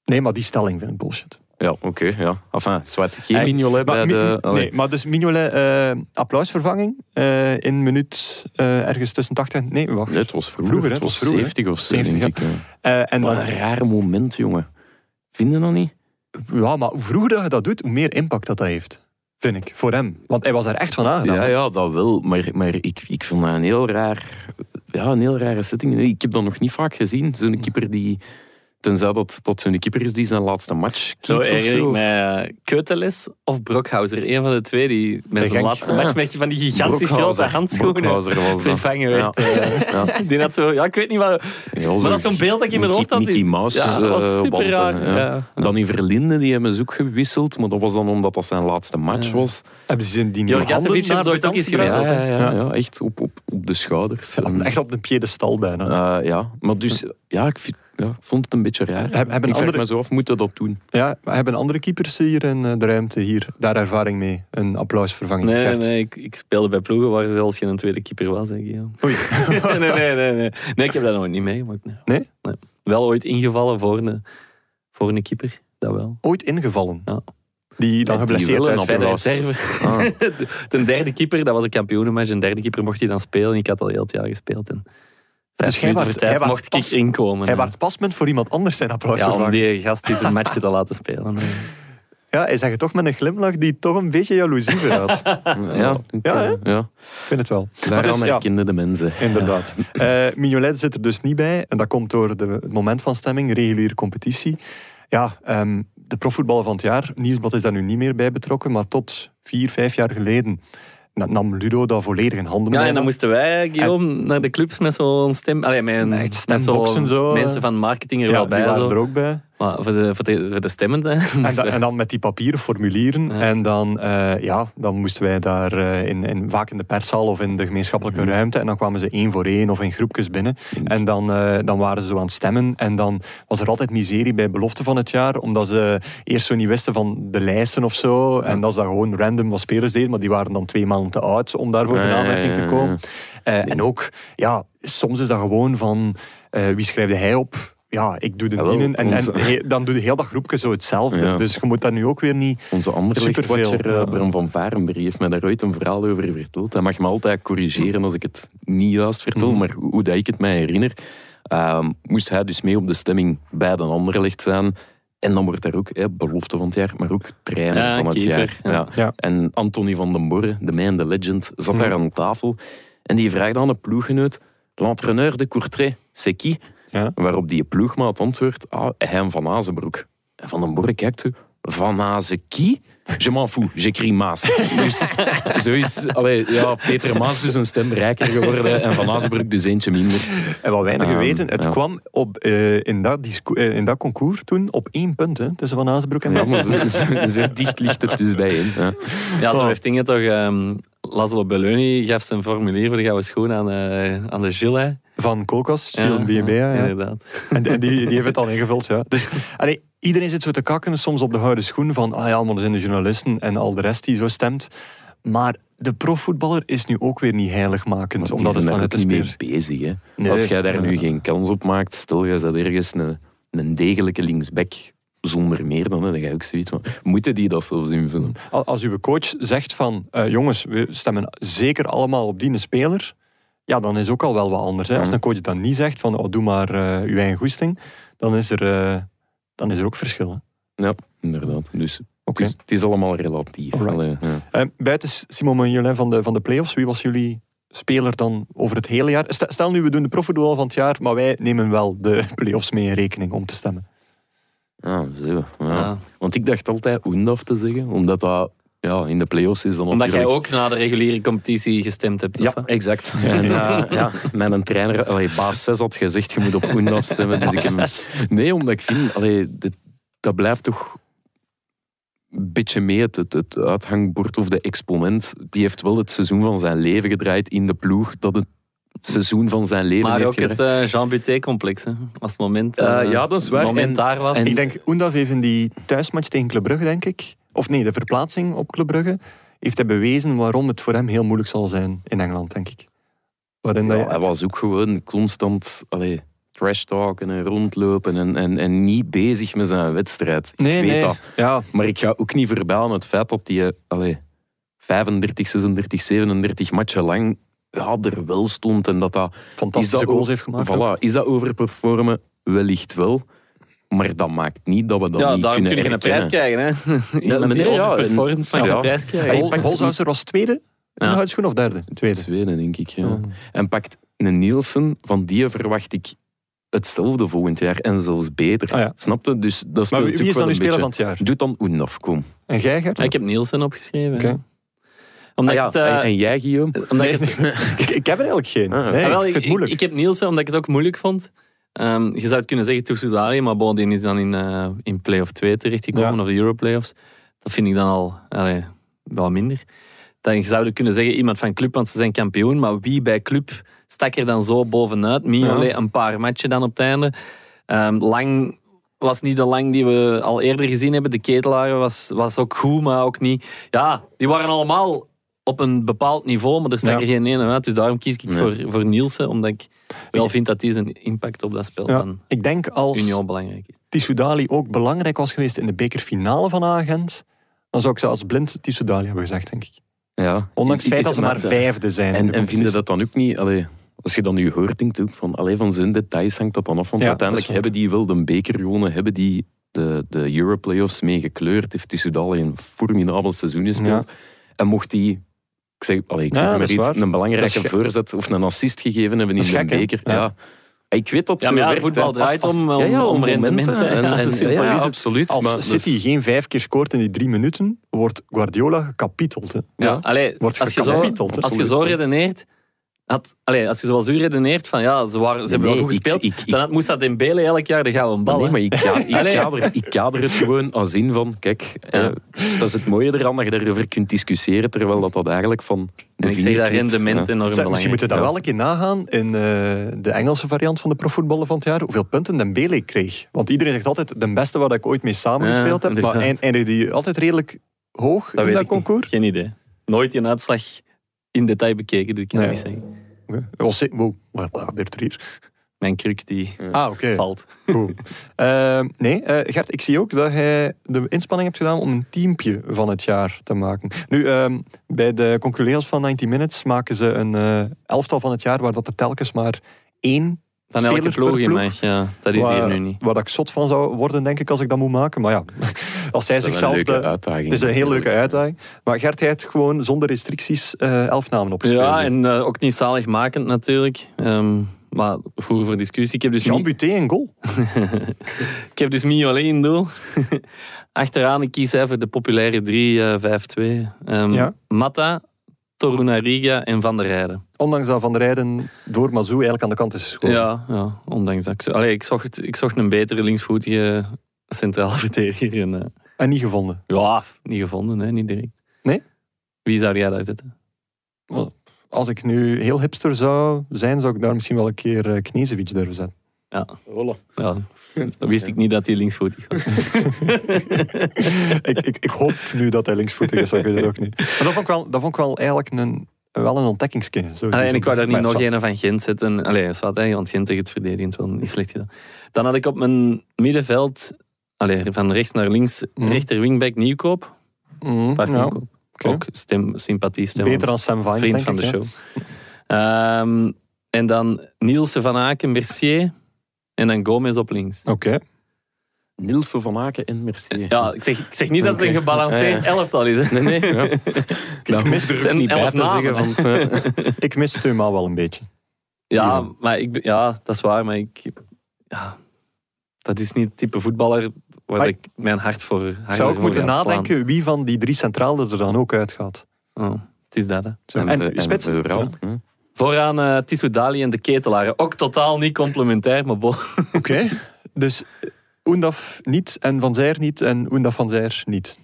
Speaker 1: Nee, maar die stelling vind ik bullshit.
Speaker 4: Ja, oké. ja. Enfin, zwart. Geen
Speaker 3: Hij-
Speaker 4: Mignolet bij
Speaker 1: Maar, Mi-
Speaker 4: de... allee.
Speaker 1: nee, maar dus Mignolet, eh, applausvervanging eh, in minuut eh, ergens tussen 80 en... Nee, wacht.
Speaker 4: Nee, het was vroeger.
Speaker 1: Vroeger, hè?
Speaker 4: het was
Speaker 1: Het was vroeger,
Speaker 4: 70 of zo,
Speaker 1: 70,
Speaker 4: denk ik.
Speaker 1: Eh, en
Speaker 4: Wat
Speaker 1: dan,
Speaker 4: een raar moment, jongen. Vind je dat niet?
Speaker 1: ja, maar hoe vroeger dat je dat doet, hoe meer impact dat dat heeft. Vind ik, voor hem. Want hij was er echt van aangedaan.
Speaker 4: Ja, ja, dat wel. Maar, maar ik, ik vond dat een heel raar... Ja, een heel rare setting. Nee, Ik heb dat nog niet vaak gezien. Zo'n keeper die... Tenzij dat, dat zo'n keeper is die zijn laatste match
Speaker 3: Zo
Speaker 4: keept of
Speaker 3: herinner ik
Speaker 4: zo.
Speaker 3: mij eh, Keutelis of Brockhauser. Een van de twee die met
Speaker 1: Bij
Speaker 3: zijn
Speaker 1: Genk.
Speaker 3: laatste match met van die gigantisch grote
Speaker 4: Brockhauser.
Speaker 3: handschoenen
Speaker 4: Brockhauser was dat.
Speaker 3: vervangen werd. eh.
Speaker 4: Ja.
Speaker 3: Die had zo, ja, ik weet niet wat... Maar dat is zo'n beeld dat ik in mijn hoofd had.
Speaker 4: Mickey Mouse
Speaker 3: Ja, dat was
Speaker 4: eh,
Speaker 3: super
Speaker 4: wanten,
Speaker 3: raar,
Speaker 4: ja.
Speaker 3: ja.
Speaker 4: Dan in Verlinde, die hebben ze ook gewisseld. Maar dat was dan omdat dat zijn laatste match was.
Speaker 1: Hebben ze die
Speaker 3: Jorg Jacevic heeft ooit ook eens geweest.
Speaker 1: Ja,
Speaker 3: Ja, ja, ja.
Speaker 4: echt op, op, op de schouders.
Speaker 1: echt op een piedestal bijna.
Speaker 4: Eh, ja, maar dus, ja, ik vind- ja, ik vond het een beetje raar.
Speaker 1: Heb- hebben
Speaker 4: ik vraag
Speaker 1: andere-
Speaker 4: me zo af, moeten dat doen?
Speaker 1: Ja, maar hebben andere keepers hier in eh, de ruimte hier, daar ervaring mee? Een applausvervanging,
Speaker 3: Nee, nee,
Speaker 1: Gert?
Speaker 3: nee, ik, ik speelde bij ploegen waar zelfs geen tweede keeper was, denk ik. ja.
Speaker 1: Oei.
Speaker 3: nee, nee, nee, nee. Nee, ik heb dat nooit niet meegemaakt. nee.
Speaker 1: Nee?
Speaker 3: Wel ooit ingevallen voor een, voor een keeper, dat wel.
Speaker 1: Ooit ingevallen.
Speaker 3: Ja.
Speaker 1: Die dan
Speaker 4: Die
Speaker 1: geblesseerd
Speaker 4: willen
Speaker 1: uit
Speaker 3: Bij de
Speaker 4: applaus.
Speaker 3: reserve.
Speaker 4: Ah.
Speaker 3: De- de derde keeper, dat was een kampioenenmatch. Een derde keeper mocht hij dan spelen. Ik had al heel het jaar gespeeld. En vijf
Speaker 1: Dus jij
Speaker 3: minuten
Speaker 1: waart-
Speaker 3: voor tijd
Speaker 1: hij waart
Speaker 3: mocht ik
Speaker 1: pas-
Speaker 3: inkomen.
Speaker 1: Hij waard pasmunt voor iemand anders zijn
Speaker 3: ja, om
Speaker 1: applausvervanging.
Speaker 3: die gast eens een matchje te laten spelen.
Speaker 1: Ja, hij zegt het toch met een glimlach die toch een beetje jaloezie verraadt. ik
Speaker 4: Ja, ik,
Speaker 1: Ja, hè?
Speaker 4: eh, ja.
Speaker 1: vind het wel. Maar
Speaker 4: Daaraan
Speaker 1: dus, ja,
Speaker 4: herkenden de mensen.
Speaker 1: inderdaad. Eh Mignolet zit er dus niet bij. En dat komt door de, het moment van stemming, reguliere competitie. Ja, ehm, de profvoetballer van het jaar. Nieuwsblad is daar nu niet meer bij betrokken. Maar tot vier, vijf jaar geleden na- nam Ludo dat volledig in handen.
Speaker 3: Ja, en
Speaker 1: bijna.
Speaker 3: dan moesten wij, Guillaume, naar de clubs met zo'n stem... Allee, met, een-
Speaker 1: Nee,
Speaker 3: met
Speaker 1: stemboxen zo, eh.
Speaker 3: Mensen van marketing er
Speaker 1: ja,
Speaker 3: wel bij.
Speaker 1: die waren
Speaker 3: zo.
Speaker 1: er ook bij.
Speaker 3: Maar voor de, voor de, voor de stemmen, hè.
Speaker 1: En,
Speaker 3: Dus,
Speaker 1: da-
Speaker 3: eh,
Speaker 1: en dan met die papieren formulieren.
Speaker 3: Ja.
Speaker 1: En dan, eh, ja, dan moesten wij daar eh, in, in, vaak in de perszaal of in de
Speaker 4: Mhm.
Speaker 1: gemeenschappelijke ruimte. En dan kwamen ze één voor één of in groepjes binnen. En dan, eh, dan waren ze zo aan het stemmen. En dan was er altijd miserie bij belofte van het jaar. Omdat ze eerst zo niet wisten van de lijsten of zo. En dat ze dan gewoon random wat spelers deden. Maar die waren dan twee maanden te oud om daarvoor in
Speaker 4: Ja, ja,
Speaker 1: aanmerking
Speaker 4: ja,
Speaker 1: te
Speaker 4: ja.
Speaker 1: komen. Eh, en ook, ja, soms is dat gewoon van eh, wie schrijfde hij op? Ja, ik doe de
Speaker 4: Jawel,
Speaker 1: dienen. En,
Speaker 4: onze-
Speaker 1: en he- dan doe je heel dat groepje zo hetzelfde.
Speaker 4: Ja.
Speaker 1: Dus je moet dat nu ook weer niet.
Speaker 4: Onze andere
Speaker 1: Superveel,
Speaker 4: watcher
Speaker 1: ja.
Speaker 4: Bram van Varenberg, heeft mij daar ooit een verhaal over verteld. Hij mag me altijd corrigeren als ik het niet juist vertel, maar hoe dat ik het mij herinner, ehm, moest hij dus mee op de stemming bij de andere licht zijn. En dan wordt daar ook hè, belofte van het jaar, maar ook trainer
Speaker 3: Ja,
Speaker 4: van het
Speaker 3: keeper,
Speaker 4: jaar.
Speaker 3: ja.
Speaker 4: Ja. Mm.
Speaker 1: Ja.
Speaker 4: En Anthony van den Borre, de man, de legend, zat daar aan tafel. En die vraagt aan een ploeggenoot, l'entraîneur de Courtrai, c'est qui?
Speaker 1: Ja.
Speaker 4: Waarop die ploegmaat antwoordt, ah, hem van Azenbroek. En Van den Borre kijkt zo, Van Azenkie? Je m'en fous, j'écris Maas. Dus zo is allee, ja, Peter Maas dus een stem rijker geworden en Van Azenbroek dus eentje minder.
Speaker 1: En wat weinigen
Speaker 4: Ehm,
Speaker 1: weten, het
Speaker 4: ja.
Speaker 1: kwam op, eh, in, dat disco- eh, in dat concours toen op één punt hè, tussen Van Azenbroek en
Speaker 4: Ja,
Speaker 1: Van
Speaker 4: maar zo, zo- zo dicht ligt het dus bij hem. Ja.
Speaker 3: eh, Ja, zo heeft dingen toch... ehm Laszlo Belloni gaf zijn formulier voor de gouden schoen aan, eh, aan de Gilles. hè.
Speaker 1: Van Kolkas, Gilles Diabea, ja.
Speaker 3: Inderdaad.
Speaker 1: En, en die, die heeft het al ingevuld, ja. Dus, allee, iedereen zit zo te kakken, soms op de gouden schoen van, ah ja, maar er zijn de journalisten en al de rest die zo stemt. Maar de profvoetballer is nu ook weer niet heiligmakend,
Speaker 4: Maar
Speaker 1: omdat
Speaker 4: die
Speaker 1: het
Speaker 4: zijn daar
Speaker 1: vanuit de
Speaker 4: ook niet
Speaker 1: speler...
Speaker 4: mee bezig. Hè.
Speaker 1: Nee.
Speaker 4: Als jij daar nu
Speaker 1: Ja.
Speaker 4: geen kans op maakt, stel jij dat ergens een, een degelijke linksback zonder meer dan, hè, dan ga je ook zoiets van... Moeten die dat zelfs invullen?
Speaker 1: Al- Als uw coach zegt van, eh, jongens, we stemmen zeker allemaal op die speler, ja, dan is ook al wel wat anders. Hè. Als
Speaker 4: Mhm.
Speaker 1: een coach dan niet zegt van, oh, doe maar eh, uw eigen goesting, dan is er, eh, dan is er ook verschil. hè.
Speaker 4: Ja, inderdaad. Dus het
Speaker 1: Oké.
Speaker 4: is- het is allemaal relatief.
Speaker 1: Alright.
Speaker 4: Allee, ja.
Speaker 1: Eh, buiten S- Simon Mignolet van de, van de playoffs, wie was jullie speler dan over het hele jaar? Stel, stel nu, we doen de profvoetbal van het jaar, maar wij nemen wel de playoffs mee in rekening om te stemmen.
Speaker 4: Ah, zo. Ja.
Speaker 3: Ja.
Speaker 4: Want ik dacht altijd Oendaf te zeggen, omdat dat ja, in de play-offs is dan
Speaker 3: Omdat jij
Speaker 4: natuurlijk-
Speaker 3: ook na de reguliere competitie gestemd hebt.
Speaker 4: Ja,
Speaker 3: of wat?
Speaker 4: exact. En eh, ja, mijn trainer, allee, baas 6, had gezegd, je moet op Oendaf stemmen. Dus ik heb... Nee, omdat ik vind, allee, dit- dat blijft toch een beetje mee. Het, het, het uithangbord of de exponent, die heeft wel het seizoen van zijn leven gedraaid in de ploeg, dat het seizoen van zijn leven
Speaker 3: Maar
Speaker 4: heeft
Speaker 3: ook
Speaker 4: gedraaid.
Speaker 3: het eh, Jean Buté-complex. hè. Als het moment,
Speaker 4: Eh,
Speaker 3: eh,
Speaker 4: ja, dat is waar.
Speaker 3: het moment
Speaker 4: En-
Speaker 3: daar was.
Speaker 4: en-
Speaker 1: Ik denk, Oendaf heeft in die thuismatch tegen Club Brugge, denk ik, of nee, de verplaatsing op Club Brugge, heeft hij bewezen waarom het voor hem heel moeilijk zal zijn in Engeland, denk ik. Waarin dat
Speaker 4: Ja,
Speaker 1: je-
Speaker 4: hij was ook gewoon constant allee, trash talken en rondlopen en, en, en niet bezig met zijn wedstrijd. Ik
Speaker 1: nee,
Speaker 4: weet
Speaker 1: nee.
Speaker 4: dat.
Speaker 1: Ja,
Speaker 4: Maar ik ga ook niet voorbij aan het feit dat eh, hij 35, 36, 37 matchen lang ja, er wel stond. En dat dat,
Speaker 1: fantastische
Speaker 4: Is dat
Speaker 1: goals
Speaker 4: ook-
Speaker 1: heeft gemaakt. ook.
Speaker 4: voilà, is dat overperformen? Wellicht wel. Maar dat maakt niet dat we dat
Speaker 3: ja,
Speaker 4: niet
Speaker 3: daarom kun
Speaker 4: kunnen
Speaker 3: je een prijs
Speaker 4: erkennen.
Speaker 3: krijgen. Hè. Iemand die
Speaker 4: meneer, ja,
Speaker 3: overperformt, mag
Speaker 4: ja.
Speaker 3: een prijs krijgen.
Speaker 4: Hij
Speaker 1: Hol-
Speaker 4: pakt-
Speaker 1: Holzhauser was tweede in
Speaker 3: Ja.
Speaker 1: de huidschoen of derde? Tweede.
Speaker 4: Tweede, denk ik. Ja.
Speaker 1: Ja.
Speaker 4: En pakt een Nielsen, van die verwacht ik hetzelfde volgend jaar en zelfs beter.
Speaker 1: Ah, ja.
Speaker 4: Snap je? Dus dat
Speaker 1: Maar
Speaker 4: speelt
Speaker 1: wie, wie is
Speaker 4: natuurlijk
Speaker 1: dan uw speler
Speaker 4: wel
Speaker 1: van
Speaker 4: een
Speaker 1: het jaar?
Speaker 4: beetje. Doe dan Oenaf, kom.
Speaker 1: En jij, Gert?
Speaker 3: Ja, ik heb Nielsen opgeschreven.
Speaker 1: Oké.
Speaker 3: ja. Omdat
Speaker 4: Ah,
Speaker 3: ik
Speaker 4: ja,
Speaker 3: het, eh,
Speaker 4: en, en jij, Guillaume?
Speaker 3: omdat ik
Speaker 1: Nee,
Speaker 3: het
Speaker 1: ik, ik heb er eigenlijk geen.
Speaker 4: Ah, ja.
Speaker 1: Nee,
Speaker 3: Ah, wel,
Speaker 1: ik vind het moeilijk.
Speaker 3: Ik, heb Nielsen, omdat ik het ook moeilijk vond. Ehm, je zou het kunnen zeggen Toussoudali, maar bon, die is dan in, eh in play-off 2 terechtgekomen,
Speaker 1: Ja.
Speaker 3: of de Europlayoffs. Dat vind ik dan al allee, wel minder. Dan je zou kunnen zeggen iemand van club, want ze zijn kampioen. Maar wie bij club stak er dan zo bovenuit? Mignolet een paar matchen dan op het einde. Ehm, lang was niet de lang die we al eerder gezien hebben. De ketelaren was, was ook goed, maar ook niet... Ja, die waren allemaal op een bepaald niveau, maar er stak
Speaker 1: Ja.
Speaker 3: er geen ene uit. Dus daarom kies ik
Speaker 4: Nee.
Speaker 3: voor, voor Nielsen, omdat ik wel vind dat die zijn impact op dat spel
Speaker 1: Ja,
Speaker 3: van
Speaker 1: ik denk als
Speaker 3: Union belangrijk is.
Speaker 1: Tissoudali ook belangrijk was geweest in de bekerfinale van Agent, dan zou ik ze als blind Tissoudali hebben gezegd, denk ik.
Speaker 4: Ja.
Speaker 1: Ondanks het
Speaker 4: Ik-
Speaker 1: feit
Speaker 4: ik-
Speaker 1: dat ze maar vijfde zijn. in
Speaker 4: En,
Speaker 1: de
Speaker 4: en vinden
Speaker 1: competitie.
Speaker 4: dat dan ook niet... Allee, als je dan nu hoort, denk ik ook van... Allee, van zo'n details hangt dat dan af. Want
Speaker 1: Ja,
Speaker 4: uiteindelijk
Speaker 1: dat is waar.
Speaker 4: hebben die wel de beker gewonnen. Hebben die de, de Europlayoffs mee gekleurd. Heeft dus Tussudal een formidabel seizoen gespeeld. En mocht die... Ik zeg, allee, ik zeg
Speaker 1: Ja, dat
Speaker 4: maar
Speaker 1: is
Speaker 4: iets,
Speaker 1: waar.
Speaker 4: een belangrijke
Speaker 1: Dat is ge-
Speaker 4: voorzet of een assist gegeven hebben in
Speaker 1: Dat is
Speaker 4: de
Speaker 1: gek, hè?
Speaker 4: beker. Ja.
Speaker 1: Ja.
Speaker 4: Ik weet dat
Speaker 3: Ja,
Speaker 4: zo
Speaker 3: maar ja,
Speaker 4: werkt,
Speaker 3: voetbal
Speaker 4: hè.
Speaker 3: draait
Speaker 4: Als-
Speaker 3: om,
Speaker 4: als-
Speaker 3: om,
Speaker 4: ja, ja, om momenten. En,
Speaker 3: Ja, zo
Speaker 4: en-
Speaker 3: simpel
Speaker 4: ja,
Speaker 3: is het.
Speaker 4: absoluut.
Speaker 1: Als
Speaker 4: maar dus- dat is-
Speaker 1: City geen vijf keer scoort in die drie minuten, wordt Guardiola gekapiteld. Hè. Dus
Speaker 4: Ja.
Speaker 3: Allee,
Speaker 1: Wordt
Speaker 3: als, je zo,
Speaker 1: gekapiteld, hè,
Speaker 3: als je
Speaker 1: zoiets,
Speaker 3: zo
Speaker 1: hè.
Speaker 3: redeneert... Had, allee, als je zoals u redeneert, van ja, ze, waren, ze hebben wel
Speaker 4: Nee,
Speaker 3: goed
Speaker 4: ik-
Speaker 3: gespeeld,
Speaker 4: ik- ik-
Speaker 3: dan had Moussa Dembele elk jaar de gouden bal.
Speaker 4: Nee,
Speaker 3: hè.
Speaker 4: maar ik, ka- ik,
Speaker 3: Allee.
Speaker 4: kader, ik kader het gewoon als in van, kijk, eh, dat is het mooie eraan dat je daarover kunt discussiëren, terwijl dat, dat eigenlijk van... de
Speaker 3: en ik zeg
Speaker 4: vinger
Speaker 3: dat
Speaker 4: knipt.
Speaker 3: rendement
Speaker 4: Ja.
Speaker 3: enorm
Speaker 1: Zeg,
Speaker 3: belangrijk
Speaker 1: misschien moeten we dat
Speaker 3: is.
Speaker 1: wel een keer nagaan in eh, de Engelse variant van de profvoetballen van het jaar. Hoeveel punten Dembele kreeg. Want iedereen zegt altijd, de beste waar ik ooit mee samengespeeld
Speaker 3: Ja,
Speaker 1: heb. Maar
Speaker 3: inderdaad.
Speaker 1: eind- eindigde die altijd redelijk hoog
Speaker 3: Dat
Speaker 1: in
Speaker 3: weet
Speaker 1: dat
Speaker 3: ik niet.
Speaker 1: concours?
Speaker 3: Geen idee. Nooit die uitslag in detail bekeken, dus ik kan
Speaker 1: Nee.
Speaker 3: niet zeggen.
Speaker 1: Oké. Dat was oh, zeker- wow, wat wat gebeurt er hier?
Speaker 3: Mijn kruk die
Speaker 1: Ah, oké.
Speaker 3: valt.
Speaker 1: Cool. Eh, nee, eh, Gert, ik zie ook dat jij de inspanning hebt gedaan om een teampje van het jaar te maken. Nu, ehm, bij de conculeers van 90 Minutes maken ze een eh, elftal van het jaar waar dat er telkens maar één
Speaker 3: Van
Speaker 1: speler
Speaker 3: elke
Speaker 1: per
Speaker 3: ploeg in
Speaker 1: ploeg,
Speaker 3: mij, ja. Dat is
Speaker 1: waar,
Speaker 3: hier nu niet.
Speaker 1: Waar dat ik zot van zou worden, denk ik, als ik dat moet maken. Maar ja, als zij
Speaker 4: Dat is een
Speaker 1: zichzelf...
Speaker 4: leuke
Speaker 1: de-
Speaker 4: uitdaging.
Speaker 1: Het is een heel
Speaker 4: natuurlijk.
Speaker 1: leuke uitdaging. Maar Gert, jij hebt gewoon zonder restricties eh, elf namen opgeschreven.
Speaker 3: Ja, en eh, ook niet zaligmakend natuurlijk. Ehm, maar voer voor discussie. Ik heb dus,
Speaker 1: Jean
Speaker 3: Mi-
Speaker 1: Buté een goal.
Speaker 3: ik heb dus Mignolet in doel. Achteraan, ik kies even de populaire 3-5-2. Ehm,
Speaker 1: Ja.
Speaker 3: Matta, Torunariga en Van der Heijden.
Speaker 1: Ondanks dat Van der Rijden door Mazou eigenlijk aan de kant is geschoten.
Speaker 3: Ja, ja, ondanks dat. Ik, zo- allee, ik, zocht, ik zocht een betere linksvoetige centrale verdediger. En, eh,
Speaker 1: En niet gevonden.
Speaker 3: Ja, niet gevonden, hè, niet direct.
Speaker 1: Nee?
Speaker 3: Wie zou jij daar zitten?
Speaker 1: Als ik nu heel hipster zou zijn, zou ik daar misschien wel een keer eh, Knezevic durven zetten.
Speaker 3: Ja.
Speaker 4: Rollen.
Speaker 3: ja. Dat wist ik niet dat hij linksvoetig was.
Speaker 1: ik, ik, ik hoop nu dat hij linksvoetig is, maar ik weet het ook niet. Maar dat vond ik wel, dat vond ik wel eigenlijk een, wel een ontdekkingskind. zo.
Speaker 3: Allee, Ah, en ik wou daar niet
Speaker 1: Maar
Speaker 3: nog
Speaker 1: het
Speaker 3: een van Gent zetten. Allee, dat is wat, hè, want Gent tegen het verdedigend wel niet slecht gedaan. Dan had ik op mijn middenveld, allee, van rechts naar links,
Speaker 1: Mhm.
Speaker 3: rechter wingback Nieuwkoop.
Speaker 1: zat- Mm,
Speaker 3: Bart
Speaker 1: ja,
Speaker 3: Nieuwkoop. Ook stem, sympathie stem.
Speaker 1: Beter dan
Speaker 3: want
Speaker 1: Sam Vines, denk
Speaker 3: Vriend van
Speaker 1: ik,
Speaker 3: de
Speaker 1: hè.
Speaker 3: show. Ehm, en dan Nielsen van Aken, Mercier. En dan Gomez op links.
Speaker 1: Oké.
Speaker 4: Nielsen van Aken en Mercier.
Speaker 3: Ja, ik zeg, ik zeg niet dat het
Speaker 4: Oké.
Speaker 3: een gebalanceerd
Speaker 4: Ja,
Speaker 3: elftal is. Hè.
Speaker 4: Nee, nee. Ja. Nou,
Speaker 3: mis
Speaker 4: hoef ik
Speaker 3: zijn elf namen,
Speaker 4: want... eh,
Speaker 1: Ik mis Teuma wel een beetje.
Speaker 3: Ja,
Speaker 4: Ja.
Speaker 3: maar ik, ben- ja, dat is waar, maar ik, ja, dat is niet het type voetballer waar
Speaker 1: Maar-
Speaker 3: ik mijn hart voor
Speaker 1: Ik
Speaker 3: hart
Speaker 1: zou ook
Speaker 3: voor
Speaker 1: moeten
Speaker 3: ga slaan.
Speaker 1: nadenken wie van die drie centralen er dan ook uitgaat.
Speaker 3: Oh, het is dat. Hè.
Speaker 1: Zo.
Speaker 4: we-
Speaker 1: En spits.
Speaker 4: eh, we vooral.
Speaker 1: Ja.
Speaker 4: Hm.
Speaker 3: Vooraan eh Tissou Dali en de ketelaren. Ook totaal niet complementair, maar bo.
Speaker 1: Oké. Dus Oendaf niet en Van Zijr niet en Oendaf Van Zijr niet.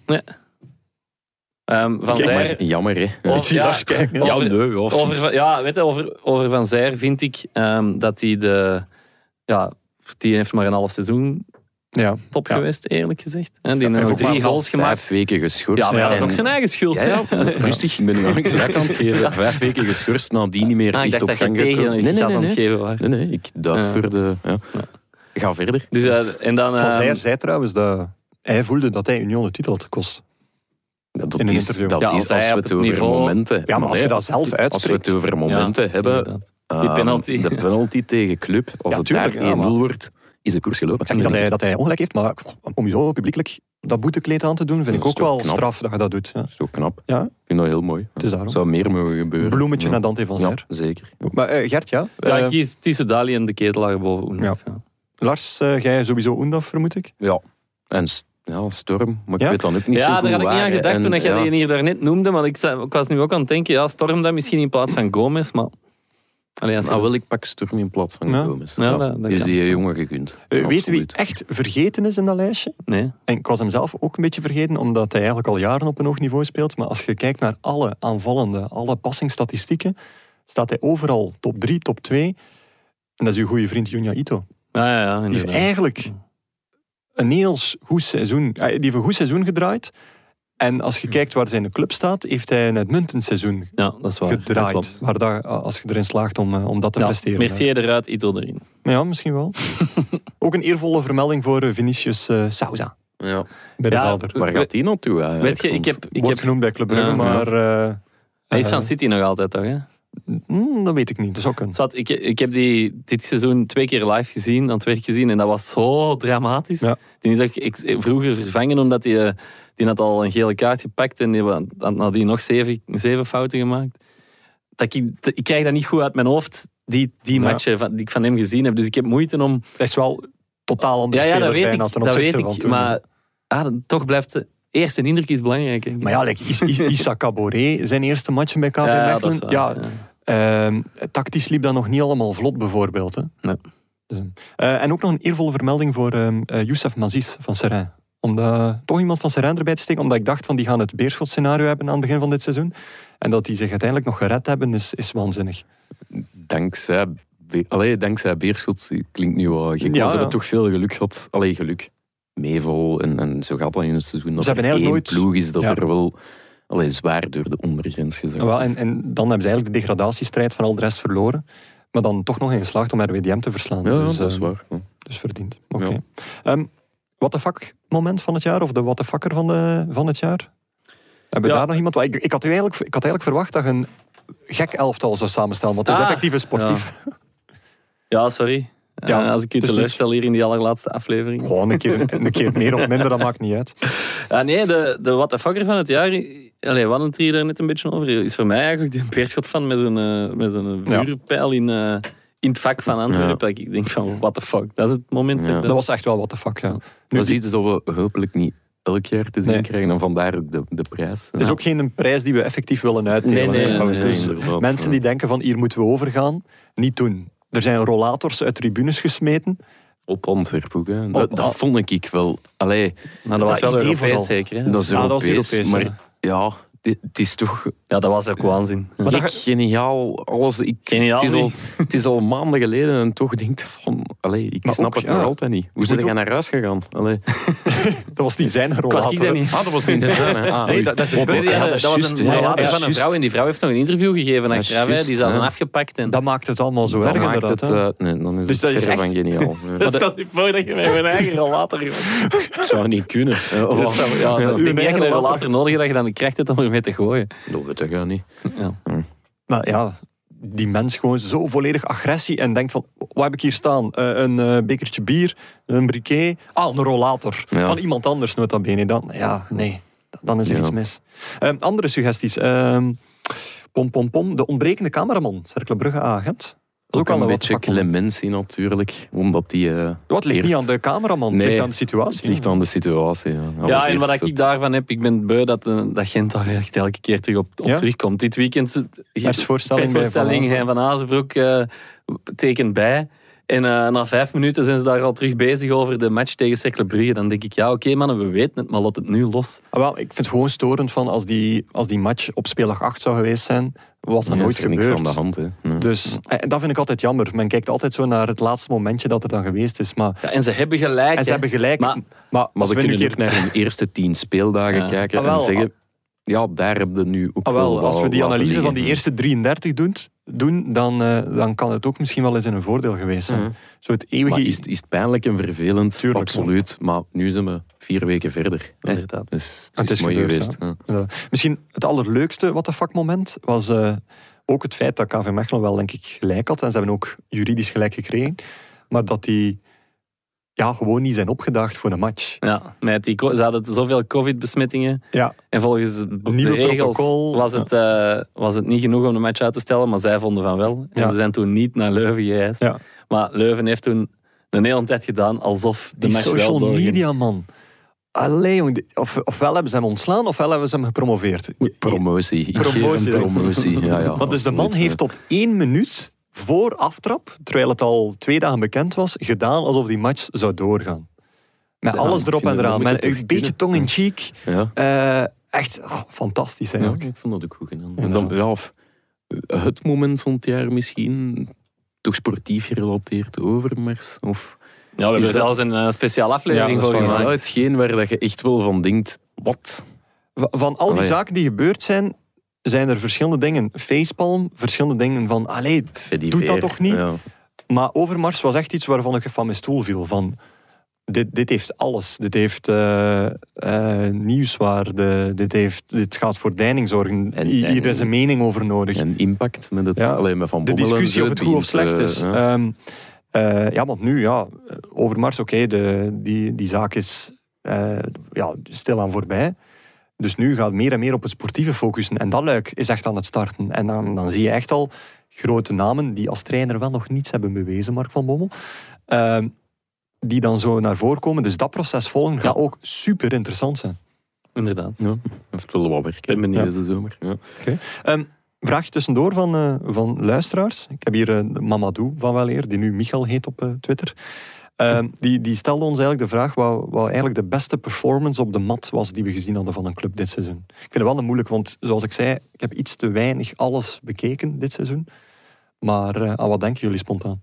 Speaker 3: Ehm, van
Speaker 1: Kijk,
Speaker 3: Zijr.
Speaker 4: Maar jammer, hè.
Speaker 3: Oh,
Speaker 1: Ik zie
Speaker 3: ja.
Speaker 1: Lars kijken.
Speaker 3: Ja. over-
Speaker 4: nee, of...
Speaker 3: Over, ja, weet je, over, over Van Zijr vind ik ehm, dat hij de. Ja, die heeft maar een half seizoen
Speaker 1: Ja.
Speaker 3: top
Speaker 1: Ja.
Speaker 3: geweest, eerlijk gezegd. En die
Speaker 1: en
Speaker 3: heeft
Speaker 1: voor
Speaker 3: drie
Speaker 1: Paas al
Speaker 3: goals
Speaker 4: Vijf
Speaker 3: gemaakt.
Speaker 4: weken geschorst.
Speaker 3: Ja, maar dat is ook
Speaker 4: En-
Speaker 3: zijn eigen schuld.
Speaker 4: Ja,
Speaker 3: hè.
Speaker 4: ja, rustig. Ik ben nu aan het aan het geven. Vijf weken geschorst, nadien niet meer
Speaker 3: Ah, ik
Speaker 4: echt
Speaker 3: dacht
Speaker 4: op
Speaker 3: dat je
Speaker 4: gang
Speaker 3: tegen
Speaker 4: gekomen.
Speaker 3: een
Speaker 4: Nee, nee,
Speaker 3: gas
Speaker 4: nee,
Speaker 3: aan het
Speaker 4: nee.
Speaker 3: geven was.
Speaker 4: Nee, nee, ik duid
Speaker 3: Ja.
Speaker 4: voor de... Ja. Ga verder.
Speaker 3: Dus, eh, en dan,
Speaker 1: Van
Speaker 3: ehm,
Speaker 1: Zijr zei trouwens dat hij voelde dat hij Union de titel had gekost.
Speaker 4: Dat,
Speaker 1: In een
Speaker 4: is,
Speaker 1: interview.
Speaker 4: dat
Speaker 3: Ja,
Speaker 4: is
Speaker 3: als
Speaker 4: als,
Speaker 3: hij
Speaker 4: we
Speaker 3: op
Speaker 4: het
Speaker 3: het
Speaker 4: over
Speaker 3: niveau-
Speaker 4: momenten
Speaker 1: Ja, maar als je
Speaker 4: hebben,
Speaker 1: dat zelf
Speaker 4: hè. Als we het
Speaker 1: uitspreekt...
Speaker 4: over momenten hebben...
Speaker 3: inderdaad.
Speaker 4: ehm,
Speaker 3: penalty.
Speaker 4: De penalty tegen Club. Als
Speaker 1: Ja,
Speaker 4: het
Speaker 1: tuurlijk,
Speaker 4: daar
Speaker 1: ja,
Speaker 4: 1-0
Speaker 1: maar-
Speaker 4: wordt, is de koers gelopen.
Speaker 1: Ik zeg niet dat hij, dat hij ongelijk heeft, maar om zo publiekelijk dat boetekleed aan te doen, vind
Speaker 4: Dat
Speaker 1: ik
Speaker 4: is
Speaker 1: ook
Speaker 4: toch
Speaker 1: wel
Speaker 4: knap.
Speaker 1: straf dat je dat doet. Ja.
Speaker 4: Zo knap.
Speaker 1: Ja.
Speaker 4: Ik vind dat heel mooi.
Speaker 1: Het is daarom.
Speaker 4: Zou meer mogen gebeuren.
Speaker 1: Bloemetje
Speaker 4: Ja.
Speaker 1: naar Dante van Zijr.
Speaker 4: Ja, zeker.
Speaker 1: Maar eh, Gert, ja.
Speaker 3: Ja,
Speaker 1: Eh,
Speaker 3: ik kies Tissou Dali en de ketelaar boven Oenhoff, ja.
Speaker 1: Lars, eh, jij sowieso Oendaf, vermoed ik.
Speaker 4: Ja. En s- ja, Storm, maar
Speaker 1: Ja?
Speaker 4: ik weet dan ook niet
Speaker 3: Ja,
Speaker 4: zo goed
Speaker 3: daar had ik niet
Speaker 4: waar,
Speaker 3: aan
Speaker 4: hè.
Speaker 3: gedacht
Speaker 4: En,
Speaker 3: toen dat jij
Speaker 4: ja.
Speaker 3: die hier daarnet noemde, maar ik, zei- ik was nu ook aan het denken, ja, Storm dan misschien in plaats van Gomez, maar... Allee, als je-
Speaker 4: Ah, wel, ik pak Storm in plaats van
Speaker 1: Ja.
Speaker 4: Gomez.
Speaker 3: Ja, dat- dat
Speaker 4: is
Speaker 3: kan.
Speaker 4: die jongen gegund.
Speaker 1: Eh, weet wie
Speaker 4: Absoluut.
Speaker 1: echt vergeten is in dat lijstje?
Speaker 3: Nee.
Speaker 1: En ik was hem zelf ook een beetje vergeten, omdat hij eigenlijk al jaren op een hoog niveau speelt. Maar als je kijkt naar alle aanvallende, alle passingstatistieken, staat hij overal top 3, top 2. En dat is uw goede vriend Junya Ito.
Speaker 3: Ja, ja, ja,
Speaker 1: Die heeft
Speaker 3: inderdaad.
Speaker 1: eigenlijk een heel goed seizoen, eh, die heeft een goed seizoen gedraaid. En als je kijkt waar zijn club staat, heeft hij een uitmuntend seizoen
Speaker 3: Ja, dat is waar. Dat
Speaker 1: gedraaid.
Speaker 3: klopt.
Speaker 1: Waar daar, als je erin slaagt om, eh, om dat te
Speaker 3: Ja,
Speaker 1: presteren.
Speaker 3: Mercier eruit, Ito erin.
Speaker 1: Ja, misschien wel. Ook een eervolle vermelding voor eh, Vinicius eh, Sousa,
Speaker 4: Ja.
Speaker 1: middenvelder.
Speaker 4: Waar gaat die naartoe eigenlijk?
Speaker 3: Weet je, ik heb... Ik
Speaker 1: Wordt
Speaker 3: heb
Speaker 1: genoemd bij Club Brugge,
Speaker 3: Ja, ja.
Speaker 1: maar... eh,
Speaker 3: hij is van
Speaker 1: eh,
Speaker 3: City nog altijd, toch? Hè?
Speaker 1: mm, dat weet ik niet, dat zou kunnen.
Speaker 3: Zwat, ik, ik heb die dit seizoen twee keer live gezien, aan het werk gezien. En dat was zo dramatisch.
Speaker 1: Ja.
Speaker 3: Die is ook ex- vroeger vervangen omdat die, eh, die had al een gele kaart gepakt. En die wa- had nadien nog zeven, zeven fouten gemaakt. Dat ik, dat- ik krijg dat niet goed uit mijn hoofd. Die,
Speaker 1: Ja.
Speaker 3: die matchen van, die ik van hem gezien heb. Dus ik heb moeite om...
Speaker 1: Hij is wel totaal anders
Speaker 3: Ja, ja dat
Speaker 1: speler
Speaker 3: weet
Speaker 1: bijna
Speaker 3: ik.
Speaker 1: ten
Speaker 3: Dat
Speaker 1: opzichte
Speaker 3: weet
Speaker 1: van
Speaker 3: ik
Speaker 1: toen.
Speaker 3: maar ah, dat- toch blijft de eerste indruk is belangrijk. denk ik.
Speaker 1: Maar ja, like, Is- Is- Issa Caboret, zijn eerste matchen bij KV
Speaker 3: Ja, dat is
Speaker 1: Mechelen.
Speaker 3: waar,
Speaker 1: Ja,
Speaker 3: ja.
Speaker 1: ehm, tactisch liep dat nog niet allemaal vlot, bijvoorbeeld. Hè.
Speaker 3: Nee.
Speaker 1: Dus, eh, en ook nog een eervolle vermelding voor ehm eh, Youssef Mazis van Serrain. Om de- toch iemand van Serrain erbij te steken, omdat ik dacht van die gaan het Beerschot-scenario hebben aan het begin van dit seizoen. En dat die zich uiteindelijk nog gered hebben, is, is waanzinnig.
Speaker 4: Dankzij, Be- Allee, dankzij Beerschot klinkt nu wel gek. maar
Speaker 1: Ja,
Speaker 4: ze
Speaker 1: ja.
Speaker 4: hebben toch veel geluk gehad. Allee, geluk. Meeval en, en zo gaat dat in het seizoen. Dat
Speaker 1: Ze hebben
Speaker 4: er
Speaker 1: eigenlijk
Speaker 4: één
Speaker 1: nooit-
Speaker 4: ploeg is dat
Speaker 1: Ja.
Speaker 4: er wel allee, zwaar door de ondergrens gezakt
Speaker 1: Wel,
Speaker 4: is.
Speaker 1: en, en dan hebben ze eigenlijk de degradatiestrijd van al de rest verloren. Maar dan toch nog in geslaagd om RWDM te verslaan.
Speaker 4: Ja,
Speaker 1: dus,
Speaker 4: dat is
Speaker 1: ehm,
Speaker 4: waar. Ja.
Speaker 1: Dus verdiend. Oké.
Speaker 4: Ja.
Speaker 1: Ehm, what the fuck moment van het jaar? Of de what the fucker van, de, van het jaar? Hebben we
Speaker 3: Ja.
Speaker 1: daar nog iemand? Want Ik, ik, had u eigenlijk, ik had eigenlijk verwacht dat je een gek elftal zou samenstellen. Want het is
Speaker 3: Ah,
Speaker 1: effectief een sportief.
Speaker 3: Ja, sorry.
Speaker 1: Ja,
Speaker 3: Eh, als ik
Speaker 1: dus
Speaker 3: u
Speaker 1: niks.
Speaker 3: teleurstel hier in die allerlaatste aflevering.
Speaker 1: Gewoon een keer, een keer meer of minder, dat maakt niet uit.
Speaker 3: Ja, Ah, nee, de, de what the fucker van het jaar, allee, we hadden het hier daar net een beetje over, is voor mij eigenlijk die beerschot van met zijn, eh, met zijn
Speaker 1: Ja.
Speaker 3: vuurpijl in, eh, in het vak van Antwerpen. Dat Ik denk van, what the fuck, dat is het moment.
Speaker 4: Ja.
Speaker 3: dat ik
Speaker 1: Dat
Speaker 3: ben-
Speaker 1: was echt wel what the fuck, ja. Nu,
Speaker 4: Dat is
Speaker 1: die-
Speaker 4: iets dat we hopelijk niet elk jaar te zien
Speaker 1: Nee.
Speaker 4: krijgen. En vandaar ook de, de prijs.
Speaker 1: het is ook geen prijs die we effectief willen uitdelen.
Speaker 3: Nee, nee,
Speaker 1: hè,
Speaker 3: nee,
Speaker 1: trouwens.
Speaker 3: nee,
Speaker 1: dus
Speaker 4: inderdaad,
Speaker 1: mensen
Speaker 4: ja.
Speaker 1: die denken van hier moeten we overgaan, niet doen. Er zijn rollators uit tribunes gesmeten.
Speaker 4: Op Antwerpen ook. hè. Dat,
Speaker 1: Op-
Speaker 4: dat vond ik ik wel... Allee,
Speaker 3: maar dat was
Speaker 1: dat
Speaker 3: wel
Speaker 1: idee
Speaker 3: Europees
Speaker 1: vooral.
Speaker 3: zeker. Hè?
Speaker 4: dat is
Speaker 1: Ja, Ah, dat was
Speaker 4: Europees.
Speaker 1: Europees,
Speaker 4: maar
Speaker 1: ja.
Speaker 4: ja, dit- het is toch
Speaker 3: Ja, dat was ook waanzin. Ja.
Speaker 1: Maar
Speaker 4: Gek,
Speaker 1: dat ge-
Speaker 4: geniaal. Alles, ik,
Speaker 3: Geniaal
Speaker 4: het, is al,
Speaker 3: niet.
Speaker 4: het is al maanden geleden en toch denk ik van... allee, ik
Speaker 1: Maar
Speaker 4: snap
Speaker 1: ook,
Speaker 4: het
Speaker 1: ja.
Speaker 4: nog altijd niet. Hoe zijn
Speaker 1: moet
Speaker 4: jij naar huis gegaan? Allee.
Speaker 1: Dat was niet zijn rol.
Speaker 3: Ik was
Speaker 1: laten
Speaker 3: ik
Speaker 1: we-
Speaker 3: dat niet.
Speaker 4: Ah, dat was niet interessant. hè? Ah,
Speaker 1: Nee,
Speaker 4: oei.
Speaker 1: dat- dat is het
Speaker 4: Hop,
Speaker 1: punt.
Speaker 4: hop,
Speaker 3: Nee,
Speaker 1: Ja,
Speaker 4: hop.
Speaker 3: dat, dat was
Speaker 4: juist,
Speaker 3: een
Speaker 4: ja,
Speaker 3: ja,
Speaker 4: dat is
Speaker 3: van een
Speaker 4: juist.
Speaker 3: vrouw en die vrouw heeft nog een interview gegeven
Speaker 4: is
Speaker 3: achteraf. hè.
Speaker 4: juist,
Speaker 3: Die is al
Speaker 4: ja.
Speaker 3: afgepakt. En...
Speaker 1: Dat maakt het allemaal zo
Speaker 4: Dat
Speaker 1: erg
Speaker 4: maakt
Speaker 1: inderdaad.
Speaker 4: het...
Speaker 1: hè.
Speaker 4: eh, nee, dan is
Speaker 1: Dus
Speaker 4: het
Speaker 1: dat is
Speaker 4: verre
Speaker 1: echt-
Speaker 4: van geniaal. Ja.
Speaker 3: Stel je voor dat je met mijn eigen rollator... jongen.
Speaker 4: Dat zou niet kunnen. Eh, of-
Speaker 3: Dat zou- Ja,
Speaker 4: Ja,
Speaker 3: ik denk niet dat je
Speaker 1: eigen
Speaker 3: een
Speaker 1: rollator.
Speaker 3: rollator nodig hebt dat je dan de kracht hebt om ermee te gooien.
Speaker 4: Dat weet ik niet.
Speaker 3: Ja.
Speaker 4: Nou
Speaker 1: Maar ja, die mens gewoon zo volledig agressie en denkt van, wat heb ik hier staan? Eh, een eh, bekertje bier, een briquet, ah, een rollator.
Speaker 4: Ja.
Speaker 1: Van iemand anders nota bene dan. Ja, nee, dan is er
Speaker 4: Ja.
Speaker 1: iets mis. Ehm, andere suggesties. Ehm, pom, pom, pom. De ontbrekende cameraman, Cercle Brugge agent. Dat is
Speaker 4: Ook
Speaker 1: ook al
Speaker 4: een
Speaker 1: wat
Speaker 4: beetje
Speaker 1: vakman.
Speaker 4: clementie natuurlijk, omdat die... eh,
Speaker 1: Wat ligt niet
Speaker 4: eerst-
Speaker 1: aan de cameraman, het
Speaker 4: Nee,
Speaker 1: ligt aan de situatie.
Speaker 4: Het ligt aan de situatie. Ja, Alles
Speaker 3: Ja, en wat
Speaker 4: eerst
Speaker 3: ik
Speaker 4: het-
Speaker 3: daarvan heb, ik ben beu dat, eh, dat Gent daar echt elke keer terug op, op
Speaker 1: Ja?
Speaker 3: terugkomt. Dit weekend...
Speaker 1: Persvoorstelling bij
Speaker 3: Persvoorstelling,
Speaker 1: Van
Speaker 3: hè, Van Azenbroek eh, tekent bij. En eh, na vijf minuten zijn ze daar al terug bezig over de match tegen Cercle Brugge. Dan denk ik, ja, oké mannen, we weten het, maar laat het nu los.
Speaker 1: Ah, wel, ik vind het gewoon storend van als die, als die match op speeldag 8 zou geweest zijn, was dat
Speaker 4: Ja,
Speaker 1: nooit
Speaker 4: is er niks aan de
Speaker 1: gebeurd.
Speaker 4: hand. Hè. Ja.
Speaker 1: Dus eh, dat vind ik altijd jammer. Men kijkt altijd zo naar het laatste momentje dat er dan geweest is. Maar,
Speaker 3: Ja, en ze hebben
Speaker 1: en
Speaker 3: gelijk.
Speaker 1: ze
Speaker 3: hè.
Speaker 1: hebben gelijk.
Speaker 3: Maar-
Speaker 1: Maar, maar
Speaker 4: Maar
Speaker 1: als
Speaker 4: ze
Speaker 1: we nu
Speaker 4: kunnen
Speaker 1: een
Speaker 4: ook
Speaker 1: keer...
Speaker 4: naar hun eerste tien speeldagen
Speaker 3: Ja.
Speaker 4: kijken
Speaker 1: Ah, wel,
Speaker 4: en zeggen... Ja, daar heb je nu ook
Speaker 1: Ah, wel,
Speaker 4: wel
Speaker 1: als we
Speaker 4: wat
Speaker 1: die
Speaker 4: laten
Speaker 1: analyse van
Speaker 4: liggen.
Speaker 1: die eerste 33 doen, doen dan, eh, dan kan het ook misschien wel eens in een voordeel geweest zijn.
Speaker 4: Mhm.
Speaker 1: Zo het eeuwige...
Speaker 4: Maar is, is het pijnlijk en vervelend?
Speaker 1: Tuurlijk,
Speaker 4: Absoluut. Maar nu zijn we vier weken verder. hè.
Speaker 3: Inderdaad.
Speaker 4: Dus
Speaker 1: Het
Speaker 4: het
Speaker 1: is
Speaker 4: is mooi
Speaker 1: gebeurd,
Speaker 4: geweest. Ja.
Speaker 1: Eh, misschien het allerleukste wat de vakmoment was eh, ook het feit dat KV Mechelen wel denk ik gelijk had. En ze hebben ook juridisch gelijk gekregen. Maar dat die ja, gewoon niet zijn opgedaagd voor een match.
Speaker 3: Ja, met die, co- ze hadden zoveel covid-besmettingen.
Speaker 1: Ja,
Speaker 3: En volgens de
Speaker 1: Nieuwe
Speaker 3: regels
Speaker 1: protocol.
Speaker 3: was het, eh, was het niet genoeg om de match uit te stellen, maar zij vonden van wel. En
Speaker 1: Ja.
Speaker 3: ze zijn toen niet naar Leuven gereisd.
Speaker 1: Ja.
Speaker 3: Maar Leuven heeft toen een hele tijd gedaan alsof de
Speaker 1: die
Speaker 3: match wel
Speaker 1: social
Speaker 3: doorging.
Speaker 1: media man. Allee, jong, die- of, ofwel hebben ze hem ontslaan, ofwel hebben ze hem gepromoveerd.
Speaker 4: Promotie. Ik geef hem
Speaker 1: Promotie, hè.
Speaker 4: promotie. Ja, ja,
Speaker 1: Want dus de man
Speaker 4: absoluut,
Speaker 1: heeft
Speaker 4: ja.
Speaker 1: tot één minuut voor aftrap, terwijl het al twee dagen bekend was, gedaan alsof die match zou doorgaan. Met
Speaker 4: Ja,
Speaker 1: alles
Speaker 4: ik
Speaker 1: erop
Speaker 4: vind
Speaker 1: en
Speaker 4: dat
Speaker 1: eraan.
Speaker 4: moet je
Speaker 1: Met
Speaker 4: toch
Speaker 1: een beetje
Speaker 4: kunnen.
Speaker 1: tong in cheek.
Speaker 4: Ja.
Speaker 1: Eh, echt oh, fantastisch
Speaker 4: Ja,
Speaker 1: eigenlijk.
Speaker 4: ik vond dat ook goed gedaan. En dan, ja, of het moment van het jaar misschien toch sportief gerelateerd overmars? Of
Speaker 3: Ja, we hebben
Speaker 4: Is dat-
Speaker 3: zelfs een eh, speciale aflevering
Speaker 1: Ja, dat
Speaker 3: voor
Speaker 1: is
Speaker 4: is dat
Speaker 3: gemaakt.
Speaker 4: hetgeen waar dat je echt wel van denkt, wat?
Speaker 1: Va- Van al die
Speaker 4: Allee.
Speaker 1: zaken die gebeurd zijn, zijn er verschillende dingen. Facepalm, verschillende dingen van... Allee,
Speaker 4: Freddy
Speaker 1: Doet dat
Speaker 4: Veer.
Speaker 1: toch niet?
Speaker 4: Ja.
Speaker 1: maar Overmars was echt iets waarvan ik van mijn stoel viel. Van, dit, dit heeft alles. Dit heeft eh, eh, nieuwswaarde. Dit, heeft, dit gaat voor deining zorgen.
Speaker 4: En-
Speaker 1: Hi- Hier
Speaker 4: en-
Speaker 1: is een mening over nodig.
Speaker 4: En impact met het,
Speaker 1: Dus Ja.
Speaker 4: alleen met
Speaker 1: de
Speaker 4: Van Bommel en
Speaker 1: discussie
Speaker 4: zo,
Speaker 1: of het
Speaker 4: die
Speaker 1: goed of
Speaker 4: in het,
Speaker 1: slecht is.
Speaker 4: eh,
Speaker 1: Ehm,
Speaker 4: ja.
Speaker 1: eh, Ja, want nu, ja, Overmars, oké, de- die, die zaak is eh ja, stilaan voorbij. Dus nu gaat meer en meer op het sportieve focussen. En dat luik is echt aan het starten. En dan, dan zie je echt al grote namen die als trainer wel nog niets hebben bewezen, Mark van Bommel. ehm, die dan zo naar voren komen. Dus dat proces volgen gaat ook super interessant zijn.
Speaker 3: Inderdaad. Ik
Speaker 4: Ja, heeft wel wat werk.
Speaker 3: ben benieuwd.
Speaker 4: Ja. Deze zomer. Ja.
Speaker 1: Ehm vraagje tussendoor van, eh, van luisteraars. Ik heb hier eh, Mamadou van Weleer, die nu Michal heet op eh, Twitter. Ehm, die, die stelde ons eigenlijk de vraag wat, wat eigenlijk de beste performance op de mat was die we gezien hadden van een club dit seizoen. Ik vind het wel een moeilijk, want zoals ik zei, ik heb iets te weinig alles bekeken dit seizoen. Maar eh, aan wat denken jullie spontaan?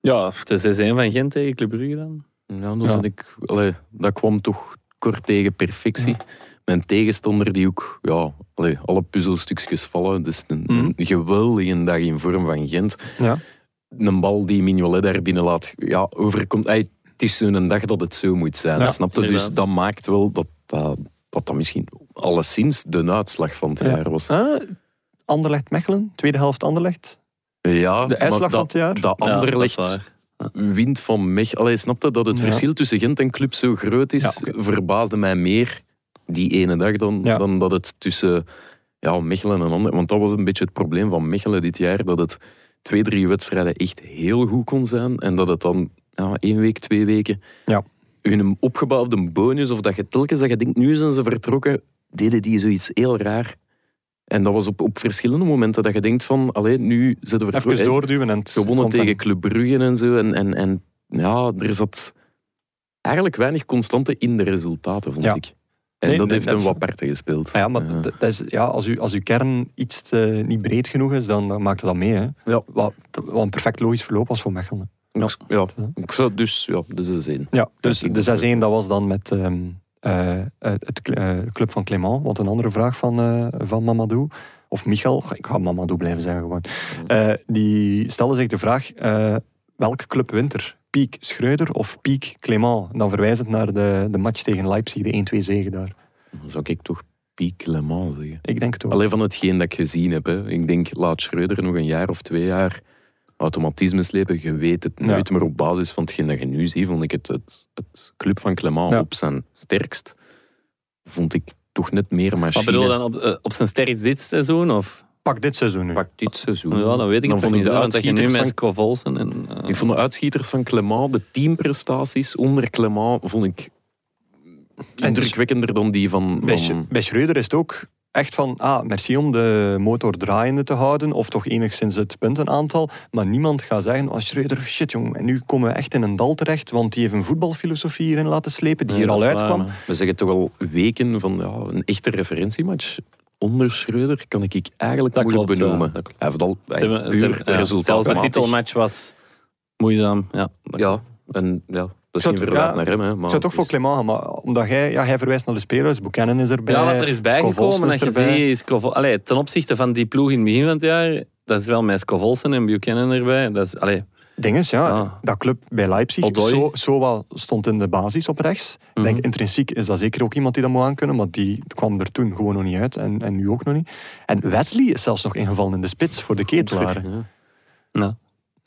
Speaker 3: Ja, de 6-1 van Gent tegen Club Brugge dan.
Speaker 4: Ja, dan
Speaker 1: Ja.
Speaker 4: zat ik, allee, dat kwam toch kort tegen perfectie. Mijn tegenstander die ook ja, allee, alle puzzelstukjes vallen. Dus een,
Speaker 1: Mhm.
Speaker 4: een geweldige dag in vorm van Gent.
Speaker 1: Ja.
Speaker 4: Een bal die Mignolet daar binnen laat. Ja, overkomt. Ey, het is zo'n dag dat het zo moet zijn.
Speaker 1: Ja,
Speaker 4: snap je? Dus
Speaker 3: inderdaad.
Speaker 4: dat maakt wel dat dat, dat, dat misschien alleszins de uitslag van het
Speaker 1: Ja.
Speaker 4: jaar was.
Speaker 1: Eh, Anderlecht-Mechelen, tweede helft Anderlecht.
Speaker 4: Ja,
Speaker 1: De uitslag
Speaker 4: maar
Speaker 1: van het
Speaker 4: dat,
Speaker 1: jaar.
Speaker 4: dat
Speaker 3: Ja,
Speaker 4: ander
Speaker 3: dat is
Speaker 4: ligt
Speaker 3: waar.
Speaker 4: wind van Mech. Allee, snap je dat het
Speaker 1: Ja.
Speaker 4: verschil tussen Gent en club zo groot is?
Speaker 1: Ja,
Speaker 4: Verbaasde mij meer die ene dag dan,
Speaker 1: Ja.
Speaker 4: dan dat het tussen ja, Mechelen en ander. Want dat was een beetje het probleem van Mechelen dit jaar. Dat het twee, drie wedstrijden echt heel goed kon zijn. En dat het dan ja, één week, twee weken
Speaker 1: Ja.
Speaker 4: hun opgebouwde bonus. Of dat je telkens dat je denkt, nu zijn ze vertrokken. Deden die zoiets heel raar. En dat was op, op verschillende momenten dat je denkt van, allee, nu zitten we
Speaker 1: Even
Speaker 4: vertrokken.
Speaker 1: doorduwen. En het
Speaker 4: Gewonnen
Speaker 1: komt dan.
Speaker 4: tegen Club Brugge en zo. En, en, en ja, er zat eigenlijk weinig constante in de resultaten, vond
Speaker 1: Ja.
Speaker 4: ik. En
Speaker 1: Nee,
Speaker 4: dat
Speaker 1: nee,
Speaker 4: heeft hem
Speaker 1: dat-
Speaker 4: wat parten gespeeld. Eh,
Speaker 1: Ah ja, maar
Speaker 4: Ja.
Speaker 1: d- Dat is, ja, als, u, als uw kern iets te- niet breed genoeg is, dan, dan maakt het dat mee. Hè.
Speaker 4: Ja.
Speaker 1: Wat, wat een perfect logisch verloop was voor Mechelen.
Speaker 4: Ja, ja. Ik zou- dus ja, dus is één.
Speaker 1: Ja, dus
Speaker 4: ik
Speaker 1: de 6-1 dat was dan met ehm, eh, het, het cl- eh, club van Clément. Want een andere vraag van, eh, van Mamadou, of Michel, ga- ik ga Mamadou blijven zeggen gewoon. Eh, die stelde zich de vraag, eh, welke club wint er? Piek Schreuder of Piek Clément? En Dan verwijzend naar de, de match tegen Leipzig, de 1-2 zege daar.
Speaker 4: Dan zou ik toch Piek Le Mans zeggen.
Speaker 1: Ik denk het ook.
Speaker 4: Alleen van hetgeen dat ik gezien heb. Hè. Ik denk, laat Schreuder nog een jaar of twee jaar automatisme slepen. Je weet het nooit, maar op basis van hetgeen dat je nu ziet, vond ik het, het, het club van Clement
Speaker 1: Ja.
Speaker 4: op zijn sterkst. Vond ik toch net meer machine.
Speaker 3: Wat bedoel je dan op, eh, op zijn sterkst dit seizoen? Of?
Speaker 1: Pak dit seizoen nu.
Speaker 4: Pak dit seizoen.
Speaker 3: Ja, dan weet ik het
Speaker 4: Dan
Speaker 3: nog
Speaker 4: vond ik
Speaker 3: niet.
Speaker 4: de
Speaker 3: hè, Want dat je nu
Speaker 4: uitschieters
Speaker 3: met
Speaker 4: van-
Speaker 3: Scovolsen en... eh,
Speaker 4: Ik vond de uitschieters van Clement, de teamprestaties onder Clement, vond ik
Speaker 1: dus-
Speaker 4: indrukwekkender dan die van...
Speaker 1: Bij, Sch-
Speaker 4: van
Speaker 1: bij Schreuder is het ook echt van, ah, merci om de motor draaiende te houden, of toch enigszins het puntenaantal. Maar niemand gaat zeggen, oh Schreuder, shit jong, en nu komen we echt in een dal terecht, want die heeft een voetbalfilosofie hierin laten slepen, die hier
Speaker 3: dat
Speaker 1: al
Speaker 3: is
Speaker 1: uitkwam.
Speaker 3: waar, maar-
Speaker 4: we zeggen toch al weken van ja, een echte referentiematch. Onder Schreuder kan ik ik eigenlijk
Speaker 3: Dat
Speaker 4: moeilijk
Speaker 3: klopt, ja,
Speaker 4: benoemen.
Speaker 3: dat
Speaker 4: Hij heeft al
Speaker 3: Ze hebben- ze hebben- ja, Zelfs de
Speaker 4: resultaat.
Speaker 3: titelmatch was moeizaam. Ja,
Speaker 4: Ja, en ja, dat is
Speaker 1: zou
Speaker 4: niet
Speaker 1: het-
Speaker 4: verlaat
Speaker 1: ja,
Speaker 4: naar hem. Hè, maar
Speaker 1: Ik zou toch
Speaker 4: het
Speaker 1: voor
Speaker 4: is-
Speaker 1: Clément gaan, maar omdat hij, ja, hij verwijst naar de spelers, Buchanan is erbij,
Speaker 3: Ja,
Speaker 4: Eh,
Speaker 3: wat er is bijgekomen,
Speaker 1: Scovolsen
Speaker 3: dat
Speaker 1: is
Speaker 3: je
Speaker 1: erbij.
Speaker 3: ziet, is Scovol- Allee, ten opzichte van die ploeg in het begin van het jaar, dat is wel met Scovolsen en Buchanan erbij. Dat is, allee,
Speaker 1: Dinges, ja.
Speaker 3: Ah.
Speaker 1: Dat club bij Leipzig,
Speaker 3: Odoi.
Speaker 1: zo, Sowa stond in de basis op rechts.
Speaker 4: Mhm.
Speaker 1: Ik denk, intrinsiek is dat zeker ook iemand die dat moet aankunnen, maar die kwam er toen gewoon nog niet uit en, en nu ook nog niet. En Wesley is zelfs nog ingevallen in de spits voor de ketelaren.
Speaker 4: Ja.
Speaker 3: nou.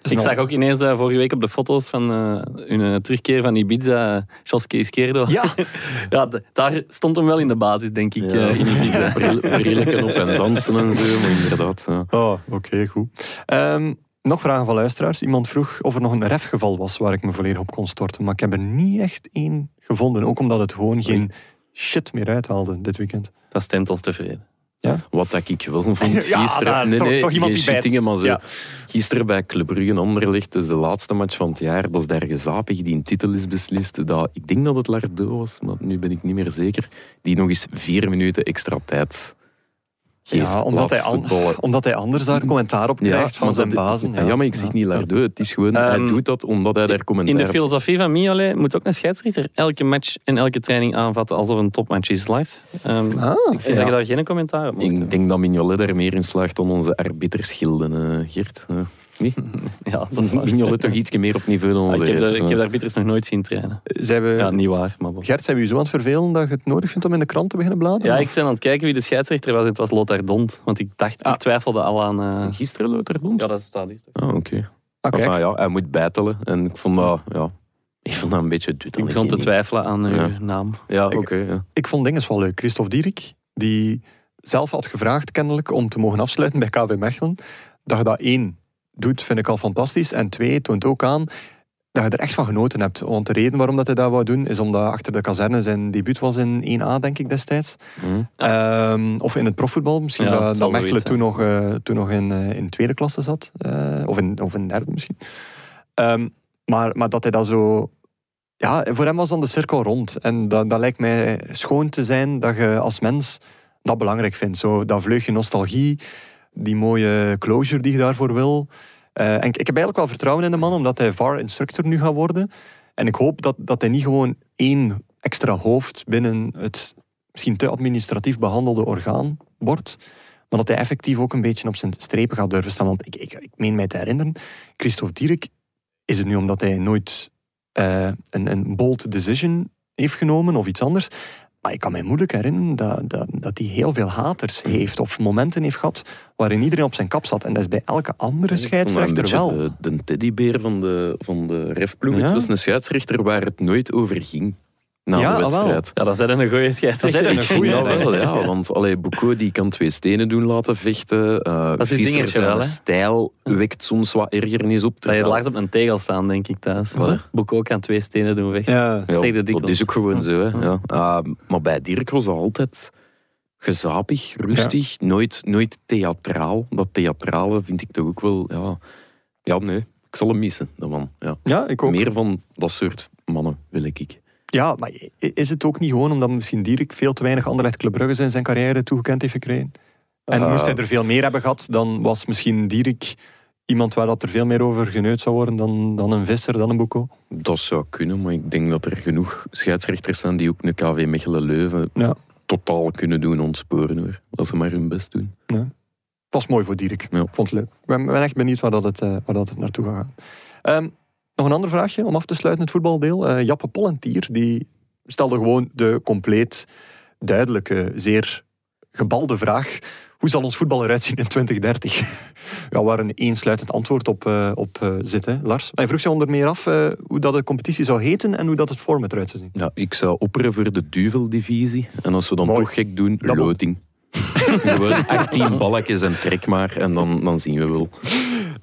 Speaker 1: Is
Speaker 3: Ik
Speaker 1: nou-
Speaker 3: zag ook ineens eh, vorige week op de foto's van eh, hun eh, terugkeer van Ibiza, uh, Joske Izquierdo.
Speaker 1: Ja,
Speaker 3: Ja, d- daar stond hem wel in de basis, denk ik.
Speaker 4: Ja,
Speaker 3: eh, in Ibiza.
Speaker 4: bril- Brillen op en dansen en zo, maar inderdaad. Ja.
Speaker 1: oh, oké, goed. Ehm, nog vragen van luisteraars. Iemand vroeg of er nog een refgeval was waar ik me volledig op kon storten, maar ik heb er niet echt één gevonden, ook omdat het gewoon geen shit meer uithaalde dit weekend.
Speaker 3: Dat stemt ons tevreden.
Speaker 4: Wat dat ik wel vond
Speaker 1: Ja,
Speaker 4: gisteren.
Speaker 1: daar,
Speaker 4: nee,
Speaker 1: toch-
Speaker 4: nee,
Speaker 1: toch iemand
Speaker 4: geen
Speaker 1: die bijt.
Speaker 4: shittingen, maar zo.
Speaker 1: Ja.
Speaker 4: Gisteren bij Club Brugge en Anderlecht, dat is de laatste match van het jaar. Dat is daar gezapig, die een titel is beslist. Dat, ik denk dat het Lardo was, maar nu ben ik niet meer zeker. Die nog eens vier minuten extra tijd geeft.
Speaker 1: Ja, omdat
Speaker 4: Laat
Speaker 1: hij, an-
Speaker 4: voetballen.
Speaker 1: omdat hij anders daar commentaar op krijgt van
Speaker 4: maar
Speaker 1: zijn
Speaker 4: dat-
Speaker 1: bazen.
Speaker 4: Ja. maar ik zeg niet Lardo. Het is gewoon, hij
Speaker 3: Ehm,
Speaker 4: doet dat omdat hij daar
Speaker 3: In
Speaker 4: commentaar
Speaker 3: de filosofie van Mignolet moet ook een scheidsrechter elke match en elke training aanvatten alsof een topmatch is, Lars. Ehm,
Speaker 1: Ah,
Speaker 3: ik vind
Speaker 4: ja.
Speaker 3: dat je daar geen commentaar op moet
Speaker 4: Ik
Speaker 3: hebben.
Speaker 4: denk dat Mignolet daar meer in slaagt dan onze arbitersgilden, eh Geert. Eh, nee?
Speaker 3: Ja, dat is waar.
Speaker 4: Mignolet toch ietsje meer op niveau dan onze
Speaker 3: ik, heb
Speaker 4: rest,
Speaker 3: daar, ik
Speaker 4: eh.
Speaker 3: heb daar Pieters nog nooit zien trainen.
Speaker 1: Zijn we,
Speaker 3: Ja, niet waar. Maar bon.
Speaker 1: Gert, zijn we je zo aan het vervelen dat je het nodig vindt om in de krant te beginnen bladeren?
Speaker 3: ja, ik ben aan het kijken wie de scheidsrechter was. Het was Lothar Dont. Want ik dacht, Ah. ik twijfelde al aan... eh,
Speaker 4: Gisteren Loterdond?
Speaker 3: dat staat hier.
Speaker 4: Ah, oké.
Speaker 1: Ah, kijk.
Speaker 4: Enfin, ja, hij moet bijtelen. En ik vond dat, ja, ik vond dat een beetje doet dat
Speaker 3: Ik begon te
Speaker 4: niet.
Speaker 3: twijfelen aan uw
Speaker 4: Ja.
Speaker 3: naam.
Speaker 4: Ja, oké. ja.
Speaker 1: Ik vond dingen wel leuk. Christophe Dierik, die zelf had gevraagd kennelijk om te mogen afsluiten bij KV Mechelen. Dat je dat één doet, vind ik al fantastisch. En twee, toont ook aan dat je er echt van genoten hebt. Want de reden waarom dat hij dat wou doen, is omdat achter de kazerne zijn debuut was in 1A, denk ik, destijds.
Speaker 4: Hm.
Speaker 1: Ehm, of in het profvoetbal misschien.
Speaker 3: Ja, het
Speaker 1: dat
Speaker 3: zal
Speaker 1: dat Mechelen
Speaker 3: zoiets
Speaker 1: toen
Speaker 3: zijn.
Speaker 1: nog, eh, toen nog in, eh, in tweede klasse zat. eh, of, in, of in derde misschien. Ehm, maar, maar dat hij dat zo... Ja, voor hem was dan de cirkel rond. En dat, dat lijkt mij schoon te zijn dat je als mens dat belangrijk vindt. Zo, dat vleugje nostalgie, die mooie closure die je daarvoor wil. Eh, en ik, ik heb eigenlijk wel vertrouwen in de man, omdat hij VAR-instructor nu gaat worden. En ik hoop dat, dat hij niet gewoon één extra hoofd binnen het misschien te administratief behandelde orgaan wordt. Maar dat hij effectief ook een beetje op zijn strepen gaat durven staan. Want ik, ik, ik meen mij te herinneren, Christophe Dierik is het nu omdat hij nooit eh, een, een bold decision heeft genomen of iets anders. Maar ik kan mij moeilijk herinneren dat, dat, dat hij heel veel haters heeft of momenten heeft gehad waarin iedereen op zijn kap zat. En dat is bij elke andere scheidsrechter
Speaker 4: Ik vond dat
Speaker 1: wel.
Speaker 4: een beetje eh, De, de teddybeer van de, van de refploeg.
Speaker 1: Ja.
Speaker 4: Het was een scheidsrechter waar het nooit over ging. Na
Speaker 1: Ja,
Speaker 4: de
Speaker 1: ah,
Speaker 4: wedstrijd.
Speaker 3: Ja, dat zijn een goede
Speaker 1: Dat zijn
Speaker 3: scheidsrechter.
Speaker 1: er
Speaker 4: Ik
Speaker 1: een
Speaker 4: vind
Speaker 1: goeie,
Speaker 4: dat
Speaker 1: hè?
Speaker 4: wel, ja. Want allee, Boeko die kan twee stenen doen laten vechten. eh
Speaker 3: is het
Speaker 4: Visser
Speaker 3: dingetje
Speaker 4: zijn
Speaker 3: wel, hè?
Speaker 4: stijl wekt soms wat ergernis op.
Speaker 3: Dat je
Speaker 4: terwijl-
Speaker 3: laag op een tegel staan, denk ik thuis.
Speaker 4: Wat?
Speaker 3: Boek ook aan twee stenen doen weg.
Speaker 1: Ja,
Speaker 3: Dat zeg je dikwijls.
Speaker 4: Dat is ook gewoon zo. Hè. Ja. Ah, maar bij Dirk was dat altijd gezapig, rustig, nooit, nooit theatraal. Dat theatrale vind ik toch ook wel... Ja, ja nee, ik zal hem missen, dat man. Ja.
Speaker 1: ja, ik ook.
Speaker 4: Meer van dat soort mannen wil ik.
Speaker 1: Ja, maar i- is het ook niet gewoon omdat misschien Dierik veel te weinig Anderlecht Club Brugge zijn, zijn carrière toegekend heeft gekregen? En
Speaker 4: Eh.
Speaker 1: moest hij er veel meer hebben gehad, dan was misschien Dierik Iemand waar dat er veel meer over geneukt zou worden dan, dan een Visser, dan een Boeko.
Speaker 4: Dat zou kunnen, maar ik denk dat er genoeg scheidsrechters zijn die ook een KV Mechelen-Leuven
Speaker 1: Ja.
Speaker 4: totaal kunnen doen ontsporen. Hoor. Dat ze maar hun best doen.
Speaker 1: was mooi voor Dierik.
Speaker 4: Ja.
Speaker 1: Vond het leuk. Ik ben, ben echt benieuwd waar dat het, eh, waar dat het naartoe gaat gaan. Ehm, nog een ander vraagje om af te sluiten het voetbaldeel. Eh, Jappe Pollentier die stelde gewoon de compleet duidelijke, zeer gebalde vraag. Hoe zal ons voetbal eruit zien in 2030? ja, waar een eensluitend antwoord op, eh, op eh, zit, hè, Lars. Hij vroeg zich onder meer af eh, hoe dat de competitie zou heten en hoe dat het format eruit zou zien.
Speaker 4: Ja, ik zou opperen voor de duveldivisie. En als we dan
Speaker 1: Mooi.
Speaker 4: toch gek doen,
Speaker 1: Double.
Speaker 4: loting. Gewoon 18 balkjes en trek maar. En dan, dan zien we wel.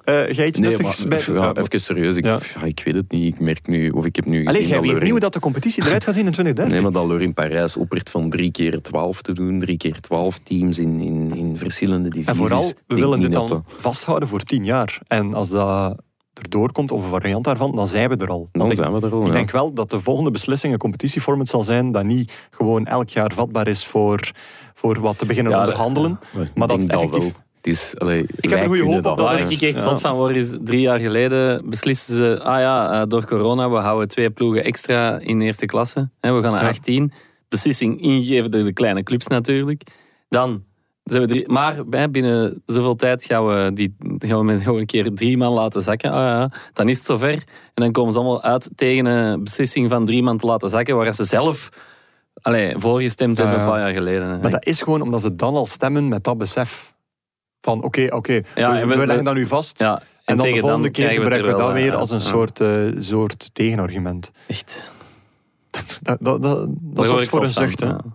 Speaker 1: Eh jij iets
Speaker 4: Nee,
Speaker 1: nuttigs
Speaker 4: maar
Speaker 1: bij...
Speaker 4: pff,
Speaker 1: Ah,
Speaker 4: ja,
Speaker 1: maar-
Speaker 4: even serieus. Ik,
Speaker 1: Ja.
Speaker 4: ja, ik weet het niet. Ik merk nu, of ik heb nu
Speaker 1: Allee,
Speaker 4: gezien
Speaker 1: jij
Speaker 4: dat
Speaker 1: weet
Speaker 4: Leur
Speaker 1: niet
Speaker 4: in-
Speaker 1: hoe dat de competitie eruit gaat zien in 2030.
Speaker 4: Nee, maar dat Leur in Parijs oppert van drie keer 12 te doen. Drie keer 12 teams in, in, in verschillende divisies.
Speaker 1: En vooral,
Speaker 4: Ik
Speaker 1: we
Speaker 4: denk
Speaker 1: willen
Speaker 4: niet
Speaker 1: dit
Speaker 4: dat
Speaker 1: dan vasthouden voor tien jaar. En als dat erdoor komt, of een variant daarvan, dan zijn we er al.
Speaker 4: dat- Dan
Speaker 1: Want ik,
Speaker 4: zijn we er al.
Speaker 1: ik
Speaker 4: ja.
Speaker 1: denk wel dat de volgende beslissing een competitieformat zal zijn dat niet gewoon elk jaar vatbaar is voor, voor wat te beginnen
Speaker 3: Ja, dat-
Speaker 1: onderhandelen.
Speaker 4: Maar,
Speaker 1: maar dat
Speaker 4: ik
Speaker 1: is
Speaker 4: denk dat
Speaker 1: effectief.
Speaker 4: wel. Het is, allee, ik
Speaker 1: heb er goede hoop op dat
Speaker 3: Waar
Speaker 1: is-
Speaker 3: ik echt
Speaker 1: ja.
Speaker 3: zat van word, is drie jaar geleden beslisten ze... Ah ja, eh, door corona, we houden twee ploegen extra in eerste klasse. Hè, we gaan naar
Speaker 1: Ja.
Speaker 3: 18. Beslissing ingegeven door de kleine clubs natuurlijk. Dan zijn we drie... Maar hè, binnen zoveel tijd gaan we, die, gaan we met gewoon een keer drie man laten zakken. Ah ja, dan is het zover. En dan komen ze allemaal uit tegen een beslissing van drie man te laten zakken, waar ze zelf... Allee, voorgestemd
Speaker 1: Ja,
Speaker 3: hebben een
Speaker 1: ja.
Speaker 3: paar jaar geleden. hè.
Speaker 1: Maar dat is gewoon omdat ze dan al stemmen met dat besef. Van oké, oké,
Speaker 3: Ja,
Speaker 1: we,
Speaker 3: en we-
Speaker 1: we
Speaker 3: we-
Speaker 1: leggen dat nu vast.
Speaker 3: ja,
Speaker 1: En, dan de
Speaker 3: tegen
Speaker 1: volgende keer
Speaker 3: krijgen we het er
Speaker 1: gebruiken we dat
Speaker 3: wel
Speaker 1: weer
Speaker 3: uit,
Speaker 1: als een
Speaker 3: ja.
Speaker 1: soort, eh, soort tegenargument.
Speaker 3: Echt.
Speaker 1: Dat, dat, dat, dat
Speaker 3: Daar hoor
Speaker 1: zorgt
Speaker 3: ik
Speaker 1: voor een
Speaker 3: zot van,
Speaker 1: zucht. hè.
Speaker 3: ja.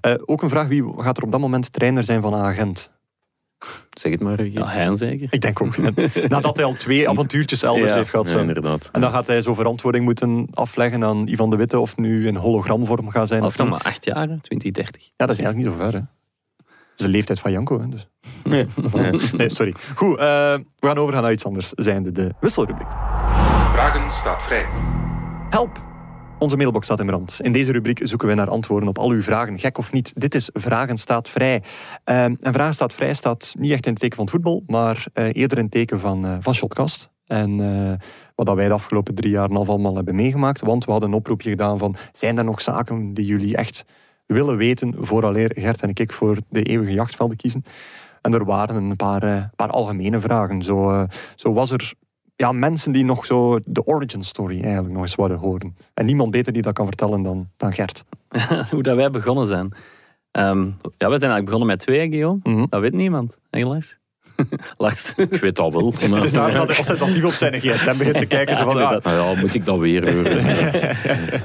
Speaker 1: Eh, ook een vraag, wie gaat er op dat moment trainer zijn van agent?
Speaker 4: Zeg het maar. Regier.
Speaker 3: Ja, Hein zeker.
Speaker 1: Ik denk ook. En Nadat hij al twee avontuurtjes elders
Speaker 3: Ja.
Speaker 1: heeft gehad.
Speaker 4: Ja,
Speaker 1: zo.
Speaker 4: inderdaad.
Speaker 1: En dan gaat hij zo verantwoording moeten afleggen aan Ivan de Witte of nu in hologramvorm gaat zijn.
Speaker 3: Dat is
Speaker 1: of
Speaker 3: nog
Speaker 1: niet.
Speaker 3: maar acht jaar, hè, 2030.
Speaker 1: Ja, dat is eigenlijk niet zo ver. Hè. Dat is de leeftijd van Janko. Hè, dus. nee. sorry. Goed, eh, we gaan overgaan naar iets anders, zijnde de wisselrubriek.
Speaker 5: Vragen staat vrij.
Speaker 1: Help! Onze mailbox staat in brand. In deze rubriek zoeken we naar antwoorden op al uw vragen. Gek of niet, dit is Vragen staat vrij. Ehm, en Vragen staat vrij staat niet echt in het teken van het voetbal, maar eh, eerder in het teken van, eh, van Shotcast. En eh, wat dat wij de afgelopen drie jaar en een half allemaal hebben meegemaakt. Want we hadden een oproepje gedaan van, zijn er nog zaken die jullie echt willen weten vooraleer Gert en ik voor de eeuwige jachtvelden kiezen? En er waren een paar, eh, paar algemene vragen. Zo, eh, zo was er ja, mensen die nog zo de origin story eigenlijk nog eens willen horen. En niemand beter die dat kan vertellen dan, dan Gert.
Speaker 3: Hoe dat wij begonnen zijn. Ehm, ja, we zijn eigenlijk begonnen met twee, hè, Guillaume.
Speaker 1: Mhm.
Speaker 3: Dat weet niemand. Hè, Lars? Lars.
Speaker 4: Ik weet dat wel. maar-
Speaker 1: Het is daarom dat hij ostentatief op zijn gsm begint te kijken. Zo van, ja,
Speaker 4: Nou ja, moet ik dat weer horen?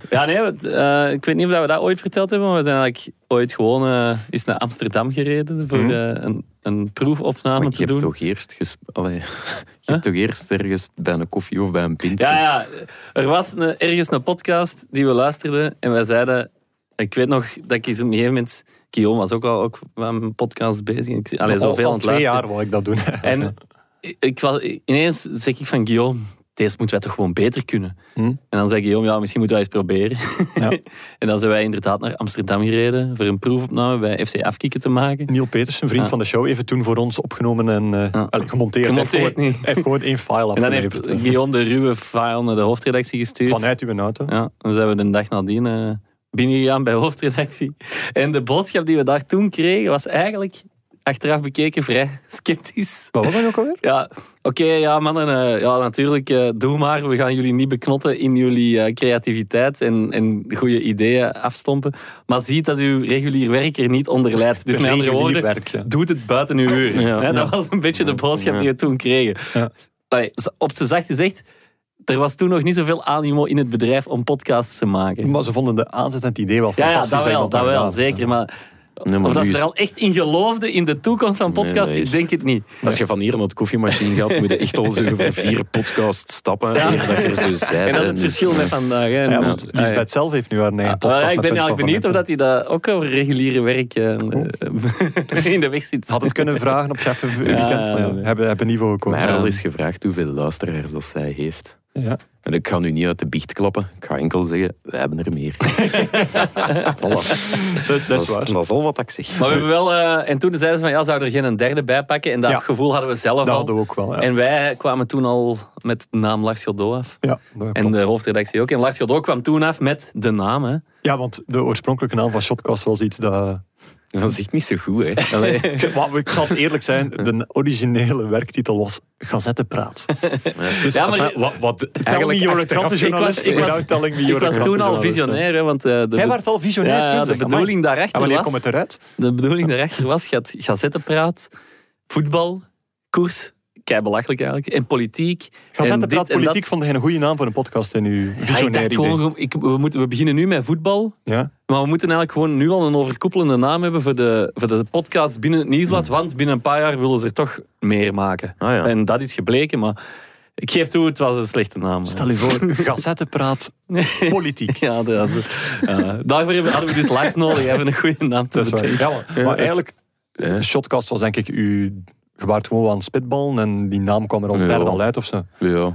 Speaker 3: ja, nee, want, eh, ik weet niet of dat we dat ooit verteld hebben, maar we zijn eigenlijk ooit gewoon eh, eens naar Amsterdam gereden voor
Speaker 1: Mhm.
Speaker 3: eh, een, een
Speaker 4: Maar
Speaker 3: proefopname
Speaker 4: je
Speaker 3: te
Speaker 4: hebt
Speaker 3: doen.
Speaker 4: toch eerst ges- Allee, je hebt toch eerst ergens bij een koffie of bij een pint.
Speaker 3: Ja, ja. Er was een- ergens een podcast die we luisterden en wij zeiden... Ik weet nog dat ik eens op een gegeven moment... Guillaume was ook al ook met een podcast bezig. Ik, zie- allee,
Speaker 1: al,
Speaker 3: zoveel
Speaker 1: al
Speaker 3: aan het
Speaker 1: twee
Speaker 3: luisteren.
Speaker 1: jaar wil ik dat doen.
Speaker 3: En ik was, ineens zeg ik van Guillaume, deze moeten wij toch gewoon beter kunnen.
Speaker 1: Hm.
Speaker 3: En dan zei Guillaume, ja, misschien moeten wij eens proberen.
Speaker 1: Ja.
Speaker 3: en dan zijn wij inderdaad naar Amsterdam gereden voor een proefopname bij FC Afkikken te maken.
Speaker 1: Neil Petersen, vriend
Speaker 3: Ja.
Speaker 1: van de show, heeft het toen voor ons opgenomen en eh,
Speaker 3: Ja.
Speaker 1: allee, gemonteerd. Hij heeft
Speaker 3: Gemonteerd
Speaker 1: gewoon-
Speaker 3: niet.
Speaker 1: Hij heeft gewoon één file
Speaker 3: En dan heeft
Speaker 1: afgeleverd. eh,
Speaker 3: Guillaume de ruwe file naar de hoofdredactie gestuurd.
Speaker 1: Vanuit uw auto.
Speaker 3: Ja, dan zijn we de dag nadien eh binnengegaan bij hoofdredactie. En de boodschap die we daar toen kregen was eigenlijk, achteraf bekeken, vrij sceptisch.
Speaker 1: Wat was dat ook alweer?
Speaker 3: Ja, oké, ja mannen, eh, ja, natuurlijk, eh, doe maar. We gaan jullie niet beknotten in jullie eh, creativiteit en, en goede ideeën afstompen. Maar zie dat uw regulier werk er niet onder leidt. Dus met andere
Speaker 1: Regulier
Speaker 3: woorden,
Speaker 1: werk, ja.
Speaker 3: doet het buiten uw uur.
Speaker 4: Ja.
Speaker 3: Hè, dat
Speaker 1: Ja.
Speaker 3: was een beetje de boodschap die we toen kregen.
Speaker 1: Ja.
Speaker 3: Allee, z- op zijn zachtst gezegd, er was toen nog niet zoveel animo in het bedrijf om podcasts te maken.
Speaker 1: Maar ze vonden de aanzet en het idee wel
Speaker 3: Ja, ja
Speaker 1: fantastisch.
Speaker 3: dat
Speaker 1: hè, eh,
Speaker 3: wel, dat
Speaker 1: daar
Speaker 3: wel
Speaker 1: gedaan.
Speaker 3: zeker. Maar,
Speaker 4: Nee, maar
Speaker 3: of dat
Speaker 4: nu
Speaker 3: ze
Speaker 4: is-
Speaker 3: er al echt in geloofden in de toekomst van
Speaker 4: Nee,
Speaker 3: podcasts,
Speaker 4: dat is-
Speaker 3: ik denk het niet.
Speaker 4: Als je van hier naar de koffiemachine gaat, moet je echt al zo over vier podcasts stappen.
Speaker 3: Ja.
Speaker 4: eer dat je er zo zijt.
Speaker 3: En dat is
Speaker 4: En-
Speaker 3: het verschil met vandaag. Hè.
Speaker 1: Ja,
Speaker 3: En-
Speaker 1: want
Speaker 3: Ah, ja.
Speaker 1: Lisbeth zelf heeft nu haar eigen podcast.
Speaker 3: Ah, ja,
Speaker 1: met
Speaker 3: ik ben
Speaker 1: Punt
Speaker 3: eigenlijk
Speaker 1: van
Speaker 3: benieuwd of
Speaker 1: Vandaag.
Speaker 3: dat hij dat ook over reguliere werk eh, eh, in de weg zit.
Speaker 1: Oh. Had het kunnen vragen op Chef Weekend, maar ja,
Speaker 3: nee.
Speaker 1: hebben, hebben niet voor gekozen.
Speaker 4: Maar al is gevraagd hoeveel luisteraars dat zij heeft.
Speaker 1: Ja.
Speaker 4: En ik ga nu niet uit de biecht klappen. Ik ga enkel zeggen, we hebben er meer. voilà.
Speaker 1: Dat is, dat is waar.
Speaker 4: Dat is al wat ik zeg.
Speaker 3: Maar we hebben wel... eh, en toen zeiden ze van, ja, zouden er geen een derde bij pakken? En dat
Speaker 1: Ja.
Speaker 3: gevoel hadden we zelf
Speaker 1: Dat
Speaker 3: al.
Speaker 1: hadden we ook wel, ja.
Speaker 3: En wij kwamen toen al met de naam Lars Godot af.
Speaker 1: Ja, dat
Speaker 3: En
Speaker 1: klopt.
Speaker 3: de hoofdredactie ook. En Lars Godot kwam toen af met de naam, hè.
Speaker 1: ja, want de oorspronkelijke naam van Shotcast was iets dat...
Speaker 4: Dat is echt niet zo goed, hè. Allee.
Speaker 1: Maar ik zal het eerlijk zijn, de originele werktitel was Gazettenpraat. Dus,
Speaker 3: Ja, maar-
Speaker 1: enfin, wat, wat, tell me
Speaker 4: Eigenlijk
Speaker 1: your
Speaker 4: achteraf,
Speaker 1: krante
Speaker 3: ik was-
Speaker 1: journalist
Speaker 3: ik was-
Speaker 1: without telling me
Speaker 3: Ik
Speaker 1: you're a
Speaker 3: was toen al
Speaker 1: krantenjournalist.
Speaker 3: visionair, hè, want eh, de,
Speaker 1: Jij werd al visionair
Speaker 3: Ja,
Speaker 1: toen,
Speaker 3: de
Speaker 1: zeg. Amai.
Speaker 3: bedoeling daarachter
Speaker 1: En wanneer
Speaker 3: was-
Speaker 1: komt het eruit?
Speaker 3: de bedoeling daarachter was, je had gazettenpraat, voetbal, koers, kei belachelijk eigenlijk, en politiek. en dit
Speaker 1: Gazettenpraat
Speaker 3: en dat.
Speaker 1: Politiek vond jij een goede naam voor een podcast in uw
Speaker 3: Ja, ik
Speaker 1: visionair
Speaker 3: dacht
Speaker 1: idee.
Speaker 3: gewoon, ik, we, moeten, we beginnen nu met voetbal,
Speaker 1: Ja?
Speaker 3: maar we moeten eigenlijk gewoon nu al een overkoepelende naam hebben voor de, voor de podcast binnen het Nieuwsblad, want binnen een paar jaar willen ze er toch meer maken.
Speaker 4: Ah, ja.
Speaker 3: En dat is gebleken, maar ik geef toe, het was een slechte naam. hè.
Speaker 1: Stel je voor, Gazettenpraat Politiek.
Speaker 3: Ja, dat, is- eh, daarvoor hebben- hadden we dus Lars nodig, hebben een goede naam te
Speaker 1: Dat is waar.
Speaker 3: bedenken.
Speaker 1: Ja, maar, maar eigenlijk, eh, Shotcast was denk ik uw... Je waart gewoon aan spitballen en die naam kwam er als
Speaker 4: Ja.
Speaker 1: derde al uit of zo.
Speaker 4: Ja.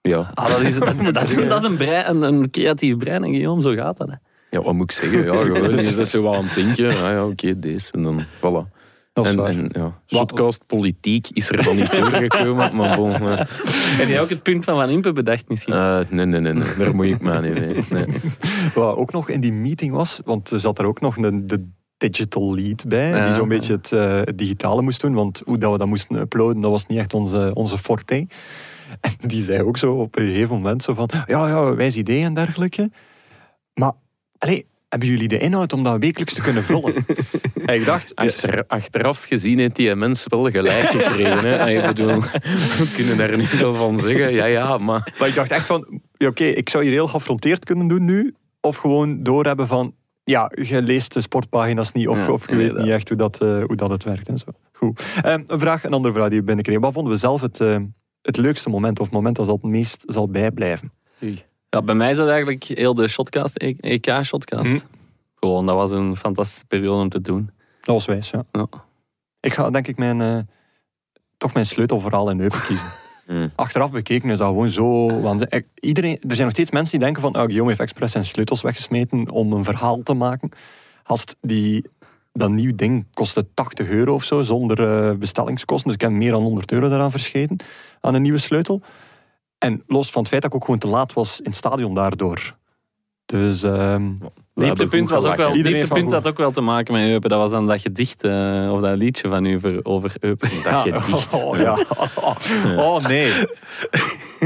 Speaker 4: Ja.
Speaker 3: Ah, dat, is, dat, dat is, dat is een, brein, een, een creatief brein, en Guillaume, zo gaat dat. Hè.
Speaker 4: ja, wat moet ik zeggen? Ja, gewoon, je zit zo wel aan het denken. Ah, ja, oké, deze. En dan, voilà.
Speaker 1: Dat is
Speaker 4: En,
Speaker 1: waar.
Speaker 4: en ja, podcast politiek is er dan niet doorgekomen, maar bon. eh,
Speaker 3: Heb jij ook het punt van Van Impe bedacht misschien?
Speaker 4: eh, nee, nee, nee, nee, daar moet ik me aan niet mee. Nee.
Speaker 1: Wat ook nog in die meeting was, want er zat er ook nog een, de digital lead bij,
Speaker 3: Ja.
Speaker 1: die zo'n beetje het, eh, het digitale moest doen, want hoe dat we dat moesten uploaden, dat was niet echt onze, onze forte. En die zei ook zo op een gegeven moment zo van, ja, ja, wijs idee en dergelijke. Maar, allee, hebben jullie de inhoud om dat wekelijks te kunnen vullen? en ik dacht,
Speaker 4: Achter- achteraf gezien heeft die mens wel gelijk gekregen. Hè. Ah, Ik bedoel, we kunnen daar niet veel van zeggen. Ja, ja, maar...
Speaker 1: maar ik dacht echt van, ja, oké, ik zou hier heel geaffronteerd kunnen doen nu, of gewoon doorhebben van, ja, je leest de sportpagina's niet, of,
Speaker 4: Ja,
Speaker 1: of je weet
Speaker 4: inderdaad.
Speaker 1: niet echt hoe dat, eh, hoe dat het werkt en zo. Goed. Ehm, een vraag, een andere vraag die we binnenkreeg. Wat vonden we zelf het, eh, het leukste moment, of het moment dat het meest zal bijblijven?
Speaker 3: Ja, bij mij is dat eigenlijk heel de shotcast, EK-shotcast. Gewoon, dat was een fantastische periode om te doen.
Speaker 1: Dat was wijs, ja.
Speaker 3: Ja.
Speaker 1: Ik ga denk ik mijn, eh, toch mijn sleutelverhaal in Eupen kiezen.
Speaker 4: Hmm.
Speaker 1: Achteraf bekeken is dat gewoon zo... Want ik- iedereen, er zijn nog steeds mensen die denken van... Oh, Guillaume heeft expres zijn sleutels weggesmeten om een verhaal te maken. Gast, die, dat nieuw ding kostte 80 euro of zo, zonder eh, bestellingskosten. Dus ik heb meer dan 100 euro daaraan verscheten, aan een nieuwe sleutel. En los van het feit dat ik ook gewoon te laat was in het stadion daardoor. Dus... ehm,
Speaker 3: Dieptepunt, was ook wel,
Speaker 1: Iedereen
Speaker 3: dieptepunt
Speaker 1: van goed.
Speaker 3: had ook wel te maken met Eupen. Dat was dan dat gedicht, eh, of dat liedje van u voor, over Eupen.
Speaker 4: Dat je
Speaker 1: ja,
Speaker 4: dicht.
Speaker 1: Oh, ja. oh nee.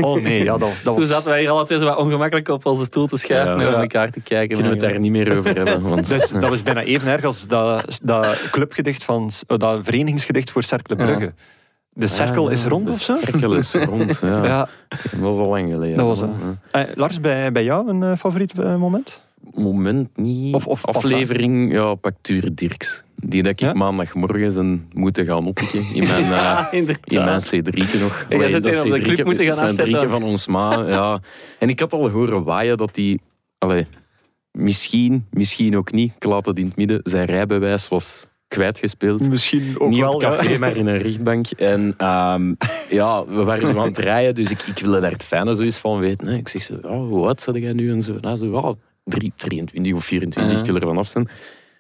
Speaker 1: Oh nee, ja, dat was... Dat
Speaker 3: Toen
Speaker 1: was
Speaker 3: zaten wij hier alle twee zo wat ongemakkelijk op onze stoel te schuiven
Speaker 4: Ja.
Speaker 3: en naar
Speaker 1: Ja.
Speaker 3: elkaar te kijken.
Speaker 4: Kunnen we het daar niet meer over hebben. Want,
Speaker 1: Dus dat was bijna even erg als dat, dat clubgedicht van eh, dat verenigingsgedicht voor Cercle Brugge. De cirkel is rond of zo?
Speaker 4: Cirkel is rond, ja.
Speaker 1: Ja,
Speaker 4: Dat was al lang geleden.
Speaker 1: dat was
Speaker 4: hè.
Speaker 1: het. Eh, Lars, bij, bij jou een eh, favoriet eh, moment?
Speaker 4: moment niet.
Speaker 1: Of- of
Speaker 4: aflevering, ja, Pactuur Dirks. Die dat ik
Speaker 1: Ja?
Speaker 4: maandagmorgen zijn moeten gaan oppikken in mijn, eh
Speaker 3: Ja, inderdaad.
Speaker 4: in mijn C3 nog.
Speaker 3: jij zit hier op de
Speaker 4: C3'tje
Speaker 3: club moeten gaan
Speaker 4: C3'tje
Speaker 3: afzetten.
Speaker 4: van ons ma, ja. En ik had al horen waaien dat die... Allee, misschien, misschien ook niet. Ik laat het in het midden. Zijn rijbewijs was kwijtgespeeld
Speaker 1: Misschien ook
Speaker 4: niet
Speaker 1: wel.
Speaker 4: op het café,
Speaker 1: ja.
Speaker 4: maar in een richtbank. En ehm, ja, we waren zo aan het rijden, dus ik, ik wilde daar het fijne zoiets van weten. Hè. Ik zeg zo, oh, hoe oud zat jij nu? En zo, nou, zo ah, drie- 23 of 24, ik wil er vanaf zijn.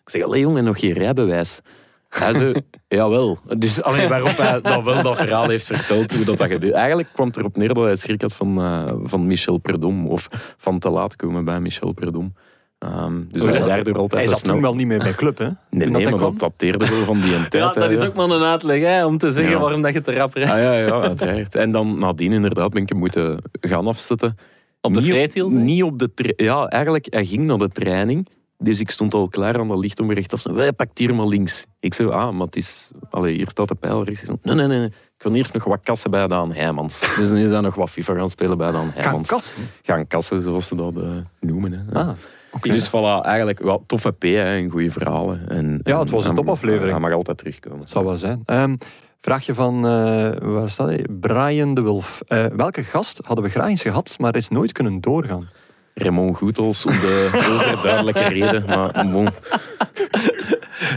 Speaker 4: Ik zeg, allee jongen, nog geen rijbewijs. Hij zo, jawel. Dus alleen waarop hij dan wel dat verhaal heeft verteld, hoe dat, dat gebeurt. Eigenlijk kwam het erop neer dat hij schrik had van, eh, van Michel Perdom, of van te laat komen bij Michel Perdom. Ehm, dus hij
Speaker 1: zat-
Speaker 4: daardoor altijd
Speaker 1: Oh Hij
Speaker 4: te
Speaker 1: zat
Speaker 4: snel.
Speaker 1: toen wel niet meer bij club, hè?
Speaker 4: Nee,
Speaker 1: toen
Speaker 4: nee,
Speaker 1: dat
Speaker 4: maar
Speaker 1: hij kwam.
Speaker 4: dat dateerde zo van die tijd.
Speaker 3: Ja, dat
Speaker 4: hè.
Speaker 3: is ook maar een uitleg, hè, om te zeggen
Speaker 4: Ja.
Speaker 3: waarom dat je te rap rijdt.
Speaker 4: Ah, ja, ja, uiteraard. En dan nadien inderdaad ben ik hem moeten gaan afzetten.
Speaker 3: Op de
Speaker 4: Niet
Speaker 3: vrijtiels, hè?
Speaker 4: Niet op de... tra- Ja, eigenlijk, hij ging naar de training. Dus ik stond al klaar aan dat licht om recht af. te- Wij pakt hier maar links. Ik zei, ah, maar het is... Allee, hier staat de pijl rechts. Ik zei, nee, nee, nee. Ik kan eerst nog wat kassen bij Daan Heijmans. Dus dan is hij nog wat FIFA gaan spelen bij Daan
Speaker 1: Gaan
Speaker 4: Heijmans.
Speaker 1: kassen.
Speaker 4: Gaan kassen, zoals ze dat eh, noemen. Hè.
Speaker 1: Ah, oké.
Speaker 4: Dus voilà, eigenlijk wel toffe P hè, en goede verhalen. En,
Speaker 1: Ja, het
Speaker 4: en
Speaker 1: was een
Speaker 4: hij-
Speaker 1: topaflevering.
Speaker 4: Hij mag altijd terugkomen.
Speaker 1: zou wel zijn. Ehm, vraagje van, eh, waar staat hij? Brian de Wolf. Eh, welke gast hadden we graag eens gehad, maar is nooit kunnen doorgaan?
Speaker 4: Raymond Goethals om de overduidelijke reden. Maar bon.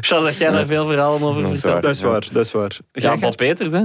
Speaker 3: Charles, dat jij daar veel verhalen over
Speaker 4: Dat is
Speaker 3: vertelt.
Speaker 4: waar.
Speaker 1: dat is waar.
Speaker 3: Ja, Bob Peters, hè.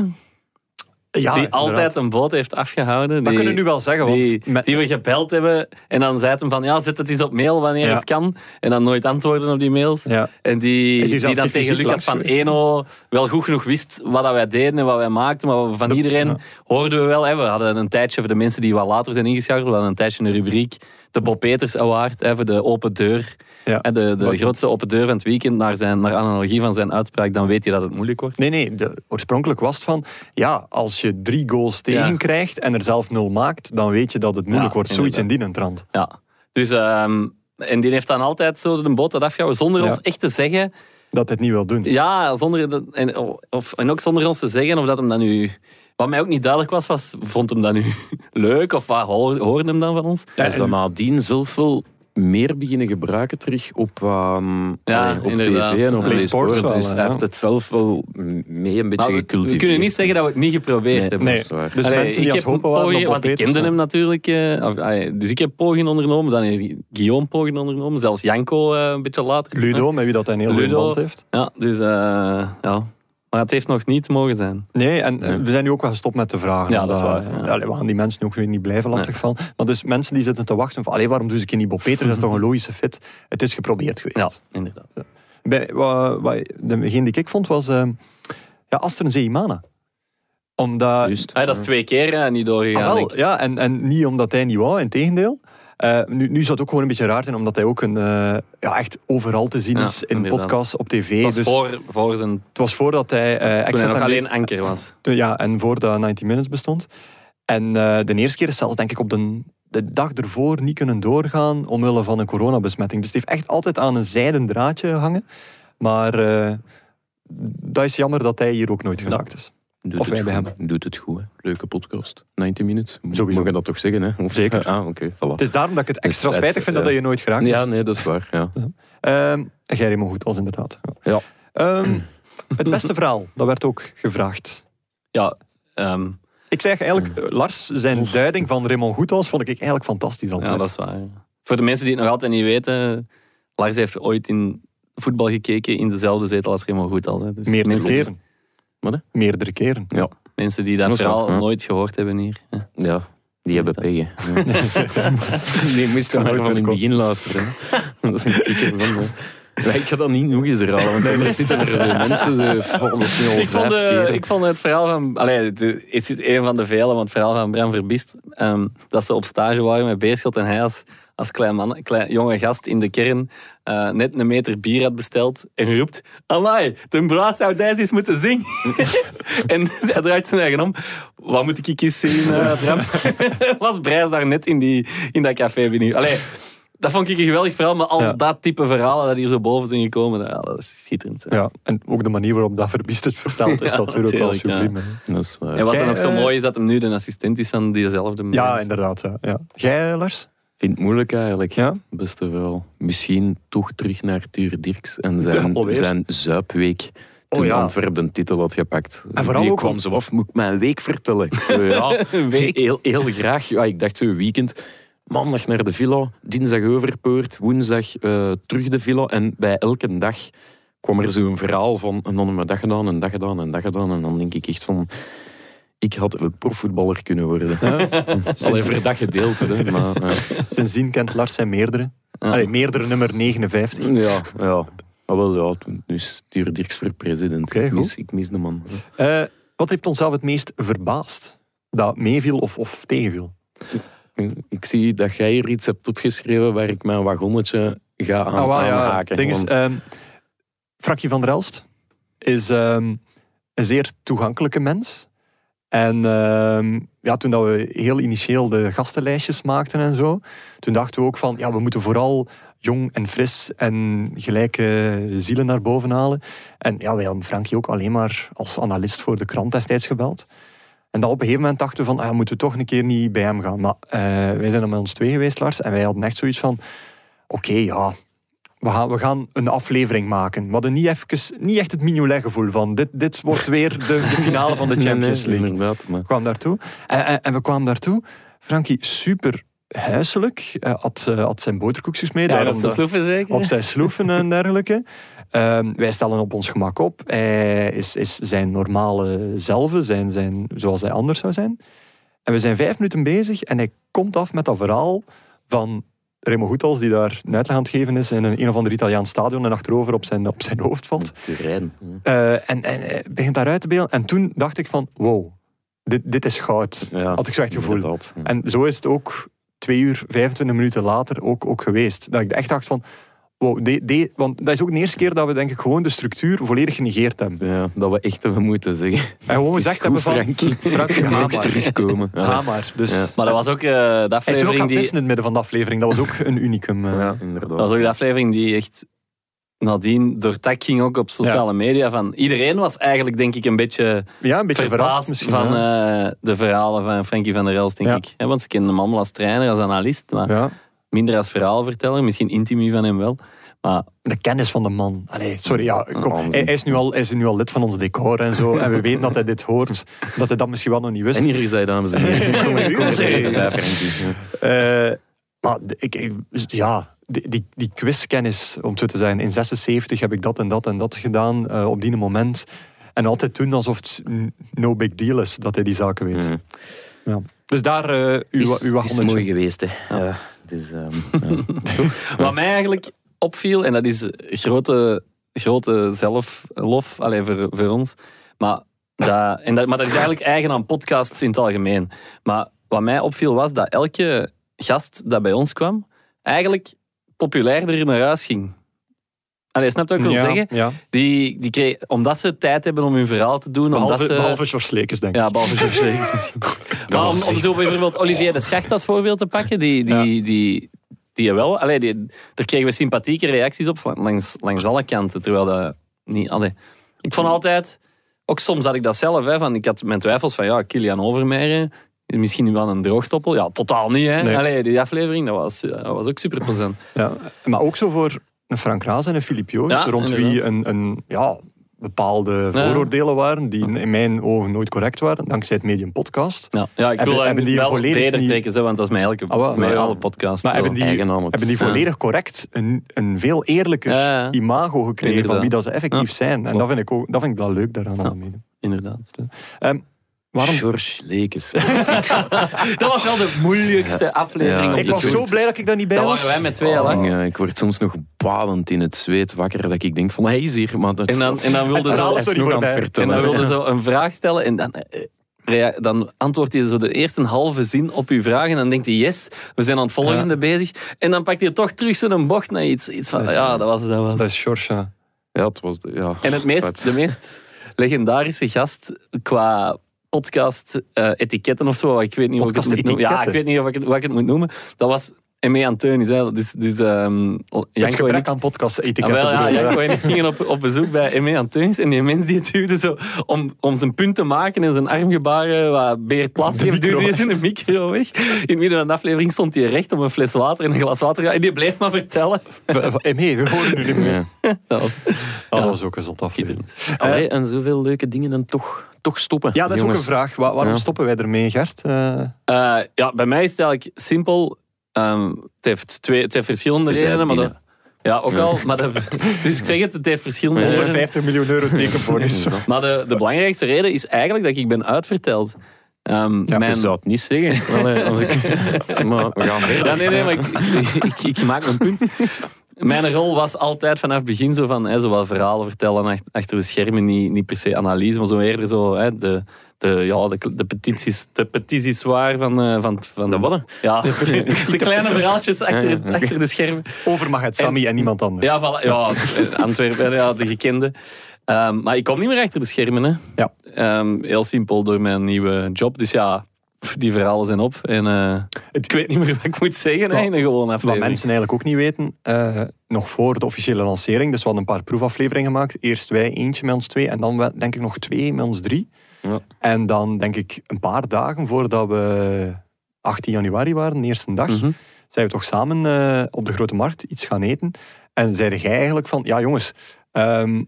Speaker 1: Ja,
Speaker 3: die
Speaker 1: inderdaad.
Speaker 3: altijd een boot heeft afgehouden.
Speaker 1: Dat
Speaker 3: die,
Speaker 1: kunnen we nu wel zeggen, want
Speaker 3: die,
Speaker 1: met-
Speaker 3: die we gebeld hebben en dan zei het hem van ja, zet het eens op mail wanneer
Speaker 1: Ja.
Speaker 3: het kan. En dan nooit antwoorden op die mails.
Speaker 1: Ja.
Speaker 3: En die,
Speaker 1: Is hier
Speaker 3: die
Speaker 1: zelf
Speaker 3: dan
Speaker 1: die
Speaker 3: tegen
Speaker 1: fysiek
Speaker 3: Lucas van
Speaker 1: langs geweest,
Speaker 3: Eno wel goed genoeg wist wat dat wij deden en wat wij maakten. Maar van iedereen hoorden we wel. Hè, we hadden een tijdje voor de mensen die wat later zijn ingeschakeld. We hadden een tijdje een rubriek. De Bob Peters Award, hè, voor de open deur.
Speaker 1: Ja.
Speaker 3: Hè, de de
Speaker 1: Wat-
Speaker 3: grootste open deur van het weekend. Naar, zijn, naar analogie van zijn uitspraak, dan weet je dat het moeilijk wordt.
Speaker 1: Nee, nee, de, oorspronkelijk was het van... Ja, als je drie goals
Speaker 3: Ja.
Speaker 1: tegen krijgt en er zelf nul maakt, dan weet je dat het moeilijk
Speaker 3: Ja,
Speaker 1: wordt. Zoiets in
Speaker 3: inderdaad.
Speaker 1: die een trant.
Speaker 3: Ja. Dus, ehm, en die heeft dan altijd zo de boot dat afgehouden, zonder
Speaker 1: Ja.
Speaker 3: ons echt te zeggen.
Speaker 1: Dat het niet wil doen.
Speaker 3: Ja, zonder, dat- en, of, en ook zonder ons te zeggen of dat hem dat nu... Wat mij ook niet duidelijk was, was vond hem dat nu leuk of wat hoor- hoorde hem dan van ons?
Speaker 4: Hij is dan nadien zelf wel meer beginnen gebruiken terug op, ehm,
Speaker 3: Ja,
Speaker 4: allee, op
Speaker 3: inderdaad.
Speaker 4: tv en op
Speaker 1: Play
Speaker 4: Play
Speaker 1: Sports
Speaker 4: Sports.
Speaker 1: wel,
Speaker 4: dus hij
Speaker 1: ja.
Speaker 4: heeft het zelf wel mee een beetje
Speaker 3: Maar Nou, we,
Speaker 4: gecultiveerd.
Speaker 3: we kunnen niet zeggen dat we het niet geprobeerd hebben.
Speaker 1: Nee,
Speaker 4: dat is waar.
Speaker 1: dus
Speaker 3: Allee,
Speaker 1: mensen die
Speaker 3: ik
Speaker 1: aan het
Speaker 3: heb
Speaker 1: hopen waren
Speaker 3: pogingen-
Speaker 1: op Bob
Speaker 3: Want ik
Speaker 1: Peters,
Speaker 3: kende hem natuurlijk. eh, of, allee, dus ik heb pogingen ondernomen, dan heeft Guillaume pogingen ondernomen, zelfs Janko eh, een beetje later.
Speaker 1: Ludo, met wie dat hij een heel goede
Speaker 3: Ludo.
Speaker 1: band heeft.
Speaker 3: Ja, dus eh, ja. Maar het heeft nog niet mogen zijn.
Speaker 1: Nee, en eh, we zijn nu ook wel gestopt met de vragen.
Speaker 3: Ja, dat is
Speaker 1: omdat,
Speaker 3: waar,
Speaker 1: eh,
Speaker 3: ja.
Speaker 1: allee, we gaan die mensen ook weer niet blijven lastig van. Maar dus mensen die zitten te wachten van... Allee, waarom doe ik in die Bob Peters? Dat is toch een logische fit? Het is geprobeerd
Speaker 3: Ja,
Speaker 1: geweest.
Speaker 3: inderdaad.
Speaker 1: Bij, wa- wa- degene die ik vond was ehm ja, Astrid Zeimana. Omdat...
Speaker 4: Juist.
Speaker 3: Ah, dat is twee keer eh, niet doorgegaan.
Speaker 1: Mm. Ah, wel,
Speaker 3: denk ik.
Speaker 1: ja, en, en niet omdat hij niet wou, in tegendeel. Eh, nu, nu zou het ook gewoon een beetje raar zijn, omdat hij ook een, eh, ja, echt overal te zien
Speaker 3: Ja,
Speaker 1: is in
Speaker 3: inderdaad.
Speaker 1: podcasts, op
Speaker 3: Dat
Speaker 1: tv.
Speaker 3: was
Speaker 1: dus
Speaker 3: voor, voor zijn,
Speaker 1: het was voordat hij eh
Speaker 3: toen hij
Speaker 1: Exit
Speaker 3: nog
Speaker 1: en
Speaker 3: alleen
Speaker 1: Late-
Speaker 3: anker was.
Speaker 1: toen- ja, en voordat 90 Minutes bestond. En eh, de eerste keer is zelfs, denk ik, op de, de dag ervoor niet kunnen doorgaan omwille van een coronabesmetting. Dus het heeft echt altijd aan een zijden draadje hangen. Maar eh, dat is jammer dat hij hier ook nooit geraakt is.
Speaker 4: Doet
Speaker 1: Of
Speaker 4: het
Speaker 1: wij bij
Speaker 4: goed. Doet het goed, hè. Leuke podcast. 90 minutes. Mo-
Speaker 1: Sowieso.
Speaker 4: Mag je dat toch zeggen, hè? Of-
Speaker 1: Zeker.
Speaker 4: Ah, oké.
Speaker 1: Het
Speaker 4: voilà.
Speaker 1: is daarom dat ik het
Speaker 4: Dus
Speaker 1: extra
Speaker 4: het,
Speaker 1: spijtig vind dat
Speaker 4: eh,
Speaker 1: hij je nooit geraakt is.
Speaker 4: Ja, nee, dat is waar. Ja.
Speaker 1: Ehm Gerry Mogoetels, inderdaad.
Speaker 4: Ja.
Speaker 1: Ehm, het beste verhaal, dat werd ook gevraagd.
Speaker 3: Ja, ehm,
Speaker 1: Ik zeg eigenlijk, eh, Lars, zijn duiding van Raymond Goethals vond ik eigenlijk fantastisch.
Speaker 3: ja,
Speaker 1: altijd.
Speaker 3: dat is waar. ja. Voor de mensen die het nog altijd niet weten, Lars heeft ooit in voetbal gekeken in dezelfde zetel als Raymond Goed al. Dus
Speaker 1: Meerdere
Speaker 3: mensen,
Speaker 1: keren.
Speaker 4: Wat, hè?
Speaker 1: Meerdere keren.
Speaker 3: mensen die dat
Speaker 4: Dat is waar,
Speaker 3: verhaal
Speaker 4: ja.
Speaker 3: nooit gehoord hebben hier. Ja.
Speaker 4: ja. Die hebben
Speaker 3: Ja.
Speaker 4: pech, hè. Die moesten maar
Speaker 1: nooit
Speaker 4: van in
Speaker 1: meer
Speaker 4: het begin luisteren. hè. Dat is een kikker van... hè. Ja, ik ga dat niet nog eens herhalen, want anders zitten er zo mensen... Zo, oh, dat is nu al
Speaker 3: Ik vond,
Speaker 4: vijf
Speaker 3: eh,
Speaker 4: keer.
Speaker 3: ik vond het verhaal van. Allee, het het is een van de vele, want het verhaal van Bram Verbist. ehm, dat ze op stage waren met Beerschot en hij als, als klein, man, klein jonge gast in de kern eh, net een meter bier had besteld en roept: Amai, de braas zou deze eens moeten zingen. en hij draait zijn eigen om. Wat moet ik eens zien, eh, Bram? Was Brijs daar net in, die, in dat café binnen? Allee. Dat vond ik een geweldig verhaal, maar al
Speaker 1: Ja.
Speaker 3: dat type verhalen dat hier zo boven zijn gekomen, ja, dat is schitterend. hè.
Speaker 1: Ja, en ook de manier waarop dat verbiest het verteld is
Speaker 3: Ja,
Speaker 1: natuurlijk wel
Speaker 3: natuurlijk, ja.
Speaker 1: subliem. hè.
Speaker 4: Dat is waar.
Speaker 3: En wat dan
Speaker 1: Jij,
Speaker 3: ook zo
Speaker 1: eh,
Speaker 3: mooi is dat hem nu de assistent is van diezelfde
Speaker 1: Ja,
Speaker 3: mens.
Speaker 1: inderdaad. Ja. Ja. Jij, Lars?
Speaker 4: Ik vind het moeilijk eigenlijk.
Speaker 1: Ja?
Speaker 4: Best wel. Misschien toch terug naar Tuur Dirks en zijn,
Speaker 1: Ja, alweer.
Speaker 4: zijn zuipweek. Toen
Speaker 1: Oh, ja.
Speaker 4: Antwerpen een titel had gepakt.
Speaker 1: En vooral
Speaker 4: Die
Speaker 1: ook
Speaker 4: kwam
Speaker 1: om-
Speaker 4: zo af, moet ik mijn week vertellen? Oh Ja,
Speaker 3: Een week.
Speaker 4: Heel, heel graag. Ja, ik dacht zo weekend. Maandag naar de villa, dinsdag Overpoort, woensdag eh, terug de villa. En bij elke dag kwam er zo'n verhaal van en dan hebben we dat gedaan, en dat gedaan, en dat gedaan. En dan denk ik echt van, ik had ook profvoetballer kunnen worden. Alleen voor dat gedeelte. Hè, maar, ja.
Speaker 1: Sindsdien kent Lars zijn meerdere. Allee, meerdere nummer 59.
Speaker 4: Ja, Ah, ja. Maar wel, ja, toen- nu is Stuur Dirks voor president.
Speaker 1: Oké,
Speaker 4: ik,
Speaker 1: goed.
Speaker 4: mis, ik mis de man.
Speaker 1: Eh, wat heeft onszelf het meest verbaasd? Dat meeviel of, of tegenviel?
Speaker 4: Ik zie dat jij hier iets hebt opgeschreven waar ik mijn wagonnetje ga aan,
Speaker 1: Ah, wel, ja.
Speaker 4: aanhaken.
Speaker 1: Ding is,
Speaker 4: want-
Speaker 1: ehm, Frakje van der Elst is ehm, een zeer toegankelijke mens. En ehm, ja, toen dat we heel initieel de gastenlijstjes maakten en zo, toen dachten we ook van, ja, we moeten vooral jong en fris en gelijke zielen naar boven halen. En ja, wij hadden Frankie ook alleen maar als analist voor de krant destijds gebeld. En dan op een gegeven moment dachten we van, ah, moeten we toch een keer niet bij hem gaan. Maar eh, wij zijn dan met ons twee geweest, Lars, en wij hadden echt zoiets van, oké, ja, we gaan, we gaan een aflevering maken. We hadden niet, even, niet echt het Mignolet-gevoel van, dit, dit wordt weer de, de finale van de
Speaker 4: Nee, nee,
Speaker 1: Champions League.
Speaker 4: Inderdaad, maar
Speaker 1: We kwamen daartoe. En, en, en we kwamen daartoe. Frankie, super huiselijk. eh, had, eh, had zijn boterkoekjes mee.
Speaker 3: Ja, en
Speaker 1: daarom
Speaker 3: op zijn
Speaker 1: dat-
Speaker 3: sloeven zeker?
Speaker 1: op zijn sloeven en dergelijke. Ehm, wij stellen op ons gemak op. Hij is, is zijn normale zelf, zijn, zijn, zoals hij anders zou zijn. En we zijn vijf minuten bezig en hij komt af met dat verhaal van Remo Goethals, die daar een uitleg aan het geven is in een, een of ander Italiaans stadion en achterover op zijn, op zijn hoofd valt.
Speaker 4: Turijn.
Speaker 1: Eh, en, en eh, begint daaruit te beelden. En toen dacht ik van, wow, dit, dit is goud.
Speaker 4: Ja,
Speaker 1: Had ik zo echt het gevoel.
Speaker 4: inderdaad. Ja.
Speaker 1: En zo is het ook twee uur, 25 minuten later ook, ook geweest. Dat ik echt dacht van, wow, de, de- want dat is ook de eerste keer dat we denk ik gewoon de structuur volledig genegeerd hebben.
Speaker 4: Ja, dat we echt even moeten zeggen.
Speaker 1: En gewoon
Speaker 4: Het is
Speaker 1: gezegd hebben
Speaker 4: goed,
Speaker 1: van,
Speaker 4: Frankie.
Speaker 1: Frankie,
Speaker 4: Je
Speaker 1: ga
Speaker 4: mag
Speaker 1: maar.
Speaker 4: terugkomen.
Speaker 1: Ga
Speaker 4: Ja,
Speaker 1: maar. Dus,
Speaker 4: Ja.
Speaker 3: Maar dat was ook eh, de
Speaker 1: Hij is er ook aan
Speaker 3: aflevering
Speaker 1: het
Speaker 3: die...
Speaker 1: pissen in het midden van de aflevering. Dat was ook een unicum. eh.
Speaker 4: ja,
Speaker 3: Dat
Speaker 4: inderdaad.
Speaker 3: was ook de aflevering die echt nadien door tak ging, ook op sociale media. Van, iedereen was eigenlijk, denk ik, een beetje,
Speaker 1: Ja, een beetje verrast
Speaker 3: verbaasd
Speaker 1: misschien.
Speaker 3: van
Speaker 1: hè.
Speaker 3: eh, de verhalen van Frankie van der Elst, denk
Speaker 1: Ja.
Speaker 3: ik. Hè, want ze kenden hem allemaal als trainer, als analist, maar
Speaker 1: ja.
Speaker 3: minder als verhaalverteller. Misschien intimie van hem wel. Maar
Speaker 1: De kennis van de man. Allee, sorry, ja, kom.
Speaker 4: onzin.
Speaker 1: Hij, hij is nu al, hij is nu al lid van ons decor en zo. En we weten dat hij dit hoort. Dat hij dat misschien wel nog niet wist.
Speaker 4: En hier is hij, dames en heren. Kom maar, kom maar
Speaker 1: Sorry.
Speaker 4: even bij, Frankie. Ja.
Speaker 1: Eh, maar de- ik, ik- ja, die, die, die quizkennis, om het zo te zijn. In 76 heb ik dat en dat en dat gedaan eh, op die moment. En altijd doen alsof het n- no big deal is dat hij die zaken weet.
Speaker 4: Mm.
Speaker 1: Ja. Dus daar eh uw,
Speaker 4: Het is-
Speaker 1: uw
Speaker 4: Het is mooi
Speaker 1: honderdje.
Speaker 4: geweest, hè. Ja. het is, ehm, ja.
Speaker 3: Wat mij eigenlijk opviel, en dat is grote, grote zelflof allee, voor, voor ons. Maar dat, en dat, maar dat is eigenlijk eigen aan podcasts in het algemeen. Maar wat mij opviel was dat elke gast dat bij ons kwam, eigenlijk populairder naar huis ging. Allee, snap je wat ik wil
Speaker 1: ja,
Speaker 3: zeggen?
Speaker 1: ja.
Speaker 3: Die, die kreeg, omdat ze tijd hebben om hun verhaal te doen.
Speaker 1: Behalve,
Speaker 3: omdat
Speaker 4: eh,
Speaker 3: ze,
Speaker 1: behalve George Lekes, denk ik.
Speaker 3: ja, behalve George Jezus. maar om, om zo bijvoorbeeld Olivier de Schacht als voorbeeld te pakken, die, die, die, die, er wel, allee, die, daar kregen we sympathieke reacties op van- langs, langs alle kanten. Terwijl dat niet. Allee. Ik vond altijd, ook soms had ik dat zelf, hè, van, ik had mijn twijfels van ja, Kilian Overmeijer, misschien wel een droogstoppel. Ja, totaal niet. Hè.
Speaker 1: Nee.
Speaker 3: Allee, die aflevering, dat was, dat was ook super plezant.
Speaker 1: Ja, maar ook zo voor een Frank Raas en een Filip Joos,
Speaker 3: Ja,
Speaker 1: rond wie
Speaker 3: inderdaad.
Speaker 1: een, een ja, bepaalde vooroordelen waren, die in mijn ogen nooit correct waren, dankzij het medium podcast.
Speaker 3: Ja, ja ik
Speaker 1: Hebben-
Speaker 3: wil dat
Speaker 1: hebben die
Speaker 3: wel
Speaker 1: volledig
Speaker 3: breder
Speaker 1: niet-
Speaker 3: trekken, zo, want dat is met elke
Speaker 1: Ah, wel,
Speaker 3: met
Speaker 1: ja.
Speaker 3: alle podcasts.
Speaker 1: Maar
Speaker 3: zo.
Speaker 1: hebben die,
Speaker 4: eigen naam het.
Speaker 1: hebben die
Speaker 3: Ja.
Speaker 1: volledig correct een, een veel eerlijker
Speaker 3: Ja, ja.
Speaker 1: imago gekregen van
Speaker 3: Inderdaad.
Speaker 1: wie dat ze effectief
Speaker 3: Ja.
Speaker 1: zijn. En dat vind ik, ook, dat vind ik wel leuk daaraan aan de media.
Speaker 3: Inderdaad.
Speaker 1: Ehm, waarom?
Speaker 4: George Lekes.
Speaker 3: Dat was wel de moeilijkste aflevering
Speaker 4: Ja,
Speaker 3: om
Speaker 1: Ik
Speaker 3: te
Speaker 1: was
Speaker 3: doen.
Speaker 1: zo blij dat ik daar niet bij
Speaker 3: Dat
Speaker 1: was. Oh.
Speaker 3: waren wij met twee al lang.
Speaker 4: Ja, ik word soms nog badend in het zweet wakker dat ik denk van hij is hier, maar dat
Speaker 3: En dan, en dan wilde
Speaker 1: Het
Speaker 3: ze,
Speaker 1: verhaal is nog
Speaker 4: nog
Speaker 1: niet
Speaker 4: aan het
Speaker 1: voorbij.
Speaker 3: en
Speaker 4: vertellen.
Speaker 3: dan wilde zo een vraag stellen en dan, eh, rea- dan antwoordt hij zo de eerste halve zin op uw vraag en dan denkt hij yes, we zijn aan het volgende bezig. En dan pakt hij toch terug zijn bocht naar iets, iets van,
Speaker 1: Dat is-
Speaker 3: ja, dat was, dat was.
Speaker 1: Dat is George. ja.
Speaker 4: Ja, het was... Ja,
Speaker 3: En het
Speaker 4: zwart.
Speaker 3: meest, de meest legendarische gast qua podcast eh, etiketten of zo, ik weet niet hoe ik het moet noemen. Ja, ik
Speaker 1: Podcast-etiketten?
Speaker 3: weet niet hoe ik, het- hoe ik het moet noemen. Dat was Emé Anteunis, hè. dus, dus ehm,
Speaker 1: Het
Speaker 3: Janko en ik
Speaker 1: gebrek aan podcast
Speaker 3: Ah,
Speaker 1: etiketten.
Speaker 3: wel, ja,
Speaker 1: bedoel,
Speaker 3: Janko
Speaker 1: ja.
Speaker 3: en ik gingen op, op bezoek bij Emé Anteuns en die mens die duwde zo om, om zijn punt te maken en zijn armgebaren wat Beer Plas
Speaker 1: De
Speaker 3: heeft, duwde
Speaker 1: micro
Speaker 3: hij zijn micro weg. In het midden van de aflevering stond hij recht om een fles water en een glas water te gaan en die bleef maar vertellen.
Speaker 1: We- we- Nee, we horen nu niet meer.
Speaker 4: Ja.
Speaker 3: Dat was
Speaker 1: Ah, Dat was ook een zot aflevering.
Speaker 3: schitterend.
Speaker 4: Allee, en zoveel leuke dingen dan toch, toch stoppen.
Speaker 1: Eh, Ja, dat is ook een
Speaker 4: jongens.
Speaker 1: vraag. Wa- waarom
Speaker 4: Ja.
Speaker 1: stoppen wij ermee, Gert? Eh,
Speaker 3: Eh, ja, bij mij is het eigenlijk simpel. Ehm, het, heeft twee, het heeft verschillende
Speaker 4: We zijn
Speaker 3: redenen, maar dat,
Speaker 4: binnen.
Speaker 3: ja, ook al. Maar dat, dus ik zeg het, het heeft verschillende
Speaker 4: Eh,
Speaker 3: redenen.
Speaker 1: 150 miljoen euro tekenbonus.
Speaker 3: Maar de, de belangrijkste reden is eigenlijk dat ik ben uitverteld. Ehm,
Speaker 4: Ik
Speaker 3: mijn,
Speaker 4: zou het niet zeggen. Allee, eh, als ik... Maar we gaan verder.
Speaker 3: Ja, nee, nee, maar ik, ik, ik, ik maak mijn punt. Mijn rol was altijd vanaf het begin zo van, hè, zo wat verhalen vertellen ach- achter de schermen, niet, niet per se analyse, maar zo eerder zo, hè, de, de, ja, de, de petities, de petities waar van... eh, van, van
Speaker 4: De wat?
Speaker 3: Ja, de kleine verhaaltjes achter, het- achter de schermen.
Speaker 1: Over mag het Sammy en, niemand anders.
Speaker 3: Ja, voilà, ja Antwerpen, ja, de gekende. Ehm, maar ik kom niet meer achter de schermen. Hè.
Speaker 1: Ja.
Speaker 3: Ehm, heel simpel door mijn nieuwe job. Dus ja, pff, die verhalen zijn op. En eh, ik weet niet meer wat ik moet zeggen. hè, in een gewone
Speaker 1: Wat
Speaker 3: aflevering.
Speaker 1: mensen eigenlijk ook niet weten, eh, nog voor de officiële lancering, dus we hadden een paar proefafleveringen gemaakt. Eerst wij eentje met ons twee en dan wel- denk ik nog twee met ons drie.
Speaker 4: Ja.
Speaker 1: En dan denk ik een paar dagen voordat we 18 januari waren, de eerste dag,
Speaker 4: Mhm.
Speaker 1: zijn we toch samen eh, op de Grote Markt iets gaan eten. En zeide jij eigenlijk van, ja jongens, ehm,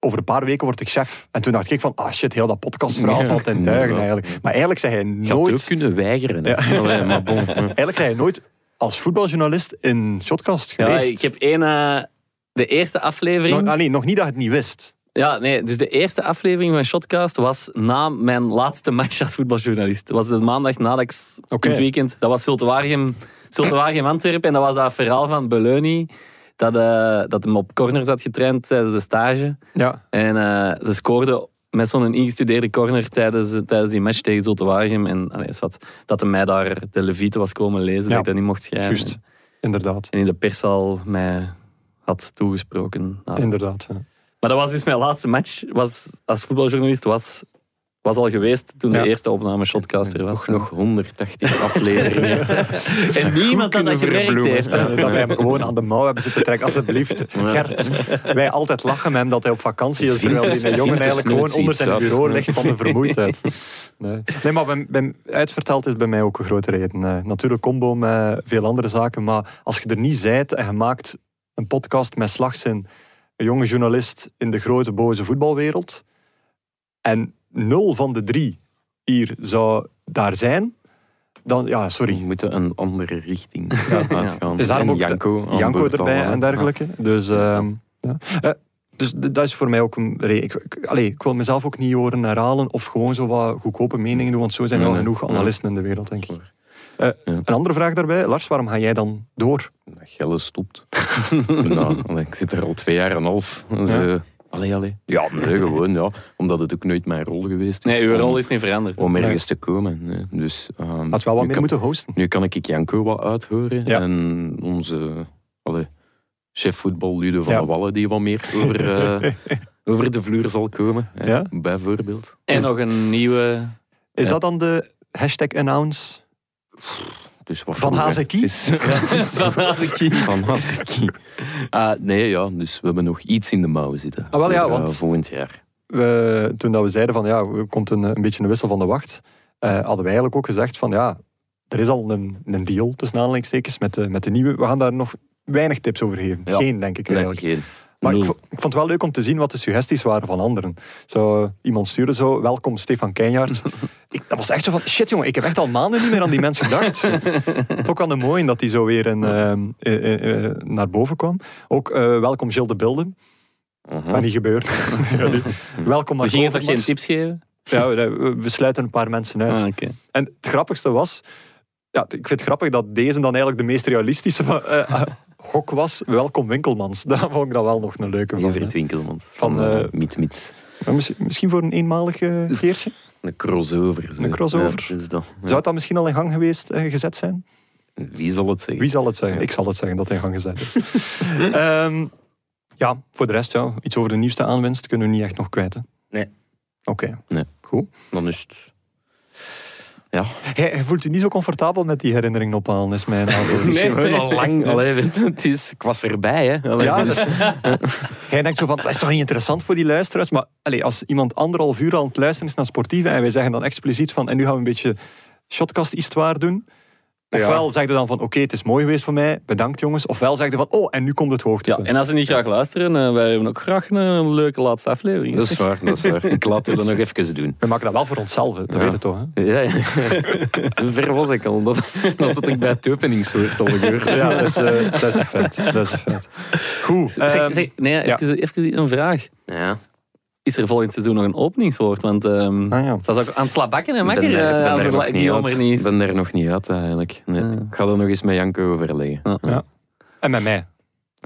Speaker 1: over een paar weken word ik chef. En toen dacht ik van, ah shit, heel dat podcastverhaal
Speaker 4: Ja.
Speaker 1: valt in duigen
Speaker 4: Inderdaad.
Speaker 1: eigenlijk. Maar eigenlijk zei hij
Speaker 4: Je had het
Speaker 1: nooit...
Speaker 4: ook kunnen weigeren. hè. Allee, maar bon.
Speaker 1: Eigenlijk zijn je nooit als voetbaljournalist in Shotcast
Speaker 3: Ja,
Speaker 1: geweest.
Speaker 3: ik heb één eh, de eerste aflevering...
Speaker 1: Nog, ah, nee, nog niet dat je het niet wist.
Speaker 3: Ja, nee, dus de eerste aflevering van Shotcast was na mijn laatste match als voetbaljournalist. Dat was de maandag nadat ik s-
Speaker 1: Oké.
Speaker 3: het weekend... Dat was Zulte Waregem- Zulte Waregem Antwerpen. En dat was dat verhaal van Beleuni dat, eh, dat hem op corners had getraind tijdens de stage.
Speaker 1: Ja.
Speaker 3: En eh, ze scoorde met zo'n ingestudeerde corner tijdens, eh, tijdens die match tegen Zulte Waregem. En allee, is wat, dat hij mij daar de Levite was komen lezen,
Speaker 1: Ja.
Speaker 3: dat ik dat niet mocht schrijven.
Speaker 1: Juist. Inderdaad.
Speaker 3: En in de perszaal mij had toegesproken. Nou,
Speaker 1: Inderdaad. ja.
Speaker 3: Maar dat was dus mijn laatste match was, als voetbaljournalist. Was, was al geweest toen
Speaker 1: Ja.
Speaker 3: de eerste opname Shotcaster was.
Speaker 4: Toch nog 180 afleveringen.
Speaker 3: En niemand had dat gemerkt
Speaker 1: Verbloemen.
Speaker 3: heeft.
Speaker 1: Eh, Dat wij hem gewoon aan de mouw hebben zitten trekken. Alsjeblieft, Gert. Wij altijd lachen met hem dat hij op vakantie is. Terwijl die
Speaker 4: Vintes-
Speaker 1: jongen
Speaker 4: Vintes
Speaker 1: eigenlijk gewoon
Speaker 4: snoet
Speaker 1: onder
Speaker 4: ziet,
Speaker 1: zijn
Speaker 4: zat.
Speaker 1: bureau ligt van de vermoeidheid. Nee, nee maar bij, bij, uitverteld is bij mij ook een grote reden. Eh, natuurlijk combo met veel andere zaken. Maar als je er niet zijt en je maakt een podcast met slagzin. Een jonge journalist in de grote boze voetbalwereld. En nul van de drie hier zou daar zijn. Dan, ja,
Speaker 4: We
Speaker 1: sorry.
Speaker 4: moeten een andere richting uitgaan.
Speaker 1: Dus daarom
Speaker 4: En
Speaker 1: ook
Speaker 4: Janko, aan
Speaker 1: Janko
Speaker 4: boord
Speaker 1: erbij
Speaker 4: allemaal.
Speaker 1: en dergelijke. Dus, ehm, ja. Eh, dus d- dat is voor mij ook een reden. Ik, ik- allee, ik wil mezelf ook niet horen herhalen of gewoon zo wat goedkope meningen doen, want zo zijn er
Speaker 4: Nee,
Speaker 1: al
Speaker 4: nee.
Speaker 1: genoeg
Speaker 4: Ja.
Speaker 1: analisten in de wereld, denk ik. Eh,
Speaker 4: Ja.
Speaker 1: Een andere vraag daarbij. Lars, waarom ga jij dan door?
Speaker 4: Ja. Dat Gelle stopt. nou, allee, ik zit er al twee jaar en een half. Dus,
Speaker 1: Ja.
Speaker 4: eh, allee, allee. Ja, nee, gewoon, ja. Omdat het ook nooit mijn rol geweest is.
Speaker 3: Nee, uw
Speaker 4: om-
Speaker 3: rol is niet veranderd.
Speaker 1: Oh.
Speaker 4: Om ergens te komen. nee. Dus, ehm,
Speaker 1: Had wel
Speaker 4: nu
Speaker 1: wat
Speaker 4: kan-
Speaker 1: meer moeten hosten.
Speaker 4: Nu kan ik Janko wat uithoren.
Speaker 1: Ja.
Speaker 4: En onze allee, chef voetbal Ludo van
Speaker 1: Ja.
Speaker 4: de Wallen, die wat meer over, eh, over de vloer zal komen. hè,
Speaker 1: Ja.
Speaker 4: Bijvoorbeeld.
Speaker 3: En nog een nieuwe...
Speaker 1: Is
Speaker 4: Ja.
Speaker 1: dat dan de hashtag announce?
Speaker 4: Dus wat
Speaker 1: Van
Speaker 4: vroeger
Speaker 1: Hazekie?
Speaker 4: is- Ja, het is
Speaker 3: Van Hazekie.
Speaker 4: van Hazekie. Ah, nee, ja, dus we hebben nog iets in de mouw zitten.
Speaker 1: Ah, wel ja,
Speaker 4: Voor, eh,
Speaker 1: want-
Speaker 4: volgend jaar.
Speaker 1: we, toen dat we zeiden van ja, er komt een, een beetje een wissel van de wacht, eh, hadden wij eigenlijk ook gezegd van ja, er is al een, een deal tussen aanhalingstekens met de, met de nieuwe. We gaan daar nog weinig tips over geven.
Speaker 4: Ja.
Speaker 1: Geen, denk ik
Speaker 4: Nee,
Speaker 1: eigenlijk.
Speaker 4: geen.
Speaker 1: maar ik,
Speaker 4: nul.
Speaker 1: vo- ik vond het wel leuk om te zien wat de suggesties waren van anderen. Zo, iemand stuurde zo, welkom Stefan Keinjaard. ik, dat was echt zo van, shit jongen, ik heb echt al maanden niet meer aan die mensen gedacht. Vond ik wel een mooie dat die zo weer een, ehm, eh, eh, eh, naar boven kwam. Ook eh, welkom Gilles de Bilde.
Speaker 4: Aha.
Speaker 1: Gaat niet gebeuren. Ja, die- welkom
Speaker 3: We
Speaker 1: Marco
Speaker 3: gingen toch geen
Speaker 1: Overmars.
Speaker 3: tips geven?
Speaker 1: Ja, we- we we sluiten een paar mensen uit.
Speaker 3: Ah, oké.
Speaker 1: En het grappigste was... Ja, ik vind het grappig dat deze dan eigenlijk de meest realistische van- eh, eh, gok was. Welkom Winkelmans. Daar vond ik dan wel nog een leuke van.
Speaker 4: Evert Winkelmans.
Speaker 1: Van,
Speaker 4: Van, eh,
Speaker 1: eh,
Speaker 4: Miet Miet.
Speaker 1: Maar misschien, misschien voor een eenmalig eh, keertje?
Speaker 4: Een crossover. zo.
Speaker 1: Een crossover.
Speaker 4: Ja, dus dat, ja.
Speaker 1: Zou dat misschien al in gang geweest, eh, gezet zijn?
Speaker 4: Wie zal het zeggen?
Speaker 1: Wie zal het zeggen? Ik zal het zeggen dat hij in gang gezet is. Ehm, ja, voor de rest, ja, iets over de nieuwste aanwinst kunnen we niet echt nog kwijt. hè?
Speaker 3: Nee.
Speaker 1: Oké.
Speaker 4: Nee.
Speaker 1: Goed.
Speaker 4: Dan is het... Ja,
Speaker 1: Hij, hij voelt u niet zo comfortabel met die herinnering ophalen, is mijn antwoord.
Speaker 4: het is
Speaker 3: Nee.
Speaker 4: gewoon al lang. Allee, weet je, het is, ik was erbij, hè. Allee,
Speaker 1: Ja,
Speaker 4: dus-
Speaker 1: Jij denkt zo van, dat is toch niet interessant voor die luisteraars? Maar allez, als iemand anderhalf uur al aan het luisteren is naar sportieve en wij zeggen dan expliciet van, en nu gaan we een beetje shotcast-histoire doen. Ofwel zeg je dan van, oké, het is mooi geweest voor mij, bedankt jongens. Ofwel zeg je van, oh, en nu komt het
Speaker 3: Ja,
Speaker 1: hoogtepunt.
Speaker 3: en als ze niet graag luisteren, eh, wij hebben ook graag een leuke laatste aflevering.
Speaker 1: Dus,
Speaker 4: Dat is waar, dat is waar. Ik laat het nog even doen.
Speaker 1: We maken dat wel voor onszelf, hè. dat
Speaker 4: Ja.
Speaker 1: weet je toch. Hè?
Speaker 4: Ja, ja. Zo ver was ik al, dat, dat ik bij het openingswoord al gehoord.
Speaker 1: Ja, dat is, eh, dat is een feit. Dat is een feit. Goed.
Speaker 3: Zeg,
Speaker 1: ehm,
Speaker 3: zeg, nee, even, even een vraag.
Speaker 4: Ja.
Speaker 3: Is er volgend seizoen nog een openingswoord? Want ehm,
Speaker 1: ah, ja.
Speaker 3: dat is ook aan het slabakken en
Speaker 4: Ik
Speaker 3: makker
Speaker 4: ben er-
Speaker 3: eh,
Speaker 4: ben
Speaker 3: als
Speaker 4: er
Speaker 3: er
Speaker 4: nog
Speaker 3: la-
Speaker 4: niet
Speaker 3: Guillaume
Speaker 4: uit.
Speaker 3: er niet
Speaker 4: Ik
Speaker 3: is.
Speaker 4: ben er nog niet uit eigenlijk. Nee.
Speaker 3: Ja.
Speaker 4: Ik ga dat nog eens met Janko overleggen.
Speaker 3: Ja.
Speaker 1: Ja. En met mij.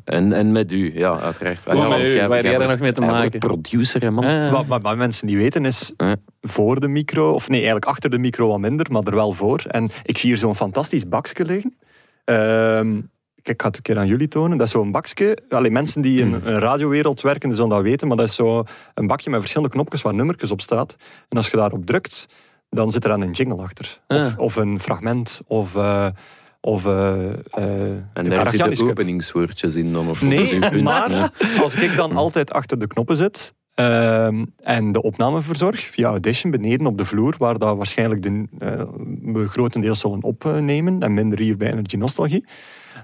Speaker 4: En, en met u, ja, uiteraard.
Speaker 3: Ja, met u, waar jij er nog mee te
Speaker 4: jij wordt
Speaker 3: maken?
Speaker 4: producer, hè, man.
Speaker 3: Ja, ja.
Speaker 1: Wat, wat, wat mensen niet weten is,
Speaker 4: Eh. Ja.
Speaker 1: voor de micro, of nee, eigenlijk achter de micro wat minder, maar er wel voor. En ik zie hier zo'n fantastisch bakje liggen. Ehm, kijk, ik ga het een keer aan jullie tonen. Dat is zo'n bakje. Allee, mensen die
Speaker 4: Hmm.
Speaker 1: in een radiowereld werken, die zullen dat weten, maar dat is zo'n bakje met verschillende knopjes waar nummertjes op staat. En als je daarop drukt, dan zit er aan een jingle achter. Of,
Speaker 3: Ah.
Speaker 1: of een fragment, of... eh, of eh, eh,
Speaker 4: En
Speaker 1: de
Speaker 4: daar
Speaker 1: Karagiannis
Speaker 4: zitten
Speaker 1: Cup.
Speaker 4: openingswoordjes in dan, of wat is uw
Speaker 1: Nee,
Speaker 4: punt?
Speaker 1: maar
Speaker 4: Ja.
Speaker 1: als ik dan altijd achter de knoppen zit ehm, en de opname verzorg via Audition beneden op de vloer, waar dat waarschijnlijk de, eh, we grotendeels zullen opnemen en minder hier bij Energy Nostalgie,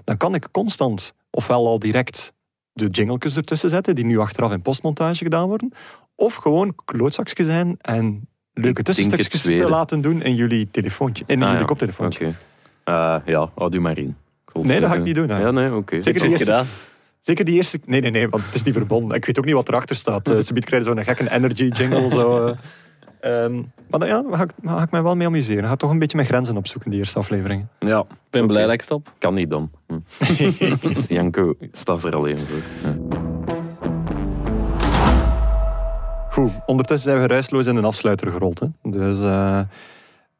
Speaker 1: dan kan ik constant ofwel al direct de jingletjes ertussen zetten, die nu achteraf in postmontage gedaan worden, of gewoon klootzakjes zijn en leuke
Speaker 4: denk het
Speaker 1: tussenstukjes te
Speaker 4: tweede.
Speaker 1: laten doen in jullie telefoontje, in
Speaker 4: Ah,
Speaker 1: jullie
Speaker 4: ja.
Speaker 1: koptelefoontje.
Speaker 4: Oké. Eh, ja, hou u maar in. Ik wil
Speaker 1: Nee,
Speaker 4: het
Speaker 1: dat ga
Speaker 4: zeggen.
Speaker 1: ik niet doen, hè.
Speaker 4: Ja, nee, oké.
Speaker 1: Zeker
Speaker 3: Goed
Speaker 1: niet.
Speaker 3: gedaan.
Speaker 1: Zeker die eerste... Nee, nee, nee, want het is niet verbonden. Ik weet ook niet wat erachter staat. Eh, Ze biedt krijgen zo'n gekke energy jingle. Zo, eh. Ehm, maar dan, ja, daar ga, ik- daar ga ik mij wel mee amuseren. Ik ga toch een beetje mijn grenzen opzoeken, die eerste aflevering.
Speaker 3: Ja, ik ben blij dat ik stop.
Speaker 4: Kan niet dan. Hm. Dus Janko staat er alleen voor. Ja.
Speaker 1: Goed, ondertussen zijn we ruisloos in een afsluiter gerold. Hè. Dus eh,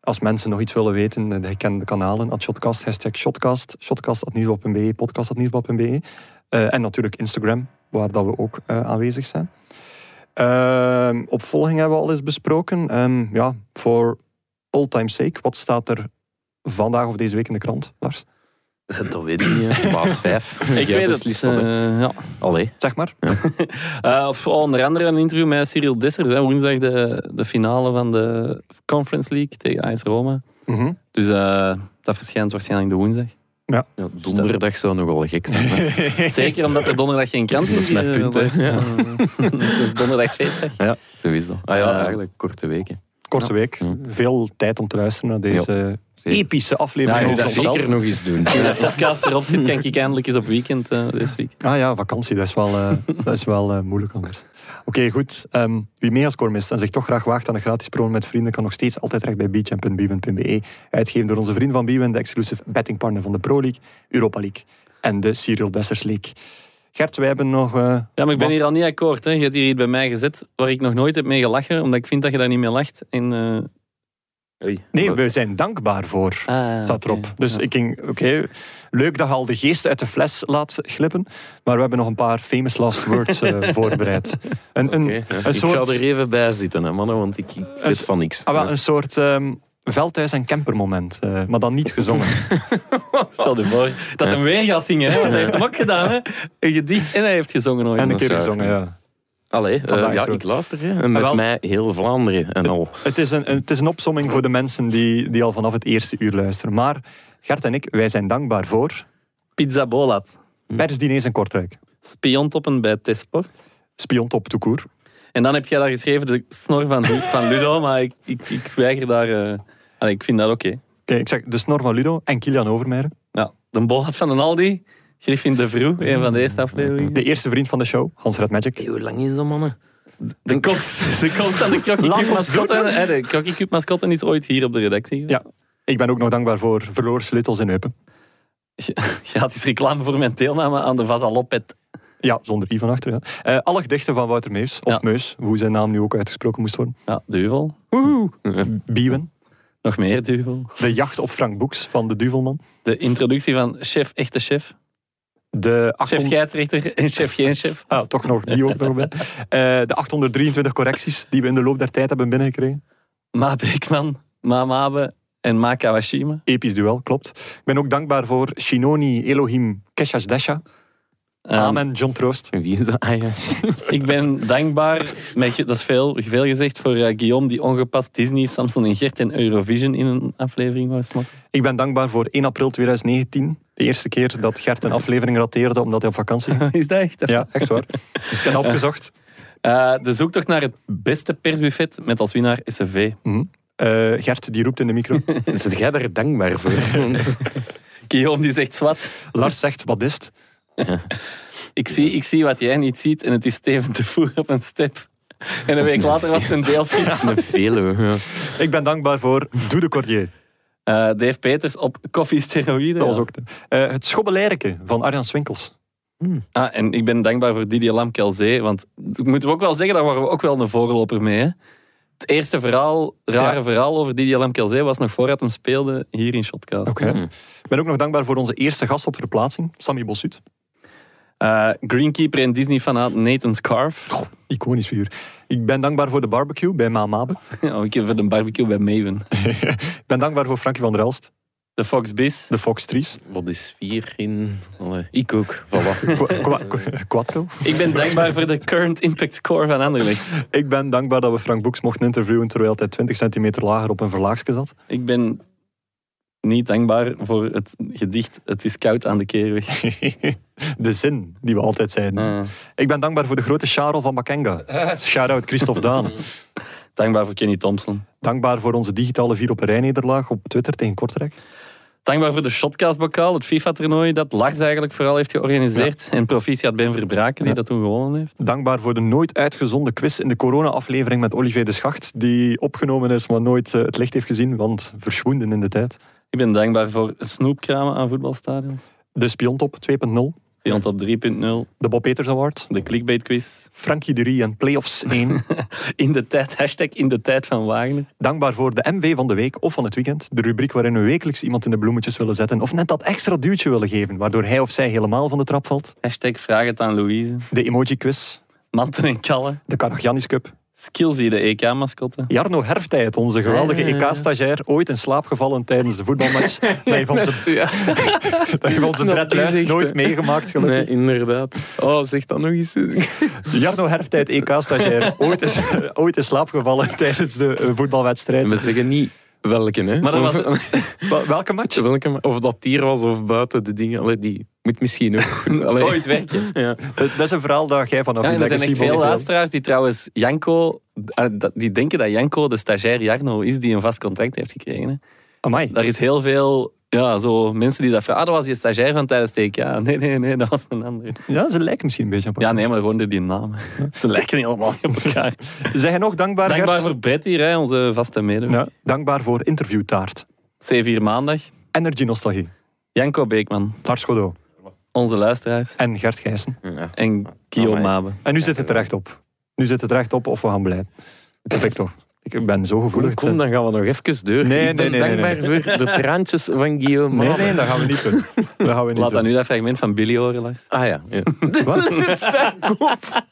Speaker 1: als mensen nog iets willen weten, eh, je kent de kanalen. At Shotcast, hashtag Shotcast, shotcast.nieuwsblad.be, podcast.nieuwsblad.be. Eh en natuurlijk Instagram, waar dat we ook eh, aanwezig zijn. Ehm, opvolging hebben we al eens besproken. Ehm, ja, voor all time's sake, wat staat er vandaag of deze week in de krant, Lars?
Speaker 4: Dat weet ik niet. hè. Baas 5.
Speaker 3: Ik weet het. eh, ja.
Speaker 4: Allee.
Speaker 1: Zeg maar.
Speaker 3: Eh, of onder andere een interview met Cyril Dessers. Hè, woensdag de, de finale van de Conference League tegen AS Roma.
Speaker 1: Mhm.
Speaker 3: Dus eh, dat verschijnt waarschijnlijk de woensdag.
Speaker 4: Ja, donderdag zou nogal gek zijn. hè.
Speaker 3: Zeker omdat er donderdag geen krant is.
Speaker 4: Dat is mijn
Speaker 3: eh,
Speaker 4: punt, hè.
Speaker 3: Lars.
Speaker 4: Ja.
Speaker 3: Het is donderdag feestdag.
Speaker 4: Ja, zo is dat. Ah ja,
Speaker 3: Eh,
Speaker 4: eigenlijk korte weken.
Speaker 1: Korte week.
Speaker 4: Ja.
Speaker 1: Veel tijd om te luisteren naar deze
Speaker 4: Zeker.
Speaker 1: epische
Speaker 4: Ja,
Speaker 1: aflevering.
Speaker 4: je
Speaker 1: over
Speaker 4: moet dat
Speaker 1: onszelf.
Speaker 4: zeker nog eens doen.
Speaker 3: Toen de podcast erop zit, kan ik eindelijk eens op weekend eh deze week.
Speaker 1: Ah ja, vakantie, dat is wel, eh, dat is wel eh, moeilijk anders. Oké, goed. Ehm, wie Megascore mist en zich toch graag waagt aan een gratis promo met vrienden, kan nog steeds altijd terecht bij beachchamp.biewen.be. e, Uitgegeven door onze vriend van Biewen, de exclusive bettingpartner van de Pro League, Europa League en de Cyril Dessers League. Gert, wij hebben nog... eh,
Speaker 3: Ja, maar ik ben
Speaker 1: wat-
Speaker 3: hier al niet akkoord. Hè. Je hebt hier iets bij mij gezet waar ik nog nooit heb mee gelachen, omdat ik vind dat je daar niet mee lacht. En, eh,
Speaker 1: Nee, we zijn dankbaar voor,
Speaker 3: Ah,
Speaker 1: staat
Speaker 3: oké.
Speaker 1: erop. Dus ik ging, oké, leuk dat je al de geest uit de fles laat glippen, maar we hebben nog een paar famous last words eh, voorbereid. Een, een,
Speaker 4: Oké, ja.
Speaker 1: een soort...
Speaker 4: Ik ga er even bij zitten, hè, mannen, want ik, ik weet van niks.
Speaker 1: Ah, wel, een soort ehm veldhuis- en campermoment, eh, maar dan niet gezongen.
Speaker 3: Stel je voor dat hij weer gaat zingen, hè, want hij heeft hem ook gedaan. Hè. Een gedicht en hij heeft gezongen ooit.
Speaker 1: en een keer
Speaker 4: zou-
Speaker 1: gezongen, ja.
Speaker 4: Allee, eh,
Speaker 1: Vandaag
Speaker 4: ja,
Speaker 1: zo.
Speaker 4: ik luister. Hè. En
Speaker 1: Ah,
Speaker 4: met
Speaker 1: wel.
Speaker 4: mij heel Vlaanderen en al.
Speaker 1: Het is een, een- het is een opsomming voor de mensen die, die al vanaf het eerste uur luisteren. Maar Gert en ik, wij zijn dankbaar voor
Speaker 3: Pizza Bolat.
Speaker 1: Hm. persdiners in Kortrijk.
Speaker 3: Spiontoppen bij T-Sport.
Speaker 1: Spion top toekoer.
Speaker 3: En dan heb jij daar geschreven de snor van, van Ludo, maar ik, ik, ik weiger daar... eh, allee, ik vind dat oké.
Speaker 1: Kijk, ik zeg de snor van Ludo en Kilian Overmeijer.
Speaker 3: Ja, de Bolat van een Aldi. Griffin de Vroe, een van de eerste afleveringen.
Speaker 1: De eerste vriend van de show, Hans Red Magic.
Speaker 4: Hey, hoe lang is dat, mannen?
Speaker 3: De kont, de kont van de Krokkie
Speaker 1: Laat
Speaker 3: Cup
Speaker 1: ons doen.
Speaker 3: mascotte. hè, De Krokkie Cup mascotte is ooit hier op de redactie geweest.
Speaker 1: Ja. Ik ben ook nog dankbaar voor verloren sleutels in Eupen.
Speaker 3: Gratis reclame voor mijn deelname aan de Vaza Lopet.
Speaker 1: Ja, zonder I van achter. Ja. Eh, alle gedichten van Wouter Meus, of
Speaker 3: Ja.
Speaker 1: Meus, hoe zijn naam nu ook uitgesproken moest worden.
Speaker 3: Ja, Duvel.
Speaker 1: Biewen.
Speaker 3: Nog meer Duvel.
Speaker 1: De jacht op Frank Boeks van de Duvelman.
Speaker 3: De introductie van chef, echte chef.
Speaker 1: De 800
Speaker 3: Chef scheidsrechter en chef geen chef.
Speaker 1: Ah, toch nog, die ook nog bij. Eh, de 823 correcties die we in de loop der tijd hebben binnengekregen.
Speaker 3: Ma Beekman, Ma Mabe en Ma Kawashima.
Speaker 1: Episch duel, klopt. Ik ben ook dankbaar voor Shinoni, Elohim, Keshash Desha.
Speaker 3: Ehm,
Speaker 1: Amen, John Troost.
Speaker 4: Wie is dat? Ah, ja.
Speaker 3: Ik ben dankbaar, met, dat is veel, veel gezegd, voor eh, Guillaume die ongepast Disney, Samson en Gert en Eurovision in een aflevering was. Maar
Speaker 1: Ik ben dankbaar voor 1 april 2019. De eerste keer dat Gert een aflevering rateerde omdat hij op vakantie ging.
Speaker 3: is dat echt?
Speaker 1: Ja, echt waar. Ik heb dat opgezocht.
Speaker 3: Eh, de zoektocht naar het beste persbuffet met als winnaar SCV.
Speaker 1: Mhm. Eh, Gert, die roept in de micro.
Speaker 4: Zit jij daar dankbaar voor?
Speaker 3: Guillaume die zegt zwart.
Speaker 1: Lars zegt, wat is het?
Speaker 3: Ik zie, ik zie wat jij niet ziet en het is Steven te voer op een step. En een week later was het een deelfiets.
Speaker 4: Een Veluwe. Ja.
Speaker 1: Ik ben dankbaar voor Doe de Cordier.
Speaker 3: Eh, Dave Peters op koffie steroïden.
Speaker 1: Dat was ook de- Eh, het Schobbelerke van Arjan Swinkels.
Speaker 3: Ah, en ik ben dankbaar voor Didier Lamkelzee, want ik moet ook wel zeggen, daar waren we ook wel een voorloper mee. Hè? Het eerste verhaal, rare
Speaker 1: Ja.
Speaker 3: verhaal over Didier Lamkelzee was nog voordat hem speelde hier in Shotcast.
Speaker 1: Oké. Ik ben ook nog dankbaar voor onze eerste gast op verplaatsing, Sammy Bossuut.
Speaker 3: Eh, greenkeeper en Disney-fanaat Nathan Scarf.
Speaker 1: Iconisch figuur. Ik ben dankbaar voor de barbecue bij Ma Mabe.
Speaker 3: Oh, ik heb een barbecue bij Maven.
Speaker 1: Ik ben dankbaar voor Frankie van der Elst,
Speaker 3: De Fox Bis.
Speaker 1: de Fox Tries.
Speaker 4: Wat is vier in... Allee, ik ook. Voilà.
Speaker 1: Qua- qua- qua- Quattro.
Speaker 3: Ik ben dankbaar voor de current impact score van Anderlecht.
Speaker 1: Ik ben dankbaar dat we Frank Boeks mochten interviewen terwijl hij 20 centimeter lager op een verlaagske zat.
Speaker 3: Ik ben niet dankbaar voor het gedicht Het is koud aan de keerweg.
Speaker 1: De zin die we altijd zeiden.
Speaker 3: Ah.
Speaker 1: Ik ben dankbaar voor de grote Charel van Makenga. Shout-out Christophe Daan.
Speaker 3: Dankbaar voor Kenny Thompson.
Speaker 1: Dankbaar voor onze digitale vier op een rij nederlaag op Twitter tegen Kortrijk.
Speaker 3: Dankbaar voor de Shotcast-bokaal, het FIFA-toernooi dat Lars eigenlijk vooral heeft georganiseerd. En proficiat Ben Verbraken, die
Speaker 1: Ja.
Speaker 3: dat toen gewonnen heeft.
Speaker 1: Dankbaar voor de nooit uitgezonden quiz in de corona-aflevering met Olivier de Schacht, die opgenomen is, maar nooit eh, het licht heeft gezien, want verschwoenden in de tijd.
Speaker 3: Ik ben dankbaar voor snoepkramen aan voetbalstadions.
Speaker 1: De Spiontop 2.0,
Speaker 3: Beyond op 3.0,
Speaker 1: de Bob Peters Award,
Speaker 3: de clickbait-quiz.
Speaker 1: Frankie Durie en Playoffs 1.
Speaker 3: In de tijd, hashtag in de tijd van Wagner.
Speaker 1: Dankbaar voor de MV van de week of van het weekend. De rubriek waarin we wekelijks iemand in de bloemetjes willen zetten. Of net dat extra duwtje willen geven, waardoor hij of zij helemaal van de trap valt.
Speaker 3: Hashtag vraag het aan Louise.
Speaker 1: De emoji quiz.
Speaker 3: Manten en Kallen.
Speaker 1: De Karagiannis Cup. Skills.
Speaker 3: Zie de E EK-mascotte.
Speaker 1: Jarno Herftijd, onze geweldige
Speaker 3: Ja, ja, ja.
Speaker 1: EK-stagiair, ooit in slaap gevallen tijdens de voetbalmatch. dat heeft onze, dat heeft onze Brett
Speaker 4: is
Speaker 1: Luijs
Speaker 4: echt,
Speaker 1: nooit
Speaker 4: hè.
Speaker 1: meegemaakt, gelukkig.
Speaker 4: Nee, inderdaad. Oh, zeg dat nog eens.
Speaker 1: Jarno Herftijd, EK-stagiair, ooit, is, ooit in slaap gevallen tijdens de eh, voetbalwedstrijd.
Speaker 4: We zeggen niet welke, hè.
Speaker 3: Maar er was-
Speaker 4: Of-
Speaker 1: Wa- Welke match?
Speaker 4: welke, maar- of dat hier was of buiten de dingen. Allee, die moet misschien ook goed- allee.
Speaker 3: Ooit werken.
Speaker 4: Ja.
Speaker 1: Dat dat is een verhaal dat jij vanaf
Speaker 3: Ja, en er zijn echt
Speaker 1: Legacy
Speaker 3: veel
Speaker 1: volgt.
Speaker 3: luisteraars die trouwens Janko, eh, dat- die denken dat Janko de stagiair Jarno is die een vast contract heeft gekregen. hè.
Speaker 1: Amai.
Speaker 3: Daar is heel veel ja, zo, mensen die dat vragen. Ah, dat was die stagiair van tijdens TK. Nee, nee, nee, dat was een ander.
Speaker 1: Ja, ze lijken misschien een beetje op elkaar.
Speaker 3: Ja, nee, maar gewoon door die naam. Ze lijken helemaal niet op elkaar.
Speaker 1: Zijn jij nog dankbaar,
Speaker 3: Dankbaar
Speaker 1: Gert?
Speaker 3: voor Brett hier, hè, onze vaste medewerker.
Speaker 1: Ja, dankbaar voor interviewtaart.
Speaker 3: C4 Maandag.
Speaker 1: Energy Nostalgie.
Speaker 3: Janko Beekman,
Speaker 1: Lars Godot
Speaker 3: onze luisteraars.
Speaker 1: en Gert Gijssen.
Speaker 4: Ja.
Speaker 3: En Guillaume
Speaker 4: Amai.
Speaker 3: Mabe.
Speaker 1: En nu zit het er echt op. Nu zit het er echt op of we gaan blijven. Perfecto. Ik ben zo gevoelig.
Speaker 4: Kom, kom, dan gaan we nog even door.
Speaker 1: Nee,
Speaker 4: Ik ben
Speaker 1: nee, nee, nee,
Speaker 4: dankbaar voor de traantjes van Guillaume.
Speaker 1: nee,
Speaker 4: Mabe.
Speaker 1: nee, dat gaan we niet doen. Dat gaan we niet
Speaker 3: Laat dan
Speaker 1: doen.
Speaker 3: nu dat fragment van Billy horen, Lars.
Speaker 4: Ah ja. ja.
Speaker 1: Wat?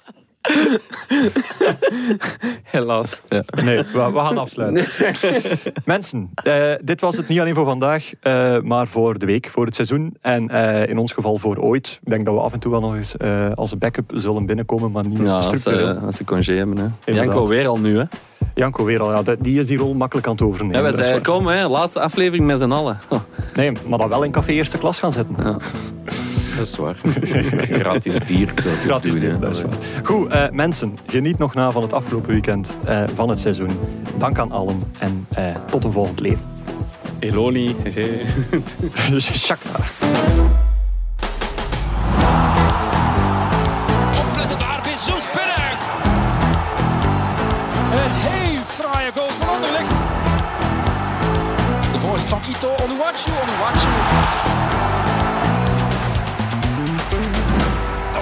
Speaker 4: Helaas. Ja.
Speaker 1: Nee, we, we gaan afsluiten. Mensen, eh, dit was het niet alleen voor vandaag, eh, maar voor de week, voor het seizoen. En eh, in ons geval voor ooit. Ik denk dat we af en toe wel nog eens eh, als een backup zullen binnenkomen, maar niet
Speaker 3: Ja, eh, als
Speaker 1: structureel.
Speaker 3: ze, als ze congé hebben. Hè.
Speaker 1: Inderdaad.
Speaker 3: Janko weer al nu, hè.
Speaker 1: Janko weer al, ja, dat- die is die rol makkelijk aan het overnemen.
Speaker 3: Ja, wij
Speaker 1: Dat is
Speaker 3: zeiden,
Speaker 1: waar.
Speaker 3: kom, hè, laatste aflevering met z'n allen. Huh.
Speaker 1: Nee, maar dan wel in café eerste klas gaan zitten.
Speaker 4: Dat is waar. Gratis bier. Ik zou het
Speaker 1: Gratis
Speaker 4: doen, hè.
Speaker 1: bier, dat is waar. Goed, eh, mensen, geniet nog na van het afgelopen weekend eh, van het seizoen. Dank aan allen en eh, tot een volgend leven. Dus,
Speaker 3: Eloni.
Speaker 1: Chakra.
Speaker 2: Opletten daar, Bezoet binnen. Een heel fraaie goal van Anderlecht. De voorzet van Ito Onuwachu, Onuwachu. Dat